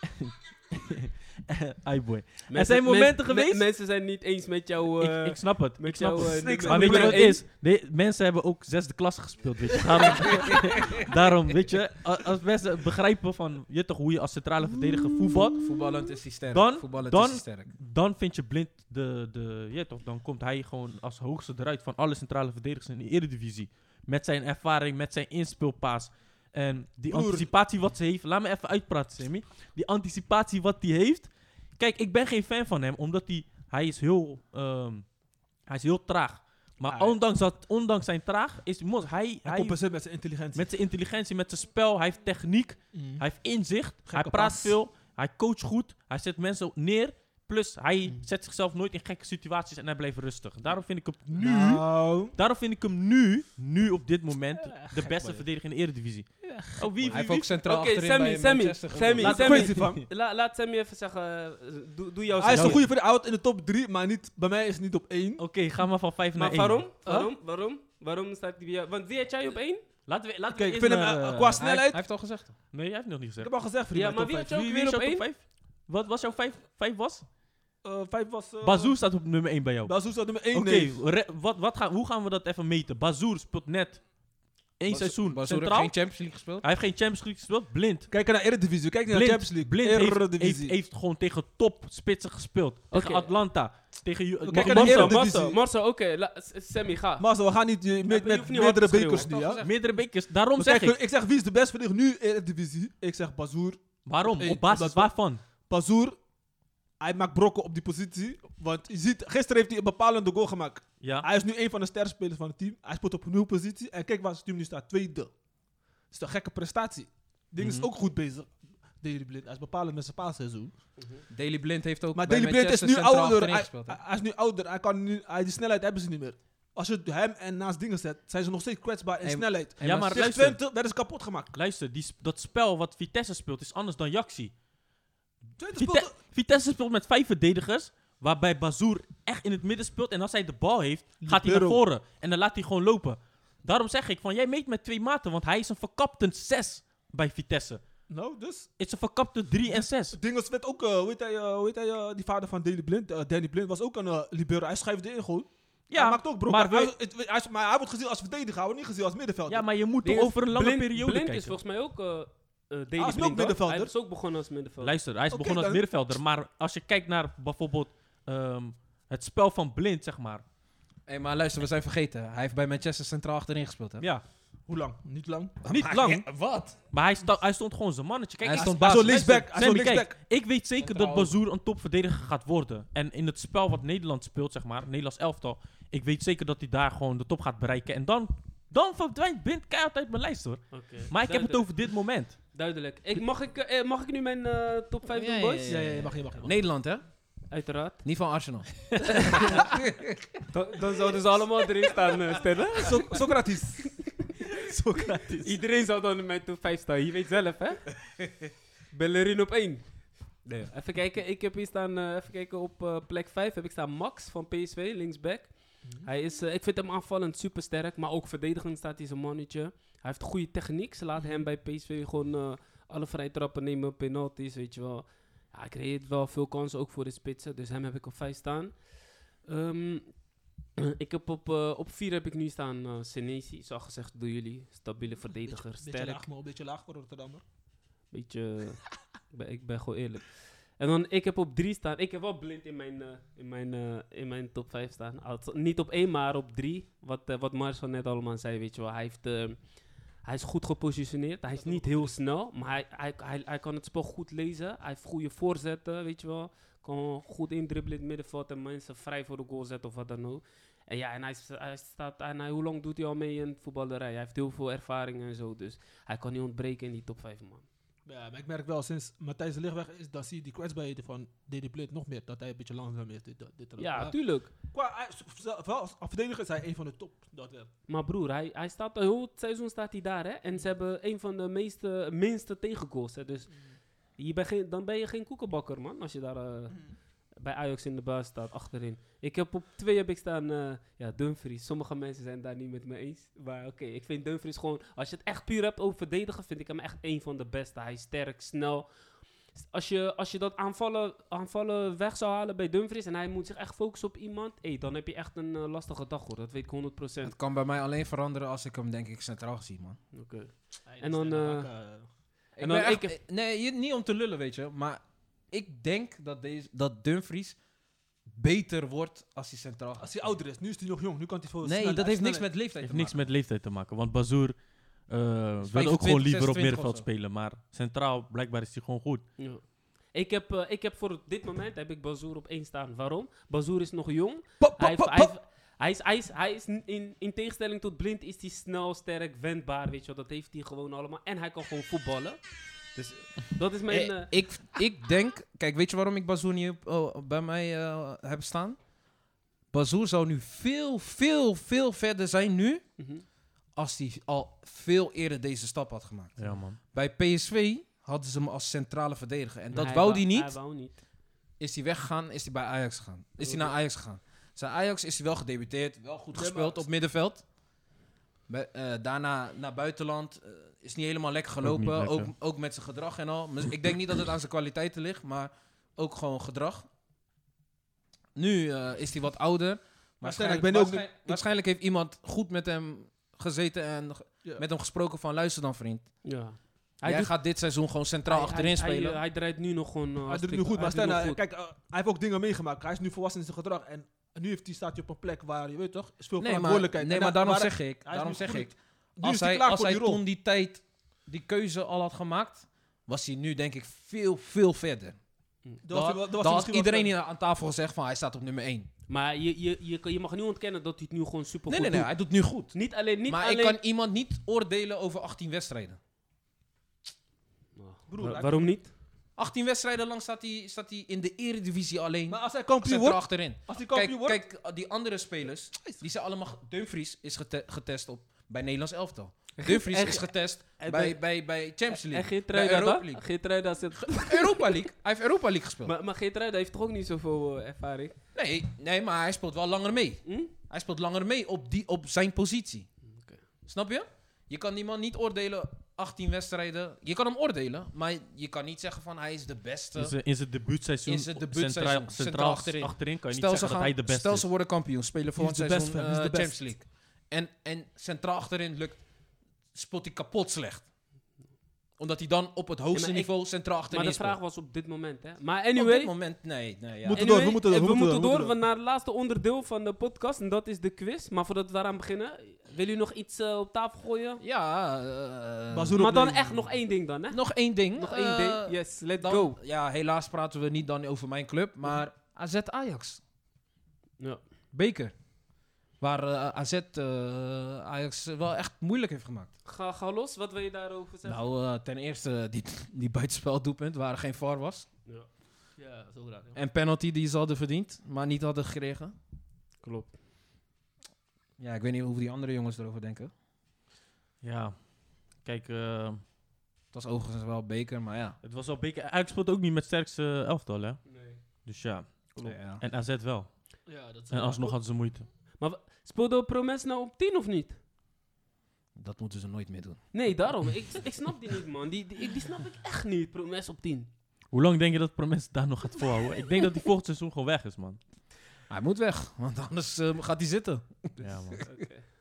[SPEAKER 4] Eh, Ai boy.
[SPEAKER 2] Mensen-
[SPEAKER 4] zijn momenten
[SPEAKER 2] men-
[SPEAKER 4] geweest-
[SPEAKER 2] men- mensen zijn niet eens met jou. eh,
[SPEAKER 4] Ik, ik snap het.
[SPEAKER 2] met
[SPEAKER 4] ik snap
[SPEAKER 2] jou,
[SPEAKER 4] het.
[SPEAKER 2] eh,
[SPEAKER 3] Sniks
[SPEAKER 2] nummer-
[SPEAKER 4] Maar weet je wat
[SPEAKER 2] nummer
[SPEAKER 4] het is? De, mensen hebben ook zesde klasse gespeeld, weet je. Daarom, daarom weet je, a- als mensen begrijpen van, je toch, hoe je als centrale verdediger voetbalt,
[SPEAKER 3] Voetballend is hij sterk.
[SPEAKER 4] Dan-
[SPEAKER 3] Voetballend
[SPEAKER 4] dan-
[SPEAKER 3] is hij sterk.
[SPEAKER 4] dan vind je blind de, de je toch, dan komt hij gewoon als hoogste eruit van alle centrale verdedigers in de Eredivisie. Met zijn ervaring, met zijn inspeelpaas. En die
[SPEAKER 1] Broer.
[SPEAKER 4] anticipatie wat ze heeft, laat me even uitpraten, Sammy. Die anticipatie wat hij heeft. Kijk, ik ben geen fan van hem, omdat hij, hij is heel, ehm, hij is heel traag. Maar
[SPEAKER 1] Ah, ja.
[SPEAKER 4] ondanks, dat, ondanks zijn traag is mos, hij,
[SPEAKER 1] Hij
[SPEAKER 4] hij
[SPEAKER 1] compenseert met zijn intelligentie.
[SPEAKER 4] met zijn intelligentie, met zijn spel, hij heeft techniek.
[SPEAKER 1] Mm.
[SPEAKER 4] Hij heeft inzicht, hij praat
[SPEAKER 1] pas.
[SPEAKER 4] veel, hij coacht goed, hij zet mensen neer. Plus, hij
[SPEAKER 1] Mm.
[SPEAKER 4] zet zichzelf nooit in gekke situaties en hij blijft rustig. Daarom vind ik hem nu,
[SPEAKER 1] Nou,
[SPEAKER 4] daarom vind ik hem nu, nu op dit moment,
[SPEAKER 1] Ja,
[SPEAKER 4] de
[SPEAKER 1] gek,
[SPEAKER 4] beste
[SPEAKER 1] man.
[SPEAKER 4] verdediger in de Eredivisie. Oh, wie,
[SPEAKER 3] Hij
[SPEAKER 4] wie,
[SPEAKER 3] heeft
[SPEAKER 4] wie?
[SPEAKER 3] ook centraal
[SPEAKER 2] Oké,
[SPEAKER 3] achterin
[SPEAKER 2] Sammy,
[SPEAKER 3] bij
[SPEAKER 2] Sammy,
[SPEAKER 3] Manchester
[SPEAKER 2] Sammy,
[SPEAKER 1] Laat
[SPEAKER 3] gespeeld.
[SPEAKER 2] Sammy.
[SPEAKER 1] Quincy van.
[SPEAKER 2] La- laat Sammy even zeggen. eh, Doe, doe jouw
[SPEAKER 1] Hij is
[SPEAKER 2] zegje.
[SPEAKER 1] een goede verdediger. Hij houdt in de top 3, maar niet, bij mij is het niet op 1.
[SPEAKER 4] Oké, ga maar van 5 naar
[SPEAKER 2] Maar
[SPEAKER 4] 1.
[SPEAKER 2] waarom? Waarom? Waarom? Waarom staat hij bij jou? Want wie had jij op één?
[SPEAKER 4] Laten we, laten
[SPEAKER 1] Kijk,
[SPEAKER 4] we
[SPEAKER 1] ik
[SPEAKER 4] eerst
[SPEAKER 1] vind hem
[SPEAKER 4] naar,
[SPEAKER 1] eh,
[SPEAKER 4] eh,
[SPEAKER 1] qua
[SPEAKER 3] Hij, hij
[SPEAKER 1] snelheid.
[SPEAKER 3] heeft al gezegd.
[SPEAKER 4] Nee, jij hebt nog niet
[SPEAKER 1] Ik
[SPEAKER 4] gezegd.
[SPEAKER 1] heb al gezegd, vriend.
[SPEAKER 2] Ja,
[SPEAKER 1] mijn
[SPEAKER 2] maar
[SPEAKER 1] top
[SPEAKER 2] wie
[SPEAKER 1] vijf.
[SPEAKER 2] had je
[SPEAKER 4] Wie is
[SPEAKER 2] Weer op
[SPEAKER 4] jouw top
[SPEAKER 2] één?
[SPEAKER 4] 5? Wat was jouw 5 was?
[SPEAKER 1] Eh, vijf was... eh,
[SPEAKER 4] Bazoer staat op nummer 1 bij jou.
[SPEAKER 1] Bazoer staat nummer 1,
[SPEAKER 4] Oké,
[SPEAKER 1] nee.
[SPEAKER 4] re- wat, wat gaan, hoe gaan we dat even meten? Bazoer speelt net één
[SPEAKER 3] Bas-
[SPEAKER 4] seizoen
[SPEAKER 3] Basur heeft
[SPEAKER 4] centraal.
[SPEAKER 3] geen Champions League gespeeld.
[SPEAKER 4] Hij heeft geen Champions League gespeeld, blind.
[SPEAKER 1] Kijk naar Eredivisie, kijk naar
[SPEAKER 4] Blind,
[SPEAKER 1] Champions League.
[SPEAKER 4] blind heeft, heeft,
[SPEAKER 1] Eredivisie.
[SPEAKER 4] heeft gewoon tegen top spitsen gespeeld. Tegen
[SPEAKER 2] Oké.
[SPEAKER 4] Atlanta, tegen Ju-
[SPEAKER 1] Kijk naar
[SPEAKER 4] Mar-
[SPEAKER 1] de
[SPEAKER 4] Marcel,
[SPEAKER 2] Marcel,
[SPEAKER 1] Eredivisie.
[SPEAKER 2] Marcel, Marcel, oké. la- S- Sammy, ga.
[SPEAKER 1] Maar zo, we gaan niet eh, met,
[SPEAKER 2] je
[SPEAKER 1] met
[SPEAKER 2] hoeft niet hard te
[SPEAKER 1] meerdere
[SPEAKER 2] schreeuwen,
[SPEAKER 1] bekers
[SPEAKER 3] ik
[SPEAKER 1] nu,
[SPEAKER 3] heb
[SPEAKER 1] ja?
[SPEAKER 3] toch gezegd.
[SPEAKER 4] meerdere bekers. Daarom
[SPEAKER 1] Want
[SPEAKER 4] zeg
[SPEAKER 1] kijk,
[SPEAKER 4] ik.
[SPEAKER 1] ik zeg, wie is de beste verdediger nu in Eredivisie? Ik zeg Bazoer.
[SPEAKER 4] Waarom?
[SPEAKER 1] Hey,
[SPEAKER 4] Op basis
[SPEAKER 1] dat-
[SPEAKER 4] waarvan?
[SPEAKER 1] Bazoer, hij maakt brokken op die positie. Want je ziet, gisteren heeft hij een bepalende goal gemaakt.
[SPEAKER 4] Ja.
[SPEAKER 1] Hij is nu een van de sterspelers van het team. Hij speelt op nul positie. En kijk waar zijn team nu staat. Tweede. Dat is een gekke prestatie. Ding
[SPEAKER 4] Mhm.
[SPEAKER 1] is ook goed bezig. Daily Blind. Hij is bepalend met zijn paasseizoen.
[SPEAKER 3] Daily Blind heeft ook
[SPEAKER 1] Maar
[SPEAKER 3] bij
[SPEAKER 1] Daily Blind is
[SPEAKER 3] Manchester
[SPEAKER 1] nu
[SPEAKER 3] centraal
[SPEAKER 1] ouder.
[SPEAKER 3] achterin
[SPEAKER 1] Hij,
[SPEAKER 3] gespeeld. hè.
[SPEAKER 1] hij- hij is nu ouder. Hij kan nu, hij, die snelheid hebben ze niet meer. Als je hem en naast dingen zet, zijn ze nog steeds kwetsbaar in
[SPEAKER 3] Hey,
[SPEAKER 1] snelheid.
[SPEAKER 3] Hey,
[SPEAKER 4] Ja,
[SPEAKER 3] maar
[SPEAKER 4] maar
[SPEAKER 1] Tegen
[SPEAKER 4] luister,
[SPEAKER 1] Twente werden ze kapot gemaakt.
[SPEAKER 4] luister die, sp- dat spel wat Vitesse speelt is anders dan Jaxi.
[SPEAKER 1] Twente
[SPEAKER 4] Vite-
[SPEAKER 1] speelt...
[SPEAKER 4] Vitesse speelt met vijf verdedigers, waarbij Bazoer echt in het midden speelt. En als hij de bal heeft, gaat hij naar
[SPEAKER 1] Libero.
[SPEAKER 4] voren. En dan laat hij gewoon lopen. Daarom zeg ik van, jij meet met twee maten, want hij is een verkapte 6 bij Vitesse.
[SPEAKER 1] Nou, dus...
[SPEAKER 4] Het is een verkapte 3 en 6.
[SPEAKER 1] Dingels werd ook, eh, hoe heet hij, eh, hoe heet hij eh, die vader van Danny Blind? Eh, Danny Blind was ook een eh, libero. Hij schuifde in gewoon.
[SPEAKER 4] Ja,
[SPEAKER 1] hij maakt ook brokken.
[SPEAKER 4] maar
[SPEAKER 1] Maar,
[SPEAKER 4] we-
[SPEAKER 1] hij, het- hij is- maar hij wordt gezien als verdediger, hij wordt niet gezien als middenvelder.
[SPEAKER 4] Ja, maar je moet toch
[SPEAKER 2] Blind-
[SPEAKER 4] over een lange
[SPEAKER 2] Blind-
[SPEAKER 4] periode
[SPEAKER 2] Blind
[SPEAKER 4] kijken.
[SPEAKER 2] is volgens mij ook... eh, eh, Daily
[SPEAKER 1] ook
[SPEAKER 2] Blind, hoor.
[SPEAKER 1] middenvelder.
[SPEAKER 2] Hij is dus ook begonnen als middenvelder.
[SPEAKER 4] Luister, hij is
[SPEAKER 1] Oké,
[SPEAKER 4] begonnen als
[SPEAKER 1] dan-
[SPEAKER 4] middenvelder. Maar als je kijkt naar bijvoorbeeld ehm, het spel van Blind, zeg maar.
[SPEAKER 3] Hey, maar luister, we zijn vergeten. Hij heeft bij Manchester centraal achterin gespeeld. Hè?
[SPEAKER 4] Ja,
[SPEAKER 1] Hoe lang? Niet lang.
[SPEAKER 4] niet lang.
[SPEAKER 3] Wat?
[SPEAKER 4] Maar hij, sta- hij stond gewoon zijn mannetje. Kijk,
[SPEAKER 3] Hij
[SPEAKER 4] ik-
[SPEAKER 3] stond
[SPEAKER 1] Hij is zo'n
[SPEAKER 3] basis.
[SPEAKER 1] linksback. Hij is zo'n
[SPEAKER 4] Sammy, kijk,
[SPEAKER 1] linksback.
[SPEAKER 4] ik weet zeker dat
[SPEAKER 3] Centraal.
[SPEAKER 4] Bazoer een topverdediger gaat worden. En in het spel wat Nederland speelt, zeg maar, Nederlands elftal. Ik weet zeker dat hij daar gewoon de top gaat bereiken. En dan, dan verdwijnt Blind keihard uit mijn lijst hoor.
[SPEAKER 2] Oké,
[SPEAKER 4] Maar ik heb het
[SPEAKER 2] duidelijk,
[SPEAKER 4] over dit moment.
[SPEAKER 2] Duidelijk. Ik, mag, ik, eh, eh, mag ik nu mijn eh, top 5
[SPEAKER 3] Ja,
[SPEAKER 2] doen,
[SPEAKER 3] ja,
[SPEAKER 2] boys?
[SPEAKER 1] Ja, ja, ja, mag je, mag je.
[SPEAKER 3] Nederland, hè?
[SPEAKER 2] Uiteraard.
[SPEAKER 3] Niet van Arsenal.
[SPEAKER 2] Dan, dan zouden ze allemaal erin staan, eh, stellen.
[SPEAKER 1] So- Socrates. Socrates.
[SPEAKER 2] Iedereen zou dan in mijn top 5 staan. Je weet zelf, hè? Bellerin op 1. Nee. Even kijken, ik heb hier staan, eh, even kijken op eh, plek 5 heb ik staan Max van PSV, linksback. Hij is, eh, ik vind hem aanvallend super sterk, maar ook verdedigend staat hij zijn mannetje. Hij heeft goede techniek, ze laten hem bij PSV gewoon eh, alle vrije trappen nemen, penalties, weet je wel. Ja, hij creëert wel veel kansen, ook voor de spitsen, dus hem heb ik op 5 staan. Ehm, ik heb op, eh, op vier heb ik nu staan eh Senesi. Zo gezegd door jullie. Stabiele verdediger.
[SPEAKER 1] Beetje
[SPEAKER 2] Sterk.
[SPEAKER 1] laag, maar een beetje laag voor Rotterdammer.
[SPEAKER 2] Beetje. ik ben- ik ben gewoon eerlijk. En dan ik heb op drie staan. Ik heb wel blind in mijn, eh, in mijn, eh, in mijn top 5 staan. Althans, niet op één, maar op drie. Wat, eh, wat Marcel net allemaal zei, weet je wel. Hij, heeft, eh, hij is goed gepositioneerd. Hij is niet heel snel, maar hij, hij, hij, hij kan het spel goed lezen. Hij heeft goede voorzetten, weet je wel. Kan goed indribbelen in het middenveld en mensen vrij voor de goal zetten of wat dan ook. En ja, en hij, is- hij staat, en hij, hoe lang doet hij al mee in het voetballerij? Hij heeft heel veel ervaring en zo, dus hij kan niet ontbreken in die top 5, man.
[SPEAKER 1] Ja, maar ik merk wel sinds Matthijs de Lichtweg is, dat zie je die kwetsbaarheden van DD Blit nog meer. Dat hij een beetje langzaam is. Dit, dat- dit, dat.
[SPEAKER 2] Ja,
[SPEAKER 1] Maar
[SPEAKER 2] tuurlijk.
[SPEAKER 1] qua, hij is- vooral als verdediger is hij een van de top. Dat eh, wel.
[SPEAKER 2] Maar broer, hij, hij staat al heel het seizoen staat hij daar, hè? En ze hebben een van de meeste, minste tegengoals, hè? Dus je bent geen, dan ben je geen koekenbakker, man, als je daar eh, bij Ajax in de baas staat, achterin. Ik heb op twee heb ik staan, eh, ja, Dumfries. Sommige mensen zijn daar niet met me eens. Maar oké, ik vind Dumfries gewoon, als je het echt puur hebt over verdedigen, vind ik hem echt een van de beste. Hij is sterk, snel. S- Als je, als je dat aanvallen, aanvallen weg zou halen bij Dumfries en hij moet zich echt focussen op iemand, hey, dan heb je echt een eh, lastige dag hoor. Dat weet ik 100%.
[SPEAKER 3] Het kan bij mij alleen veranderen als ik hem, denk ik, centraal zie, man.
[SPEAKER 2] Oké.
[SPEAKER 1] Hij
[SPEAKER 2] En
[SPEAKER 1] is
[SPEAKER 2] dan,
[SPEAKER 1] een
[SPEAKER 2] eh,
[SPEAKER 1] bakker.
[SPEAKER 2] dan
[SPEAKER 3] Ik ben echt-
[SPEAKER 2] ik-
[SPEAKER 3] nee, hier- niet om te lullen, weet je. Maar ik denk dat, deze, dat Dumfries beter wordt als hij centraal gaat.
[SPEAKER 1] als hij ouder is, nu is hij nog jong, nu kan hij veel
[SPEAKER 3] Nee,
[SPEAKER 1] sneller-
[SPEAKER 3] dat heeft niks
[SPEAKER 1] sneller-
[SPEAKER 3] met leeftijd
[SPEAKER 4] heeft
[SPEAKER 3] te
[SPEAKER 4] niks
[SPEAKER 3] maken.
[SPEAKER 4] met leeftijd te maken. Want Bazoer eh, wilde ook
[SPEAKER 3] 25,
[SPEAKER 4] gewoon liever op
[SPEAKER 3] 26
[SPEAKER 4] middenveld
[SPEAKER 3] of zo.
[SPEAKER 4] spelen. Maar centraal, blijkbaar is hij gewoon goed.
[SPEAKER 2] Ja. Ik heb, eh, ik heb voor dit moment heb ik Bazoer op één staan. Waarom? Bazoer is nog jong.
[SPEAKER 1] Pop, pop,
[SPEAKER 2] Hij, heeft-
[SPEAKER 1] pop,
[SPEAKER 2] hij,
[SPEAKER 1] pop.
[SPEAKER 2] heeft- hij is, hij is, hij is n- in, in tegenstelling tot blind is hij snel, sterk, wendbaar. Weet je wel. Dat heeft hij gewoon allemaal. En hij kan gewoon voetballen. Dus dat is mijn...
[SPEAKER 3] Eh,
[SPEAKER 2] eh,
[SPEAKER 3] ik, ik denk, kijk, weet je waarom ik Bazoer niet op- oh, bij mij eh, heb staan? Bazoer zou nu veel, veel, veel verder zijn nu
[SPEAKER 2] mhm.
[SPEAKER 3] als hij al veel eerder deze stap had gemaakt.
[SPEAKER 4] Ja, man.
[SPEAKER 3] Bij PSV hadden ze hem als centrale verdediger. En dat
[SPEAKER 2] Hij
[SPEAKER 3] wou
[SPEAKER 2] wou-
[SPEAKER 3] hij
[SPEAKER 2] Hij
[SPEAKER 3] niet.
[SPEAKER 2] wou niet.
[SPEAKER 3] Is hij weggegaan, is hij bij Ajax gegaan. Is hij naar Ajax gegaan. Zijn Ajax is hij wel gedebuteerd, wel goed
[SPEAKER 1] Ja,
[SPEAKER 3] gespeeld
[SPEAKER 1] maar-
[SPEAKER 3] op middenveld. Bij- eh, daarna naar buitenland. eh, is niet helemaal lekker gelopen.
[SPEAKER 4] niet
[SPEAKER 3] Ook,
[SPEAKER 4] lekker.
[SPEAKER 3] ook, met zijn gedrag en al. Maar Ik denk niet dat het aan zijn kwaliteiten ligt, maar ook gewoon gedrag. Nu eh, is hij wat ouder. Waarschijnlijk,
[SPEAKER 1] ik ben ook
[SPEAKER 3] waarschijn- waarschijnlijk heeft iemand goed met hem gezeten en ge-
[SPEAKER 1] Ja.
[SPEAKER 3] met hem gesproken van luister dan vriend.
[SPEAKER 2] Ja.
[SPEAKER 3] Jij
[SPEAKER 2] doet-
[SPEAKER 3] gaat dit seizoen gewoon centraal
[SPEAKER 2] hij-
[SPEAKER 3] achterin
[SPEAKER 2] hij- hij,
[SPEAKER 3] spelen.
[SPEAKER 2] eh, Hij, draait nu nog gewoon... eh,
[SPEAKER 1] Hij doet
[SPEAKER 2] hartstikke-
[SPEAKER 1] het nu goed, maar stel,
[SPEAKER 2] doet
[SPEAKER 1] nou,
[SPEAKER 2] nog goed.
[SPEAKER 1] kijk, eh, hij heeft ook dingen meegemaakt. Hij is nu volwassen in zijn gedrag. En nu heeft hij, staat hij op een plek waar, je weet toch, is veel
[SPEAKER 3] nee, maar,
[SPEAKER 1] verantwoordelijkheid.
[SPEAKER 3] nee,
[SPEAKER 1] En
[SPEAKER 3] maar
[SPEAKER 1] dan-
[SPEAKER 3] daarom
[SPEAKER 1] waar-
[SPEAKER 3] zeg ik,
[SPEAKER 1] hij is
[SPEAKER 3] daarom
[SPEAKER 1] nu
[SPEAKER 3] zeg
[SPEAKER 1] goed.
[SPEAKER 3] ik
[SPEAKER 1] nu
[SPEAKER 3] als
[SPEAKER 1] is hij
[SPEAKER 3] hij,
[SPEAKER 1] klaar
[SPEAKER 3] als
[SPEAKER 1] voor
[SPEAKER 3] hij
[SPEAKER 1] die rol.
[SPEAKER 3] toen die tijd die keuze al had gemaakt, was hij nu denk ik veel, veel verder.
[SPEAKER 1] Dat was hij wel- dat was hij
[SPEAKER 3] dan had
[SPEAKER 1] misschien wel
[SPEAKER 3] iedereen
[SPEAKER 1] verder.
[SPEAKER 3] hier aan tafel gezegd van hij staat op nummer 1.
[SPEAKER 2] Maar je, je, je, kan- je mag niet ontkennen dat hij het nu gewoon super
[SPEAKER 3] Nee, nee,
[SPEAKER 2] goed
[SPEAKER 3] nee, hij doet nu goed.
[SPEAKER 2] doet. Niet alleen... Niet
[SPEAKER 3] maar
[SPEAKER 2] alleen
[SPEAKER 3] ik kan iemand niet oordelen over 18 wedstrijden.
[SPEAKER 1] Broer,
[SPEAKER 2] Oh. Wa-
[SPEAKER 1] hij-
[SPEAKER 2] waarom niet?
[SPEAKER 3] 18 wedstrijden lang staat hij, staat hij in de eredivisie alleen
[SPEAKER 1] Maar als hij kampioen
[SPEAKER 3] centraal
[SPEAKER 1] wordt,
[SPEAKER 3] achterin.
[SPEAKER 1] als hij
[SPEAKER 3] Kijk,
[SPEAKER 1] kampioen wordt,
[SPEAKER 3] kijk, die andere spelers, die zijn allemaal... ge- Dumfries is gete- getest op, bij Nederlands elftal. Dumfries
[SPEAKER 2] en-
[SPEAKER 3] is getest
[SPEAKER 2] en-
[SPEAKER 3] bij, bij, bij Champions
[SPEAKER 2] En
[SPEAKER 3] League. Bij
[SPEAKER 2] Geertruida
[SPEAKER 3] Europa
[SPEAKER 2] dan?
[SPEAKER 3] League.
[SPEAKER 2] Geertruida zit
[SPEAKER 3] Europa League. Hij heeft Europa League gespeeld.
[SPEAKER 2] Maar, maar Geertruida heeft toch ook niet zoveel eh, ervaring?
[SPEAKER 3] Nee, nee, maar hij speelt wel langer mee.
[SPEAKER 2] Hm?
[SPEAKER 3] Hij speelt langer mee op, die, op zijn positie.
[SPEAKER 2] Oké.
[SPEAKER 3] Snap je? Je kan die man niet oordelen, 18 wedstrijden. Je kan hem oordelen, maar je kan niet zeggen van hij is de beste.
[SPEAKER 4] In zijn- In zijn debuutseizoen,
[SPEAKER 3] In zijn debuutseizoen,
[SPEAKER 4] centraal,
[SPEAKER 3] centraal
[SPEAKER 4] centraal
[SPEAKER 3] achterin.
[SPEAKER 4] achterin. kan je niet zeggen dat hij de beste
[SPEAKER 3] stel
[SPEAKER 4] is.
[SPEAKER 3] ze worden kampioen, spelen volgend
[SPEAKER 1] de best,
[SPEAKER 3] seizoen
[SPEAKER 1] fam,
[SPEAKER 3] eh,
[SPEAKER 1] hij is
[SPEAKER 3] de
[SPEAKER 1] de best.
[SPEAKER 3] Champions League. En, en centraal achterin lukt, speelt hij kapot slecht. Omdat hij dan op het hoogste
[SPEAKER 2] ik-
[SPEAKER 3] niveau centraal
[SPEAKER 2] Maar
[SPEAKER 3] achterin
[SPEAKER 2] de
[SPEAKER 3] is.
[SPEAKER 2] vraag was op dit moment, hè? Maar
[SPEAKER 3] Op dit
[SPEAKER 2] anyway,
[SPEAKER 3] moment, nee. nee
[SPEAKER 1] Moet-
[SPEAKER 2] anyway,
[SPEAKER 3] ja.
[SPEAKER 1] moeten door, we moeten door, we
[SPEAKER 2] eh, we
[SPEAKER 1] moeten door, we
[SPEAKER 2] moeten door
[SPEAKER 1] moeten
[SPEAKER 2] want naar het laatste onderdeel van de podcast en dat is de quiz. Maar voordat we daaraan beginnen, wil u nog iets eh, op tafel gooien?
[SPEAKER 3] Ja, eh,
[SPEAKER 1] Bazoer
[SPEAKER 2] Maar dan
[SPEAKER 1] opnieuw.
[SPEAKER 2] echt nog één ding dan, hè?
[SPEAKER 3] nog één ding.
[SPEAKER 2] Nog
[SPEAKER 3] eh,
[SPEAKER 2] één ding. Yes, let's
[SPEAKER 3] Dan-
[SPEAKER 2] go.
[SPEAKER 3] Ja, helaas praten we niet dan over mijn club, maar AZ Ajax.
[SPEAKER 2] Ja.
[SPEAKER 3] Beker. Waar eh, AZ eh, Ajax wel echt moeilijk heeft gemaakt.
[SPEAKER 2] Ga, ga los, wat wil je daarover zeggen?
[SPEAKER 3] Nou, eh, ten eerste die, die buitenspeldoelpunt waar geen VAR was.
[SPEAKER 2] Ja. Nou. ja, zo raar.
[SPEAKER 3] En penalty die ze hadden verdiend, maar niet hadden gekregen.
[SPEAKER 2] Klopt.
[SPEAKER 3] Ja, ik weet niet hoe die andere jongens erover denken.
[SPEAKER 4] Ja, kijk, eh,
[SPEAKER 3] Het was overigens wel beker, maar ja.
[SPEAKER 4] het was al beker. Ajax speelt ook niet met het sterkste eh, elftal, hè?
[SPEAKER 2] Nee.
[SPEAKER 4] Dus ja,
[SPEAKER 3] Ja.
[SPEAKER 4] en AZ wel.
[SPEAKER 2] Ja, dat is
[SPEAKER 4] En alsnog hadden ze moeite.
[SPEAKER 2] Speelde Promes nou op 10 of niet?
[SPEAKER 3] Dat moeten ze nooit meer doen.
[SPEAKER 2] Nee, daarom. ik, ik snap die niet, man. Die, die, die snap ik echt niet. Promes op 10.
[SPEAKER 4] Hoe lang denk je dat Promes daar nog gaat volhouden? Ik denk dat hij volgend seizoen gewoon weg is, man.
[SPEAKER 3] Hij moet weg, want anders eh, gaat hij zitten.
[SPEAKER 4] Ja, man.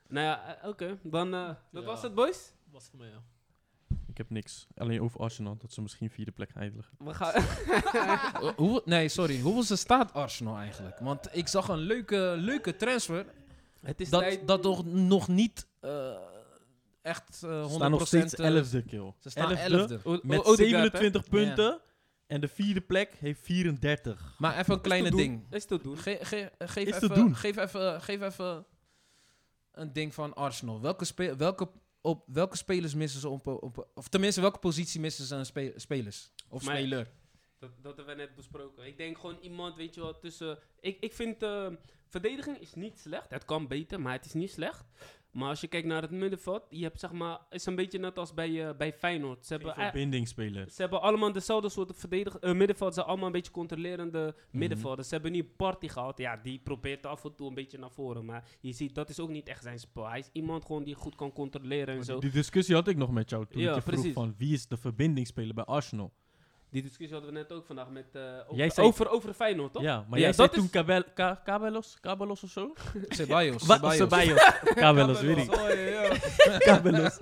[SPEAKER 2] Nou ja, eh, oké. Dan, eh, dat
[SPEAKER 1] Ja.
[SPEAKER 2] was het, boys.
[SPEAKER 1] was voor mij, ja.
[SPEAKER 4] Ik heb niks. Alleen over Arsenal, dat ze misschien vierde plek gaan eindigen.
[SPEAKER 2] We gaan...
[SPEAKER 3] Eh, hoe, nee, sorry. Hoeveelste staat Arsenal eigenlijk? Want ik zag een leuke, leuke transfer
[SPEAKER 2] het is
[SPEAKER 3] dat,
[SPEAKER 2] tijd...
[SPEAKER 3] dat nog, nog niet eh, echt eh 100%
[SPEAKER 4] Ze staan nog steeds
[SPEAKER 3] eh,
[SPEAKER 4] elfde, kill.
[SPEAKER 3] Ze staan
[SPEAKER 4] Elfde,
[SPEAKER 3] elfde.
[SPEAKER 2] O- O-
[SPEAKER 4] Met
[SPEAKER 2] Odegaard, hè?
[SPEAKER 4] 27 punten. En de vierde plek heeft 34.
[SPEAKER 3] Maar even een kleine
[SPEAKER 2] te doen.
[SPEAKER 3] ding.
[SPEAKER 2] Is te doen.
[SPEAKER 3] Ge- ge- geef,
[SPEAKER 4] Is te
[SPEAKER 3] even,
[SPEAKER 4] doen.
[SPEAKER 3] geef, even, geef even een ding van Arsenal. Welke, spe- welke, op, welke spelers missen ze op, op- Of tenminste, welke positie missen ze aan spe- spelers? Of
[SPEAKER 2] Maar-
[SPEAKER 3] speler?
[SPEAKER 2] Dat, dat hebben we net besproken. Ik denk gewoon iemand, weet je wel, tussen... Ik, ik vind, eh, verdediging is niet slecht. Het kan beter, maar het is niet slecht. Maar als je kijkt naar het middenveld, je hebt zeg maar... is een beetje net als bij, eh, bij Feyenoord. Ze hebben, e-
[SPEAKER 4] Geen
[SPEAKER 2] ei-
[SPEAKER 4] verbindingsspeler.
[SPEAKER 2] ze hebben allemaal dezelfde soort verdedig- eh, middenveld. Ze zijn allemaal een beetje controlerende middenvelders. Ze hebben nu Party gehad. Ja, die probeert af en toe een beetje naar voren. Maar je ziet, dat is ook niet echt zijn spel. Hij is iemand gewoon die goed kan controleren en zo.
[SPEAKER 4] Die discussie had ik nog met jou toen
[SPEAKER 2] Ja,
[SPEAKER 4] ik je vroeg
[SPEAKER 2] precies.
[SPEAKER 4] van wie is de verbindingsspeler bij Arsenal.
[SPEAKER 2] Die discussie hadden we net ook vandaag met... eh, over,
[SPEAKER 4] Jij zei-
[SPEAKER 2] over, over Feyenoord, toch?
[SPEAKER 4] Ja, maar
[SPEAKER 2] Ja,
[SPEAKER 4] jij zei
[SPEAKER 2] dat is-
[SPEAKER 4] toen Cabel- Ka- Cabelos, Cabelos of zo?
[SPEAKER 3] Ceballos.
[SPEAKER 4] Wat?
[SPEAKER 3] Ceballos.
[SPEAKER 4] Ceballos. Cabelos, weet ik. Cabelos.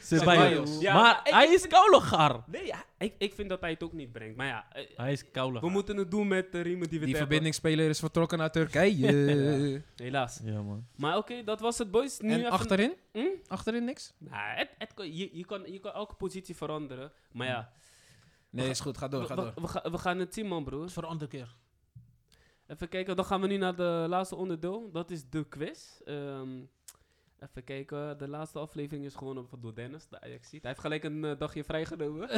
[SPEAKER 4] Ceballos.
[SPEAKER 2] Ja,
[SPEAKER 4] Maar
[SPEAKER 2] maar ik-
[SPEAKER 4] hij is Kaulogar.
[SPEAKER 2] Nee, ja, ik, ik vind dat hij het ook niet brengt. Maar ja, eh,
[SPEAKER 4] Hij is
[SPEAKER 2] we
[SPEAKER 4] Kaulogar.
[SPEAKER 2] moeten het doen met de riemen die we
[SPEAKER 3] Die
[SPEAKER 2] te
[SPEAKER 3] verbindingsspeler is vertrokken naar Turkije. Eh,
[SPEAKER 2] hebben. Helaas.
[SPEAKER 4] Ja, man.
[SPEAKER 2] Maar oké, dat was het, boys. Nu
[SPEAKER 3] En
[SPEAKER 2] even-
[SPEAKER 3] achterin?
[SPEAKER 2] Hm?
[SPEAKER 3] Achterin niks?
[SPEAKER 2] Nou, het, het kan, je, je, kan, je kan elke positie veranderen. Maar ja,
[SPEAKER 3] Nee, is goed. Ga door,
[SPEAKER 2] we,
[SPEAKER 3] ga
[SPEAKER 2] we-
[SPEAKER 3] door.
[SPEAKER 2] we ga- we gaan het zien, man, broer.
[SPEAKER 1] is voor een andere keer.
[SPEAKER 2] Even kijken, dan gaan we nu naar de laatste onderdeel. Dat is de quiz. Ehm, even kijken, de laatste aflevering is gewonnen door Dennis, de ajax Hij heeft gelijk een eh, dagje vrijgenomen.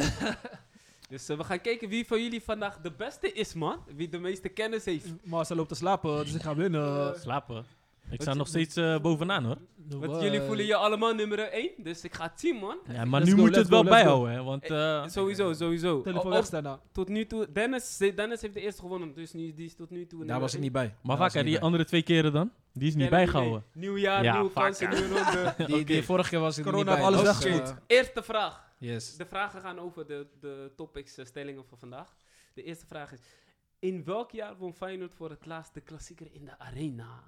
[SPEAKER 2] dus eh, we gaan kijken wie van jullie vandaag de beste is, man. Wie de meeste kennis heeft.
[SPEAKER 1] Maar ze loopt te slapen, dus ik ga winnen.
[SPEAKER 4] Slapen. Ik
[SPEAKER 2] je-
[SPEAKER 4] sta nog steeds eh, bovenaan, hoor.
[SPEAKER 1] No
[SPEAKER 2] Want
[SPEAKER 1] way.
[SPEAKER 2] jullie voelen je allemaal nummer 1, dus ik ga het zien, man.
[SPEAKER 4] Ja, maar
[SPEAKER 1] let's
[SPEAKER 4] nu
[SPEAKER 1] go,
[SPEAKER 4] moet je
[SPEAKER 1] let's
[SPEAKER 4] het
[SPEAKER 1] go,
[SPEAKER 4] wel
[SPEAKER 1] let's go.
[SPEAKER 4] bijhouden, hè. Want eh,
[SPEAKER 2] Sowieso, sowieso.
[SPEAKER 1] Telefoon
[SPEAKER 2] Al-
[SPEAKER 1] weg
[SPEAKER 2] al-
[SPEAKER 1] daarna.
[SPEAKER 2] tot nu toe, Dennis, eh, Dennis heeft de eerste gewonnen, dus nu, die is tot nu toe
[SPEAKER 3] Daar
[SPEAKER 2] nummer
[SPEAKER 3] was ik
[SPEAKER 2] één.
[SPEAKER 3] niet bij.
[SPEAKER 4] Maar
[SPEAKER 3] Daar was ik
[SPEAKER 4] vaak,
[SPEAKER 3] niet
[SPEAKER 4] die
[SPEAKER 3] bij.
[SPEAKER 4] andere twee keren dan? Die is niet
[SPEAKER 2] Kennen
[SPEAKER 4] bijgehouden.
[SPEAKER 2] jullie? Nieuw jaar,
[SPEAKER 4] Ja,
[SPEAKER 2] nieuwe
[SPEAKER 4] vaak,
[SPEAKER 2] kansen,
[SPEAKER 4] ja.
[SPEAKER 2] nieuwe ronde.
[SPEAKER 3] Die, die vorige keer was ik er
[SPEAKER 1] Corona
[SPEAKER 3] niet bij.
[SPEAKER 1] heeft alles
[SPEAKER 3] dus, eh,
[SPEAKER 1] weggegoed.
[SPEAKER 2] Eerste vraag.
[SPEAKER 3] Yes.
[SPEAKER 2] De vragen gaan over de, de topics, eh, stellingen van vandaag. De eerste vraag is: In welk jaar won Feyenoord voor het laatst de klassieker in de arena?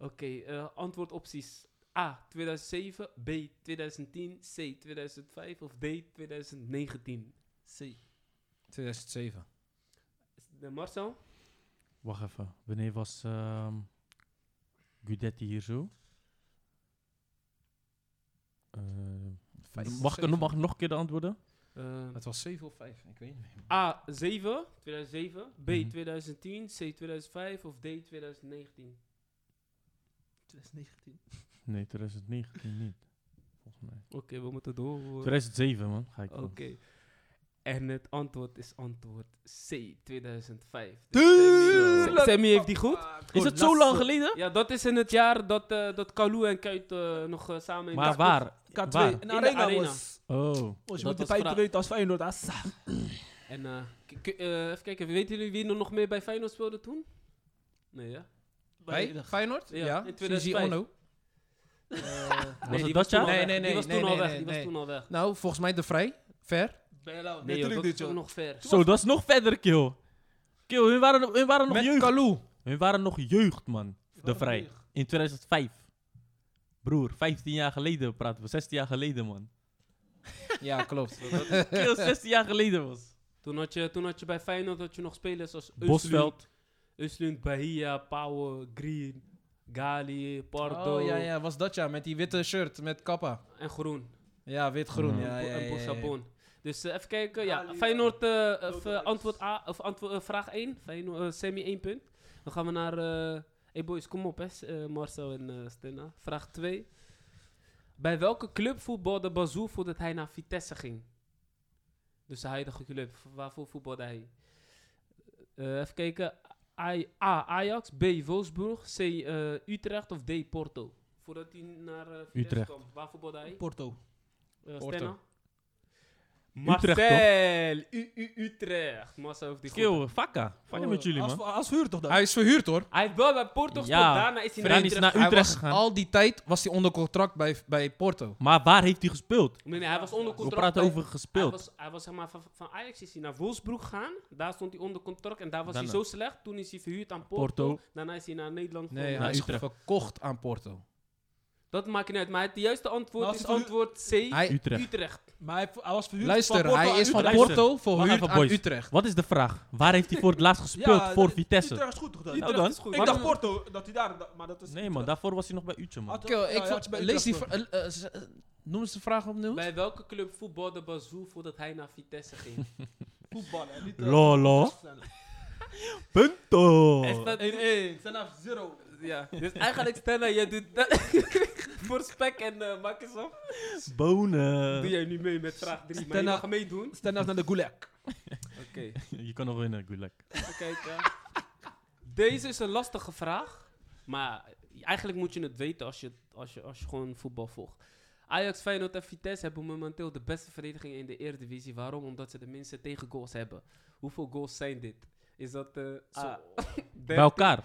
[SPEAKER 2] Oké, eh, antwoordopties: A 2007, B 2010, C 2005 of D 2019. C.
[SPEAKER 3] 2007.
[SPEAKER 2] De Marcel?
[SPEAKER 4] Wacht even. Wanneer was ehm, Gudetti hier zo? Eh, mag ik nog, mag ik nog een keer de antwoorden?
[SPEAKER 2] Eh,
[SPEAKER 3] Het was 7 of 5, ik weet niet meer.
[SPEAKER 2] A 7, 2007, B
[SPEAKER 4] Mhm.
[SPEAKER 2] 2010, C 2005 of D 2019.
[SPEAKER 1] 2019.
[SPEAKER 4] Nee, 2019 niet. Volgens mij.
[SPEAKER 2] Oké, we moeten door.
[SPEAKER 4] 2007, man. Ga ik
[SPEAKER 2] Oh. Oké.
[SPEAKER 4] van.
[SPEAKER 2] En het antwoord is antwoord C, 2005.
[SPEAKER 4] Tuurlijk!
[SPEAKER 2] Sammy- Sammy heeft die goed.
[SPEAKER 4] Is dat zo lang geleden?
[SPEAKER 2] Ja, dat is in het jaar dat, eh dat Kalou en Kuit eh, nog eh, samen in
[SPEAKER 4] Maar
[SPEAKER 2] de-
[SPEAKER 4] waar?
[SPEAKER 1] K2.
[SPEAKER 4] Waar?
[SPEAKER 1] En
[SPEAKER 2] de
[SPEAKER 1] arena,
[SPEAKER 2] arena.
[SPEAKER 1] was...
[SPEAKER 4] Oh.
[SPEAKER 1] was je
[SPEAKER 2] Dat
[SPEAKER 1] moet de
[SPEAKER 2] was
[SPEAKER 1] feiten
[SPEAKER 2] vraag.
[SPEAKER 1] weten als Feyenoord. Assa.
[SPEAKER 2] En eh, k- k- eh, even kijken, weten jullie wie er nog meer bij Feyenoord speelde toen? Nee, Eh, ja?
[SPEAKER 3] Bij Feyenoord?
[SPEAKER 2] Ja,
[SPEAKER 3] Ja.
[SPEAKER 2] in
[SPEAKER 3] Sisi
[SPEAKER 2] 2005
[SPEAKER 3] Ono.
[SPEAKER 4] Was het
[SPEAKER 2] die
[SPEAKER 4] dat
[SPEAKER 2] toen
[SPEAKER 4] jaar?
[SPEAKER 2] al
[SPEAKER 3] Nee,
[SPEAKER 2] weg.
[SPEAKER 3] nee, nee,
[SPEAKER 2] Die was
[SPEAKER 3] nee,
[SPEAKER 2] toen al
[SPEAKER 3] nee,
[SPEAKER 2] weg.
[SPEAKER 3] nee,
[SPEAKER 2] Die
[SPEAKER 3] nee.
[SPEAKER 2] was toen al weg.
[SPEAKER 3] Nou, volgens mij De Vrij. Ver.
[SPEAKER 1] Bijlau.
[SPEAKER 2] Nee, joh,
[SPEAKER 1] Natuurlijk
[SPEAKER 2] dat
[SPEAKER 1] niet,
[SPEAKER 2] is ook
[SPEAKER 1] joh.
[SPEAKER 2] nog ver.
[SPEAKER 4] Zo, dat is nog verder, kill. Kill, hun waren, hun waren nog
[SPEAKER 3] Met
[SPEAKER 4] jeugd.
[SPEAKER 3] Kalou.
[SPEAKER 4] Hun waren nog jeugd, man. De
[SPEAKER 1] waren
[SPEAKER 4] Vrij.
[SPEAKER 1] jeugd.
[SPEAKER 4] In 2005. Broer, 15 jaar geleden praten we. 16 jaar geleden, man.
[SPEAKER 3] Ja, klopt.
[SPEAKER 4] Kill, 16 jaar geleden was.
[SPEAKER 2] Toen had, je, toen had je bij Feyenoord dat je nog spelers als Bosveld,
[SPEAKER 4] Bosveld.
[SPEAKER 2] Uslund, Bahia, Power, Green, Gali, Pardo
[SPEAKER 3] Oh ja, ja, was dat ja, met die witte shirt met kappa.
[SPEAKER 2] en Groen.
[SPEAKER 3] Ja, wit-groen.
[SPEAKER 4] Ja.
[SPEAKER 3] Ja,
[SPEAKER 2] en Po-
[SPEAKER 3] ja, ja,
[SPEAKER 2] en
[SPEAKER 3] ja, ja.
[SPEAKER 2] Bossabon. Dus eh, even kijken, ja.
[SPEAKER 1] Ali,
[SPEAKER 2] Feyenoord, eh, of, eh,
[SPEAKER 1] Dodelijks.
[SPEAKER 2] antwoord A, of antwoord, eh, vraag 1. Feyenoord, eh, Sammy 1 punt. Dan gaan we naar... eh hey boys, kom op hè, S- eh, Marcel en eh Stenna. Vraag 2. Bij welke club voetbalde Bazou voordat hij naar Vitesse ging? Dus de huidige club, v- waarvoor voetbalde hij? Eh, even kijken. I- A, Ajax, B, Wolfsburg, C, eh, Utrecht of D, Porto? Voordat hij naar eh, Vitesse
[SPEAKER 4] Utrecht.
[SPEAKER 2] kwam, waar voetbalde hij?
[SPEAKER 1] Porto.
[SPEAKER 2] Eh,
[SPEAKER 3] Porto.
[SPEAKER 2] Stenna?
[SPEAKER 4] Utrecht,
[SPEAKER 2] Marcel, U U Utrecht. Marcel heeft die goed.
[SPEAKER 4] Kill, fakka. Fakka
[SPEAKER 1] Oh,
[SPEAKER 4] met jullie,
[SPEAKER 1] als-
[SPEAKER 4] man.
[SPEAKER 1] Als vuur toch dan?
[SPEAKER 3] Hij is verhuurd hoor.
[SPEAKER 2] Hij heeft wel bij Porto gespeeld,
[SPEAKER 4] Ja,
[SPEAKER 2] daarna is hij naar
[SPEAKER 4] Daarna
[SPEAKER 2] Utrecht.
[SPEAKER 4] is hij naar
[SPEAKER 3] Hij
[SPEAKER 4] Utrecht
[SPEAKER 3] was
[SPEAKER 4] gegaan.
[SPEAKER 3] al die tijd was hij onder contract bij, bij Porto.
[SPEAKER 4] Maar waar heeft hij gespeeld?
[SPEAKER 2] Nee, nee, hij was onder
[SPEAKER 4] We
[SPEAKER 2] contract.
[SPEAKER 4] praten
[SPEAKER 2] bij-
[SPEAKER 4] over
[SPEAKER 2] Hij
[SPEAKER 4] gespeeld.
[SPEAKER 2] was, hij was zeg maar, van, van Ajax is hij naar Wolfsburg gegaan. Daar stond hij onder contract en daar was hij
[SPEAKER 4] Daarna.
[SPEAKER 2] zo slecht. Toen is hij verhuurd aan Porto.
[SPEAKER 4] Porto.
[SPEAKER 2] Daarna is hij naar Nederland
[SPEAKER 3] Nee,
[SPEAKER 2] gegaan.
[SPEAKER 3] hij is
[SPEAKER 4] Utrecht.
[SPEAKER 3] verkocht aan Porto.
[SPEAKER 2] Dat maakt niet uit, maar het juiste antwoord
[SPEAKER 1] Maar als
[SPEAKER 2] is
[SPEAKER 1] hij voor-
[SPEAKER 2] antwoord C,
[SPEAKER 3] Hij,
[SPEAKER 4] Utrecht.
[SPEAKER 2] Utrecht.
[SPEAKER 1] Maar hij, hij was verhuurd van
[SPEAKER 3] luister,
[SPEAKER 1] Porto
[SPEAKER 3] hij
[SPEAKER 1] aan
[SPEAKER 3] is van
[SPEAKER 1] Utrecht.
[SPEAKER 4] Luister.
[SPEAKER 3] Porto verhuurd
[SPEAKER 4] even,
[SPEAKER 3] aan
[SPEAKER 4] boys.
[SPEAKER 3] Utrecht.
[SPEAKER 4] Wat is de vraag? Waar heeft hij voor het laatst gespeeld
[SPEAKER 1] Ja,
[SPEAKER 4] voor
[SPEAKER 1] dat-
[SPEAKER 4] Vitesse?
[SPEAKER 1] Utrecht is goed toch dan?
[SPEAKER 4] Nou
[SPEAKER 2] Utrecht
[SPEAKER 4] dan.
[SPEAKER 2] is goed.
[SPEAKER 1] Ik
[SPEAKER 2] Maar-
[SPEAKER 1] dacht Porto, dat hij daar... dat- Maar dat is
[SPEAKER 4] Nee man, daarvoor was hij nog bij Utrecht man.
[SPEAKER 1] Had-
[SPEAKER 3] Kill,
[SPEAKER 1] Ja,
[SPEAKER 3] ik
[SPEAKER 1] ja,
[SPEAKER 3] vo-
[SPEAKER 1] het is bij
[SPEAKER 3] lees die...
[SPEAKER 1] Utrecht,
[SPEAKER 3] vra- eh, eh, z- eh, noem eens de vraag opnieuw.
[SPEAKER 4] Oh.
[SPEAKER 2] Bij welke club voetbalde Bazou voordat hij naar Vitesse ging?
[SPEAKER 1] Voetballen. en Niet, eh,
[SPEAKER 4] Lolo. Punto.
[SPEAKER 2] Is dat-
[SPEAKER 1] 1-1. Senaf 0.
[SPEAKER 2] Ja, dus eigenlijk Stella, jij doet dat voor spek en uh, makkersam. Doe
[SPEAKER 4] Bonen.
[SPEAKER 2] jij nu mee met vraag 3, maar je
[SPEAKER 1] Stella-
[SPEAKER 2] mag meedoen.
[SPEAKER 1] Stenaf naar de Gulag.
[SPEAKER 2] Oké,
[SPEAKER 4] Je kan nog winnen, good luck.
[SPEAKER 2] even kijken. Deze is een lastige vraag, maar eigenlijk moet je het weten als je, als je, als je gewoon voetbal volgt. Ajax, Feyenoord en Vitesse hebben momenteel de beste verdediging in de Eredivisie. Waarom? Omdat ze de minste tegengoals hebben. Hoeveel goals zijn dit? Is dat... eh ah,
[SPEAKER 4] Bij elkaar.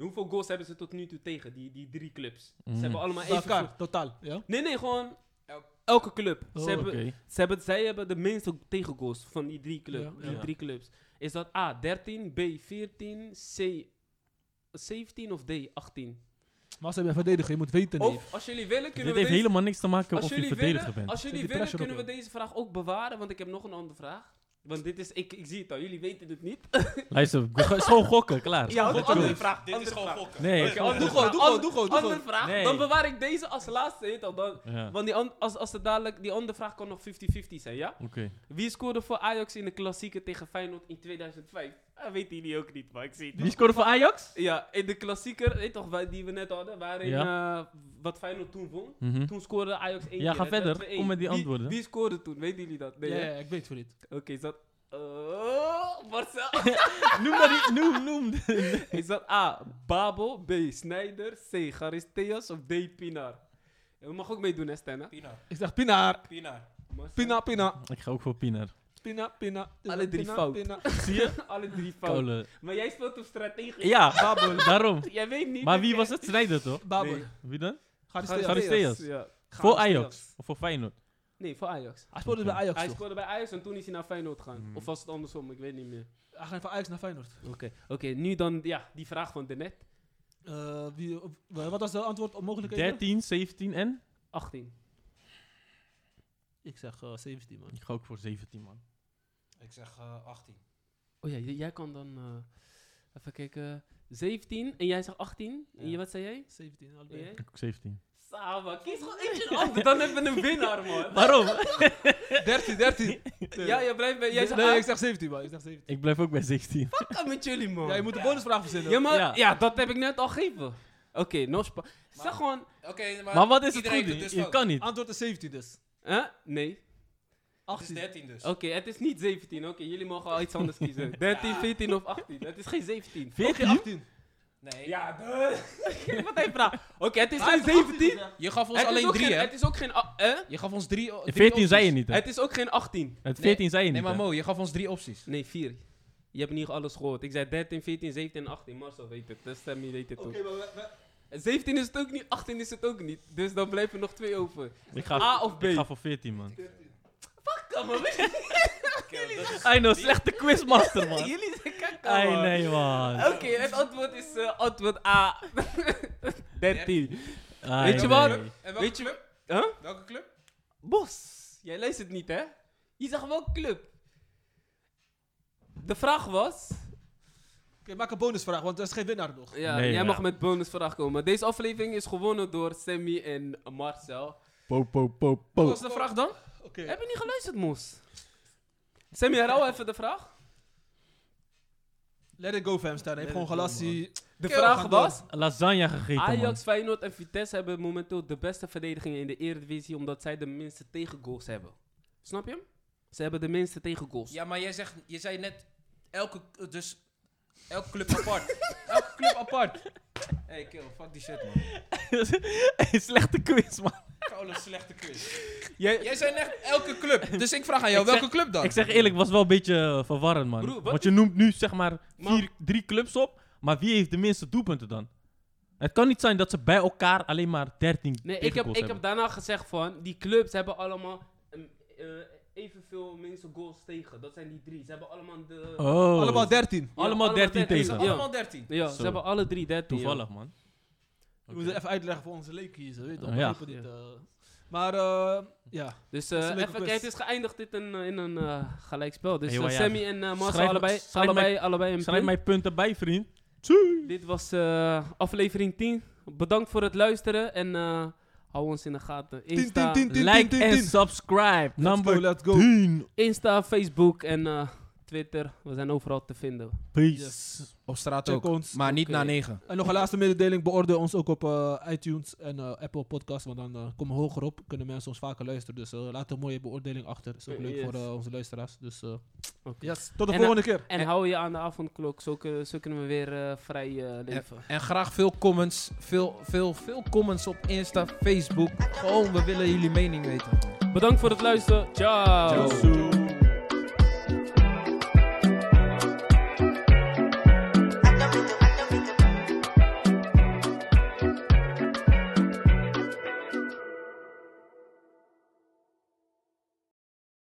[SPEAKER 2] Hoeveel goals hebben ze tot nu toe tegen, die, die drie clubs?
[SPEAKER 4] Mm.
[SPEAKER 2] Ze hebben allemaal
[SPEAKER 1] Bij
[SPEAKER 2] even
[SPEAKER 1] elkaar, totaal. Ja?
[SPEAKER 2] Nee, nee, gewoon elke club.
[SPEAKER 1] Oh,
[SPEAKER 2] ze hebben,
[SPEAKER 4] Oké.
[SPEAKER 2] ze hebben, zij hebben de minste tegengoals van die drie, club,
[SPEAKER 1] Ja,
[SPEAKER 2] die
[SPEAKER 4] ja.
[SPEAKER 2] drie clubs. Is dat A, 13, B, 14, C, 17 of D, 18?
[SPEAKER 1] Maar ze hebben verdedigen, je moet weten. neef.
[SPEAKER 2] Of, als jullie willen, kunnen
[SPEAKER 4] Dit
[SPEAKER 2] we
[SPEAKER 4] heeft
[SPEAKER 2] deze...
[SPEAKER 4] helemaal niks te maken
[SPEAKER 2] als
[SPEAKER 4] of je
[SPEAKER 2] jullie
[SPEAKER 4] verdediger
[SPEAKER 2] willen,
[SPEAKER 4] bent.
[SPEAKER 2] als jullie
[SPEAKER 1] die
[SPEAKER 2] willen
[SPEAKER 1] pressure
[SPEAKER 2] kunnen we
[SPEAKER 1] op
[SPEAKER 2] deze vraag ook bewaren, want ik heb nog een andere vraag. Want dit is, ik, ik zie het al, jullie weten het niet.
[SPEAKER 4] Luister, go- het is gewoon gokken, klaar.
[SPEAKER 2] Ja,
[SPEAKER 4] Gokken.
[SPEAKER 2] andere vraag.
[SPEAKER 5] Dit is gewoon gokken.
[SPEAKER 4] Nee,
[SPEAKER 5] Oké,
[SPEAKER 4] ik-
[SPEAKER 2] Andere
[SPEAKER 1] Doe gewoon,
[SPEAKER 2] vraag,
[SPEAKER 1] doe gewoon,
[SPEAKER 2] an-
[SPEAKER 1] doe gewoon, doe
[SPEAKER 2] Andere
[SPEAKER 1] gewoon.
[SPEAKER 2] vraag,
[SPEAKER 4] Nee.
[SPEAKER 2] dan bewaar ik deze als laatste, heet al dan.
[SPEAKER 4] Ja, oké.
[SPEAKER 2] Want die an- als, als er dadelijk, die andere vraag kan nog 50-50 zijn, ja? Wie scoorde voor Ajax in de klassieker tegen Feyenoord in 2005? Dat weten jullie ook niet, maar ik zie het.
[SPEAKER 4] Wie scoorde voor Ajax?
[SPEAKER 2] Ja, in de klassieker, weet toch, wa- die we net hadden, waarin eh, wat Feyenoord toen won.
[SPEAKER 4] Mhm.
[SPEAKER 2] Toen scoorde Ajax één
[SPEAKER 4] Ja,
[SPEAKER 2] keer.
[SPEAKER 4] ga
[SPEAKER 2] het werd
[SPEAKER 4] verder.
[SPEAKER 2] 2-1.
[SPEAKER 4] Kom met die
[SPEAKER 2] Wie-
[SPEAKER 4] antwoorden.
[SPEAKER 2] Wie, scoorde toen? Weten jullie dat? Nee,
[SPEAKER 1] Ja,
[SPEAKER 2] hè?
[SPEAKER 1] ja, ik weet voor dit.
[SPEAKER 2] Oké, is dat... Oh, Marcel.
[SPEAKER 4] Noem maar die, noem, noem.
[SPEAKER 2] is dat A, Babel, B, Snijder, C, Charisteas of D, Pinar? Ja, we mag ook meedoen, hè, Stenna?
[SPEAKER 5] Pina.
[SPEAKER 1] Ik zeg Pinaar.
[SPEAKER 5] Pina.
[SPEAKER 2] Marcel.
[SPEAKER 1] Pina, Pina.
[SPEAKER 4] Ik ga ook voor Piener.
[SPEAKER 1] Pina, Pina. Is
[SPEAKER 2] Alle
[SPEAKER 1] dat
[SPEAKER 2] drie
[SPEAKER 1] Pina,
[SPEAKER 2] fout.
[SPEAKER 1] Pina?
[SPEAKER 2] Zie je? Alle drie fout.
[SPEAKER 4] Koude.
[SPEAKER 2] Maar jij speelt op strategie.
[SPEAKER 4] Ja, daarom.
[SPEAKER 2] Jij weet niet.
[SPEAKER 4] Maar
[SPEAKER 2] hè?
[SPEAKER 4] wie was het? Snijder toch?
[SPEAKER 1] Babel.
[SPEAKER 2] Nee.
[SPEAKER 4] Wie dan?
[SPEAKER 1] Garisteas.
[SPEAKER 4] Garisteas.
[SPEAKER 2] Ja.
[SPEAKER 4] Voor Ajax. Of voor Feyenoord?
[SPEAKER 2] Nee, voor Ajax.
[SPEAKER 1] Hij speelde bij Ajax
[SPEAKER 2] Hij
[SPEAKER 1] toch?
[SPEAKER 2] scoorde bij Ajax en toen is hij naar Feyenoord gegaan.
[SPEAKER 4] Hmm.
[SPEAKER 2] Of was het andersom? Ik weet niet meer.
[SPEAKER 1] Hij ging van Ajax naar Feyenoord.
[SPEAKER 2] Mm. Oké, oké. nu dan ja, die vraag van daarnet.
[SPEAKER 1] Eh, wie, op- wat was de antwoord op mogelijkheden?
[SPEAKER 4] 13, 17 en?
[SPEAKER 2] 18.
[SPEAKER 1] Ik zeg eh, 17 man.
[SPEAKER 4] Ik ga ook voor 17 man.
[SPEAKER 5] Ik zeg eh, 18.
[SPEAKER 2] Oh ja, j- jij kan dan... eh, even kijken. 17 en jij zegt 18. En je,
[SPEAKER 5] Ja.
[SPEAKER 2] wat zei jij?
[SPEAKER 1] 17
[SPEAKER 2] En
[SPEAKER 1] allebei.
[SPEAKER 2] jij?
[SPEAKER 4] Ik ook 17.
[SPEAKER 2] Sava, kies gewoon eentje een ander. Dan hebben we een winnaar, man.
[SPEAKER 4] Waarom?
[SPEAKER 1] 13, 13.
[SPEAKER 2] Ja, jij blijft bij... Jij
[SPEAKER 1] Nee,
[SPEAKER 2] zegt
[SPEAKER 1] nee, ik
[SPEAKER 2] nee,
[SPEAKER 1] zeg 17 man. Ik zeg 17.
[SPEAKER 4] Ik blijf ook bij 17.
[SPEAKER 2] met jullie, man.
[SPEAKER 1] Oh. Ja, je moet de bonusvraag verzinnen.
[SPEAKER 2] Ja, maar, ja.
[SPEAKER 4] Ja.
[SPEAKER 2] dat heb ik net al gegeven. Oké, nog spa. Zeg
[SPEAKER 5] Maar-
[SPEAKER 2] gewoon...
[SPEAKER 5] Oké, maar,
[SPEAKER 4] Maar wat is het
[SPEAKER 5] iedereen
[SPEAKER 4] goed?
[SPEAKER 5] doet
[SPEAKER 4] in?
[SPEAKER 5] dus
[SPEAKER 4] je
[SPEAKER 5] fout.
[SPEAKER 4] kan
[SPEAKER 2] Ah,
[SPEAKER 4] niet.
[SPEAKER 1] Antwoord is 17 dus.
[SPEAKER 2] Huh? Nee.
[SPEAKER 5] Het is
[SPEAKER 1] 18.
[SPEAKER 5] 13 dus.
[SPEAKER 2] Oké, het is niet 17. Oké, jullie mogen al iets anders kiezen. 13, 14 of 18. Het is geen 17.
[SPEAKER 4] 14?
[SPEAKER 1] 18.
[SPEAKER 5] Nee.
[SPEAKER 2] Ja, dus. Wat hij vraagt. Oké, het is
[SPEAKER 1] Hij
[SPEAKER 2] geen
[SPEAKER 1] heeft 18
[SPEAKER 2] 17.
[SPEAKER 1] gezegd.
[SPEAKER 3] Je gaf ons
[SPEAKER 2] Het is,
[SPEAKER 3] alleen
[SPEAKER 2] ook
[SPEAKER 3] drie,
[SPEAKER 2] geen,
[SPEAKER 3] hè?
[SPEAKER 2] het is ook geen. a- hè?
[SPEAKER 3] Je gaf ons drie. o- drie
[SPEAKER 4] 14
[SPEAKER 3] opties.
[SPEAKER 4] zei je niet, hè?
[SPEAKER 2] Het is ook geen 18.
[SPEAKER 4] Het 14 zei je
[SPEAKER 3] Nee,
[SPEAKER 4] niet,
[SPEAKER 3] maar
[SPEAKER 4] hè?
[SPEAKER 3] Mo, je gaf ons drie opties.
[SPEAKER 2] Nee, 4. Je hebt niet alles gehoord. Ik zei 13, 14, 17 en 18. Marcel weet het. Dus Sammy weet het ook.
[SPEAKER 1] Oké, maar we- we-
[SPEAKER 2] 17 is het ook niet, 18 is het ook niet. Dus dan blijven nog twee over.
[SPEAKER 4] Ik ga,
[SPEAKER 2] A of B?
[SPEAKER 4] Ik ga voor 14, man.
[SPEAKER 2] Kom maar, weet je,
[SPEAKER 5] Oké, dat is-
[SPEAKER 4] I know, nou, slechte quizmaster, man.
[SPEAKER 2] jullie zijn kak,
[SPEAKER 4] Ai,
[SPEAKER 2] man.
[SPEAKER 4] nee, man.
[SPEAKER 2] Oké, het antwoord is eh, antwoord A. 13.
[SPEAKER 4] Ai,
[SPEAKER 2] Weet je
[SPEAKER 4] nee.
[SPEAKER 2] wat?
[SPEAKER 5] En welke
[SPEAKER 2] Weet je
[SPEAKER 5] club?
[SPEAKER 2] Huh?
[SPEAKER 5] Welke club?
[SPEAKER 2] Bos, jij luistert niet, hè? Je zag wel club. De vraag was...
[SPEAKER 1] Oké, maak een bonusvraag, want er is geen winnaar nog.
[SPEAKER 2] Ja,
[SPEAKER 4] Nee,
[SPEAKER 2] jij
[SPEAKER 4] ja.
[SPEAKER 2] mag met bonusvraag komen. Deze aflevering is gewonnen door Sammy en Marcel.
[SPEAKER 4] Po, po, po,
[SPEAKER 3] Wat
[SPEAKER 4] po.
[SPEAKER 3] was de vraag dan?
[SPEAKER 1] Oké.
[SPEAKER 2] Heb je niet geluisterd, Mos? Sammy, herhaal even de vraag.
[SPEAKER 1] Let it go, Famstar. Hij heeft
[SPEAKER 2] Let
[SPEAKER 1] gewoon
[SPEAKER 2] it go,
[SPEAKER 1] gelassie.
[SPEAKER 2] De
[SPEAKER 1] Oké, we
[SPEAKER 2] vraag
[SPEAKER 1] gaan door.
[SPEAKER 2] was...
[SPEAKER 4] Lasagne gegeten, man.
[SPEAKER 2] Ajax, Feyenoord en Vitesse hebben momenteel de beste verdedigingen in de Eredivisie... omdat zij de minste tegengoals hebben. Snap je hem? Ze hebben de minste tegengoals.
[SPEAKER 3] Ja, maar jij zegt, je zei net elke, dus elke club apart. elke club apart. Hey kill, fuck die shit man.
[SPEAKER 4] slechte quiz, man.
[SPEAKER 5] Koude slechte quiz.
[SPEAKER 2] Jij,
[SPEAKER 3] Jij zei net elke club, dus ik vraag aan jou
[SPEAKER 4] Ik zeg-
[SPEAKER 3] welke club dan?
[SPEAKER 4] Ik zeg eerlijk, was wel een beetje eh, verwarrend, man.
[SPEAKER 2] Broer, wat
[SPEAKER 4] Want je noemt nu, zeg maar,
[SPEAKER 2] Maar-
[SPEAKER 4] vier, drie clubs op. Maar wie heeft de minste doelpunten dan? Het kan niet zijn dat ze bij elkaar alleen maar 13
[SPEAKER 2] Nee, ik heb,
[SPEAKER 4] tegengoals
[SPEAKER 2] ik heb
[SPEAKER 4] hebben.
[SPEAKER 2] daarna gezegd van, die clubs hebben allemaal um, eh, evenveel mensen goals tegen. Dat zijn die drie. Ze hebben allemaal de...
[SPEAKER 4] Oh.
[SPEAKER 1] Allemaal 13.
[SPEAKER 2] Ja,
[SPEAKER 4] allemaal 13 tegen.
[SPEAKER 2] Ja.
[SPEAKER 3] allemaal 13.
[SPEAKER 2] Ja, ze
[SPEAKER 4] Zo.
[SPEAKER 2] hebben alle drie 13. ja.
[SPEAKER 4] Toevallig, man.
[SPEAKER 1] We moeten even uitleggen voor onze leken hier, zo, weet je toch?
[SPEAKER 4] Oh, ja.
[SPEAKER 1] Begrijpen dit, eh. Maar, eh, ja.
[SPEAKER 2] Dus
[SPEAKER 1] Dat is
[SPEAKER 2] eh
[SPEAKER 1] een
[SPEAKER 2] even
[SPEAKER 1] leuke
[SPEAKER 2] kijken,
[SPEAKER 1] quiz.
[SPEAKER 2] het is geëindigd dit in, eh, in een eh, gelijkspel. Dus
[SPEAKER 4] Hey,
[SPEAKER 2] eh,
[SPEAKER 4] waar jij-
[SPEAKER 2] Sammy en eh Marcel,
[SPEAKER 4] Schrijf-
[SPEAKER 2] allebei,
[SPEAKER 4] schrijf
[SPEAKER 2] allebei, allebei een
[SPEAKER 4] Schrijf
[SPEAKER 2] punt.
[SPEAKER 4] mijn punten bij, vriend.
[SPEAKER 2] Dit was eh, aflevering 10. Bedankt voor het luisteren en eh, hou ons in de gaten.
[SPEAKER 1] 10,
[SPEAKER 2] Insta,
[SPEAKER 1] 10, 10, 10,
[SPEAKER 4] Like
[SPEAKER 1] 10,
[SPEAKER 4] en subscribe.
[SPEAKER 1] Let's go,
[SPEAKER 4] Number
[SPEAKER 1] let's go.
[SPEAKER 4] 10.
[SPEAKER 2] Insta Facebook en eh, Twitter. We zijn overal te vinden.
[SPEAKER 4] Peace.
[SPEAKER 3] Op straat
[SPEAKER 1] Check
[SPEAKER 3] ook.
[SPEAKER 1] ons.
[SPEAKER 3] Maar niet
[SPEAKER 2] Oké.
[SPEAKER 3] na negen.
[SPEAKER 1] En nog een laatste mededeling. Beoordeel ons ook op eh, iTunes en eh, Apple Podcasts. Want dan eh, komen we hoger op. Kunnen mensen ons vaker luisteren. Dus eh, laat een mooie beoordeling achter. Is ook leuk
[SPEAKER 2] Yes.
[SPEAKER 1] voor eh, onze luisteraars. Dus eh,
[SPEAKER 2] Oké.
[SPEAKER 1] yes. tot de
[SPEAKER 2] En,
[SPEAKER 1] volgende keer.
[SPEAKER 2] En,
[SPEAKER 3] En-
[SPEAKER 2] hou je aan de avondklok, zo, kun- zo kunnen we weer eh, vrij eh, leven.
[SPEAKER 3] En graag veel comments. Veel, veel, veel comments op Insta, Facebook. Gewoon, we willen jullie mening weten.
[SPEAKER 2] Bedankt voor het luisteren. Ciao.
[SPEAKER 3] Ciao.
[SPEAKER 2] eh,
[SPEAKER 4] Zoen.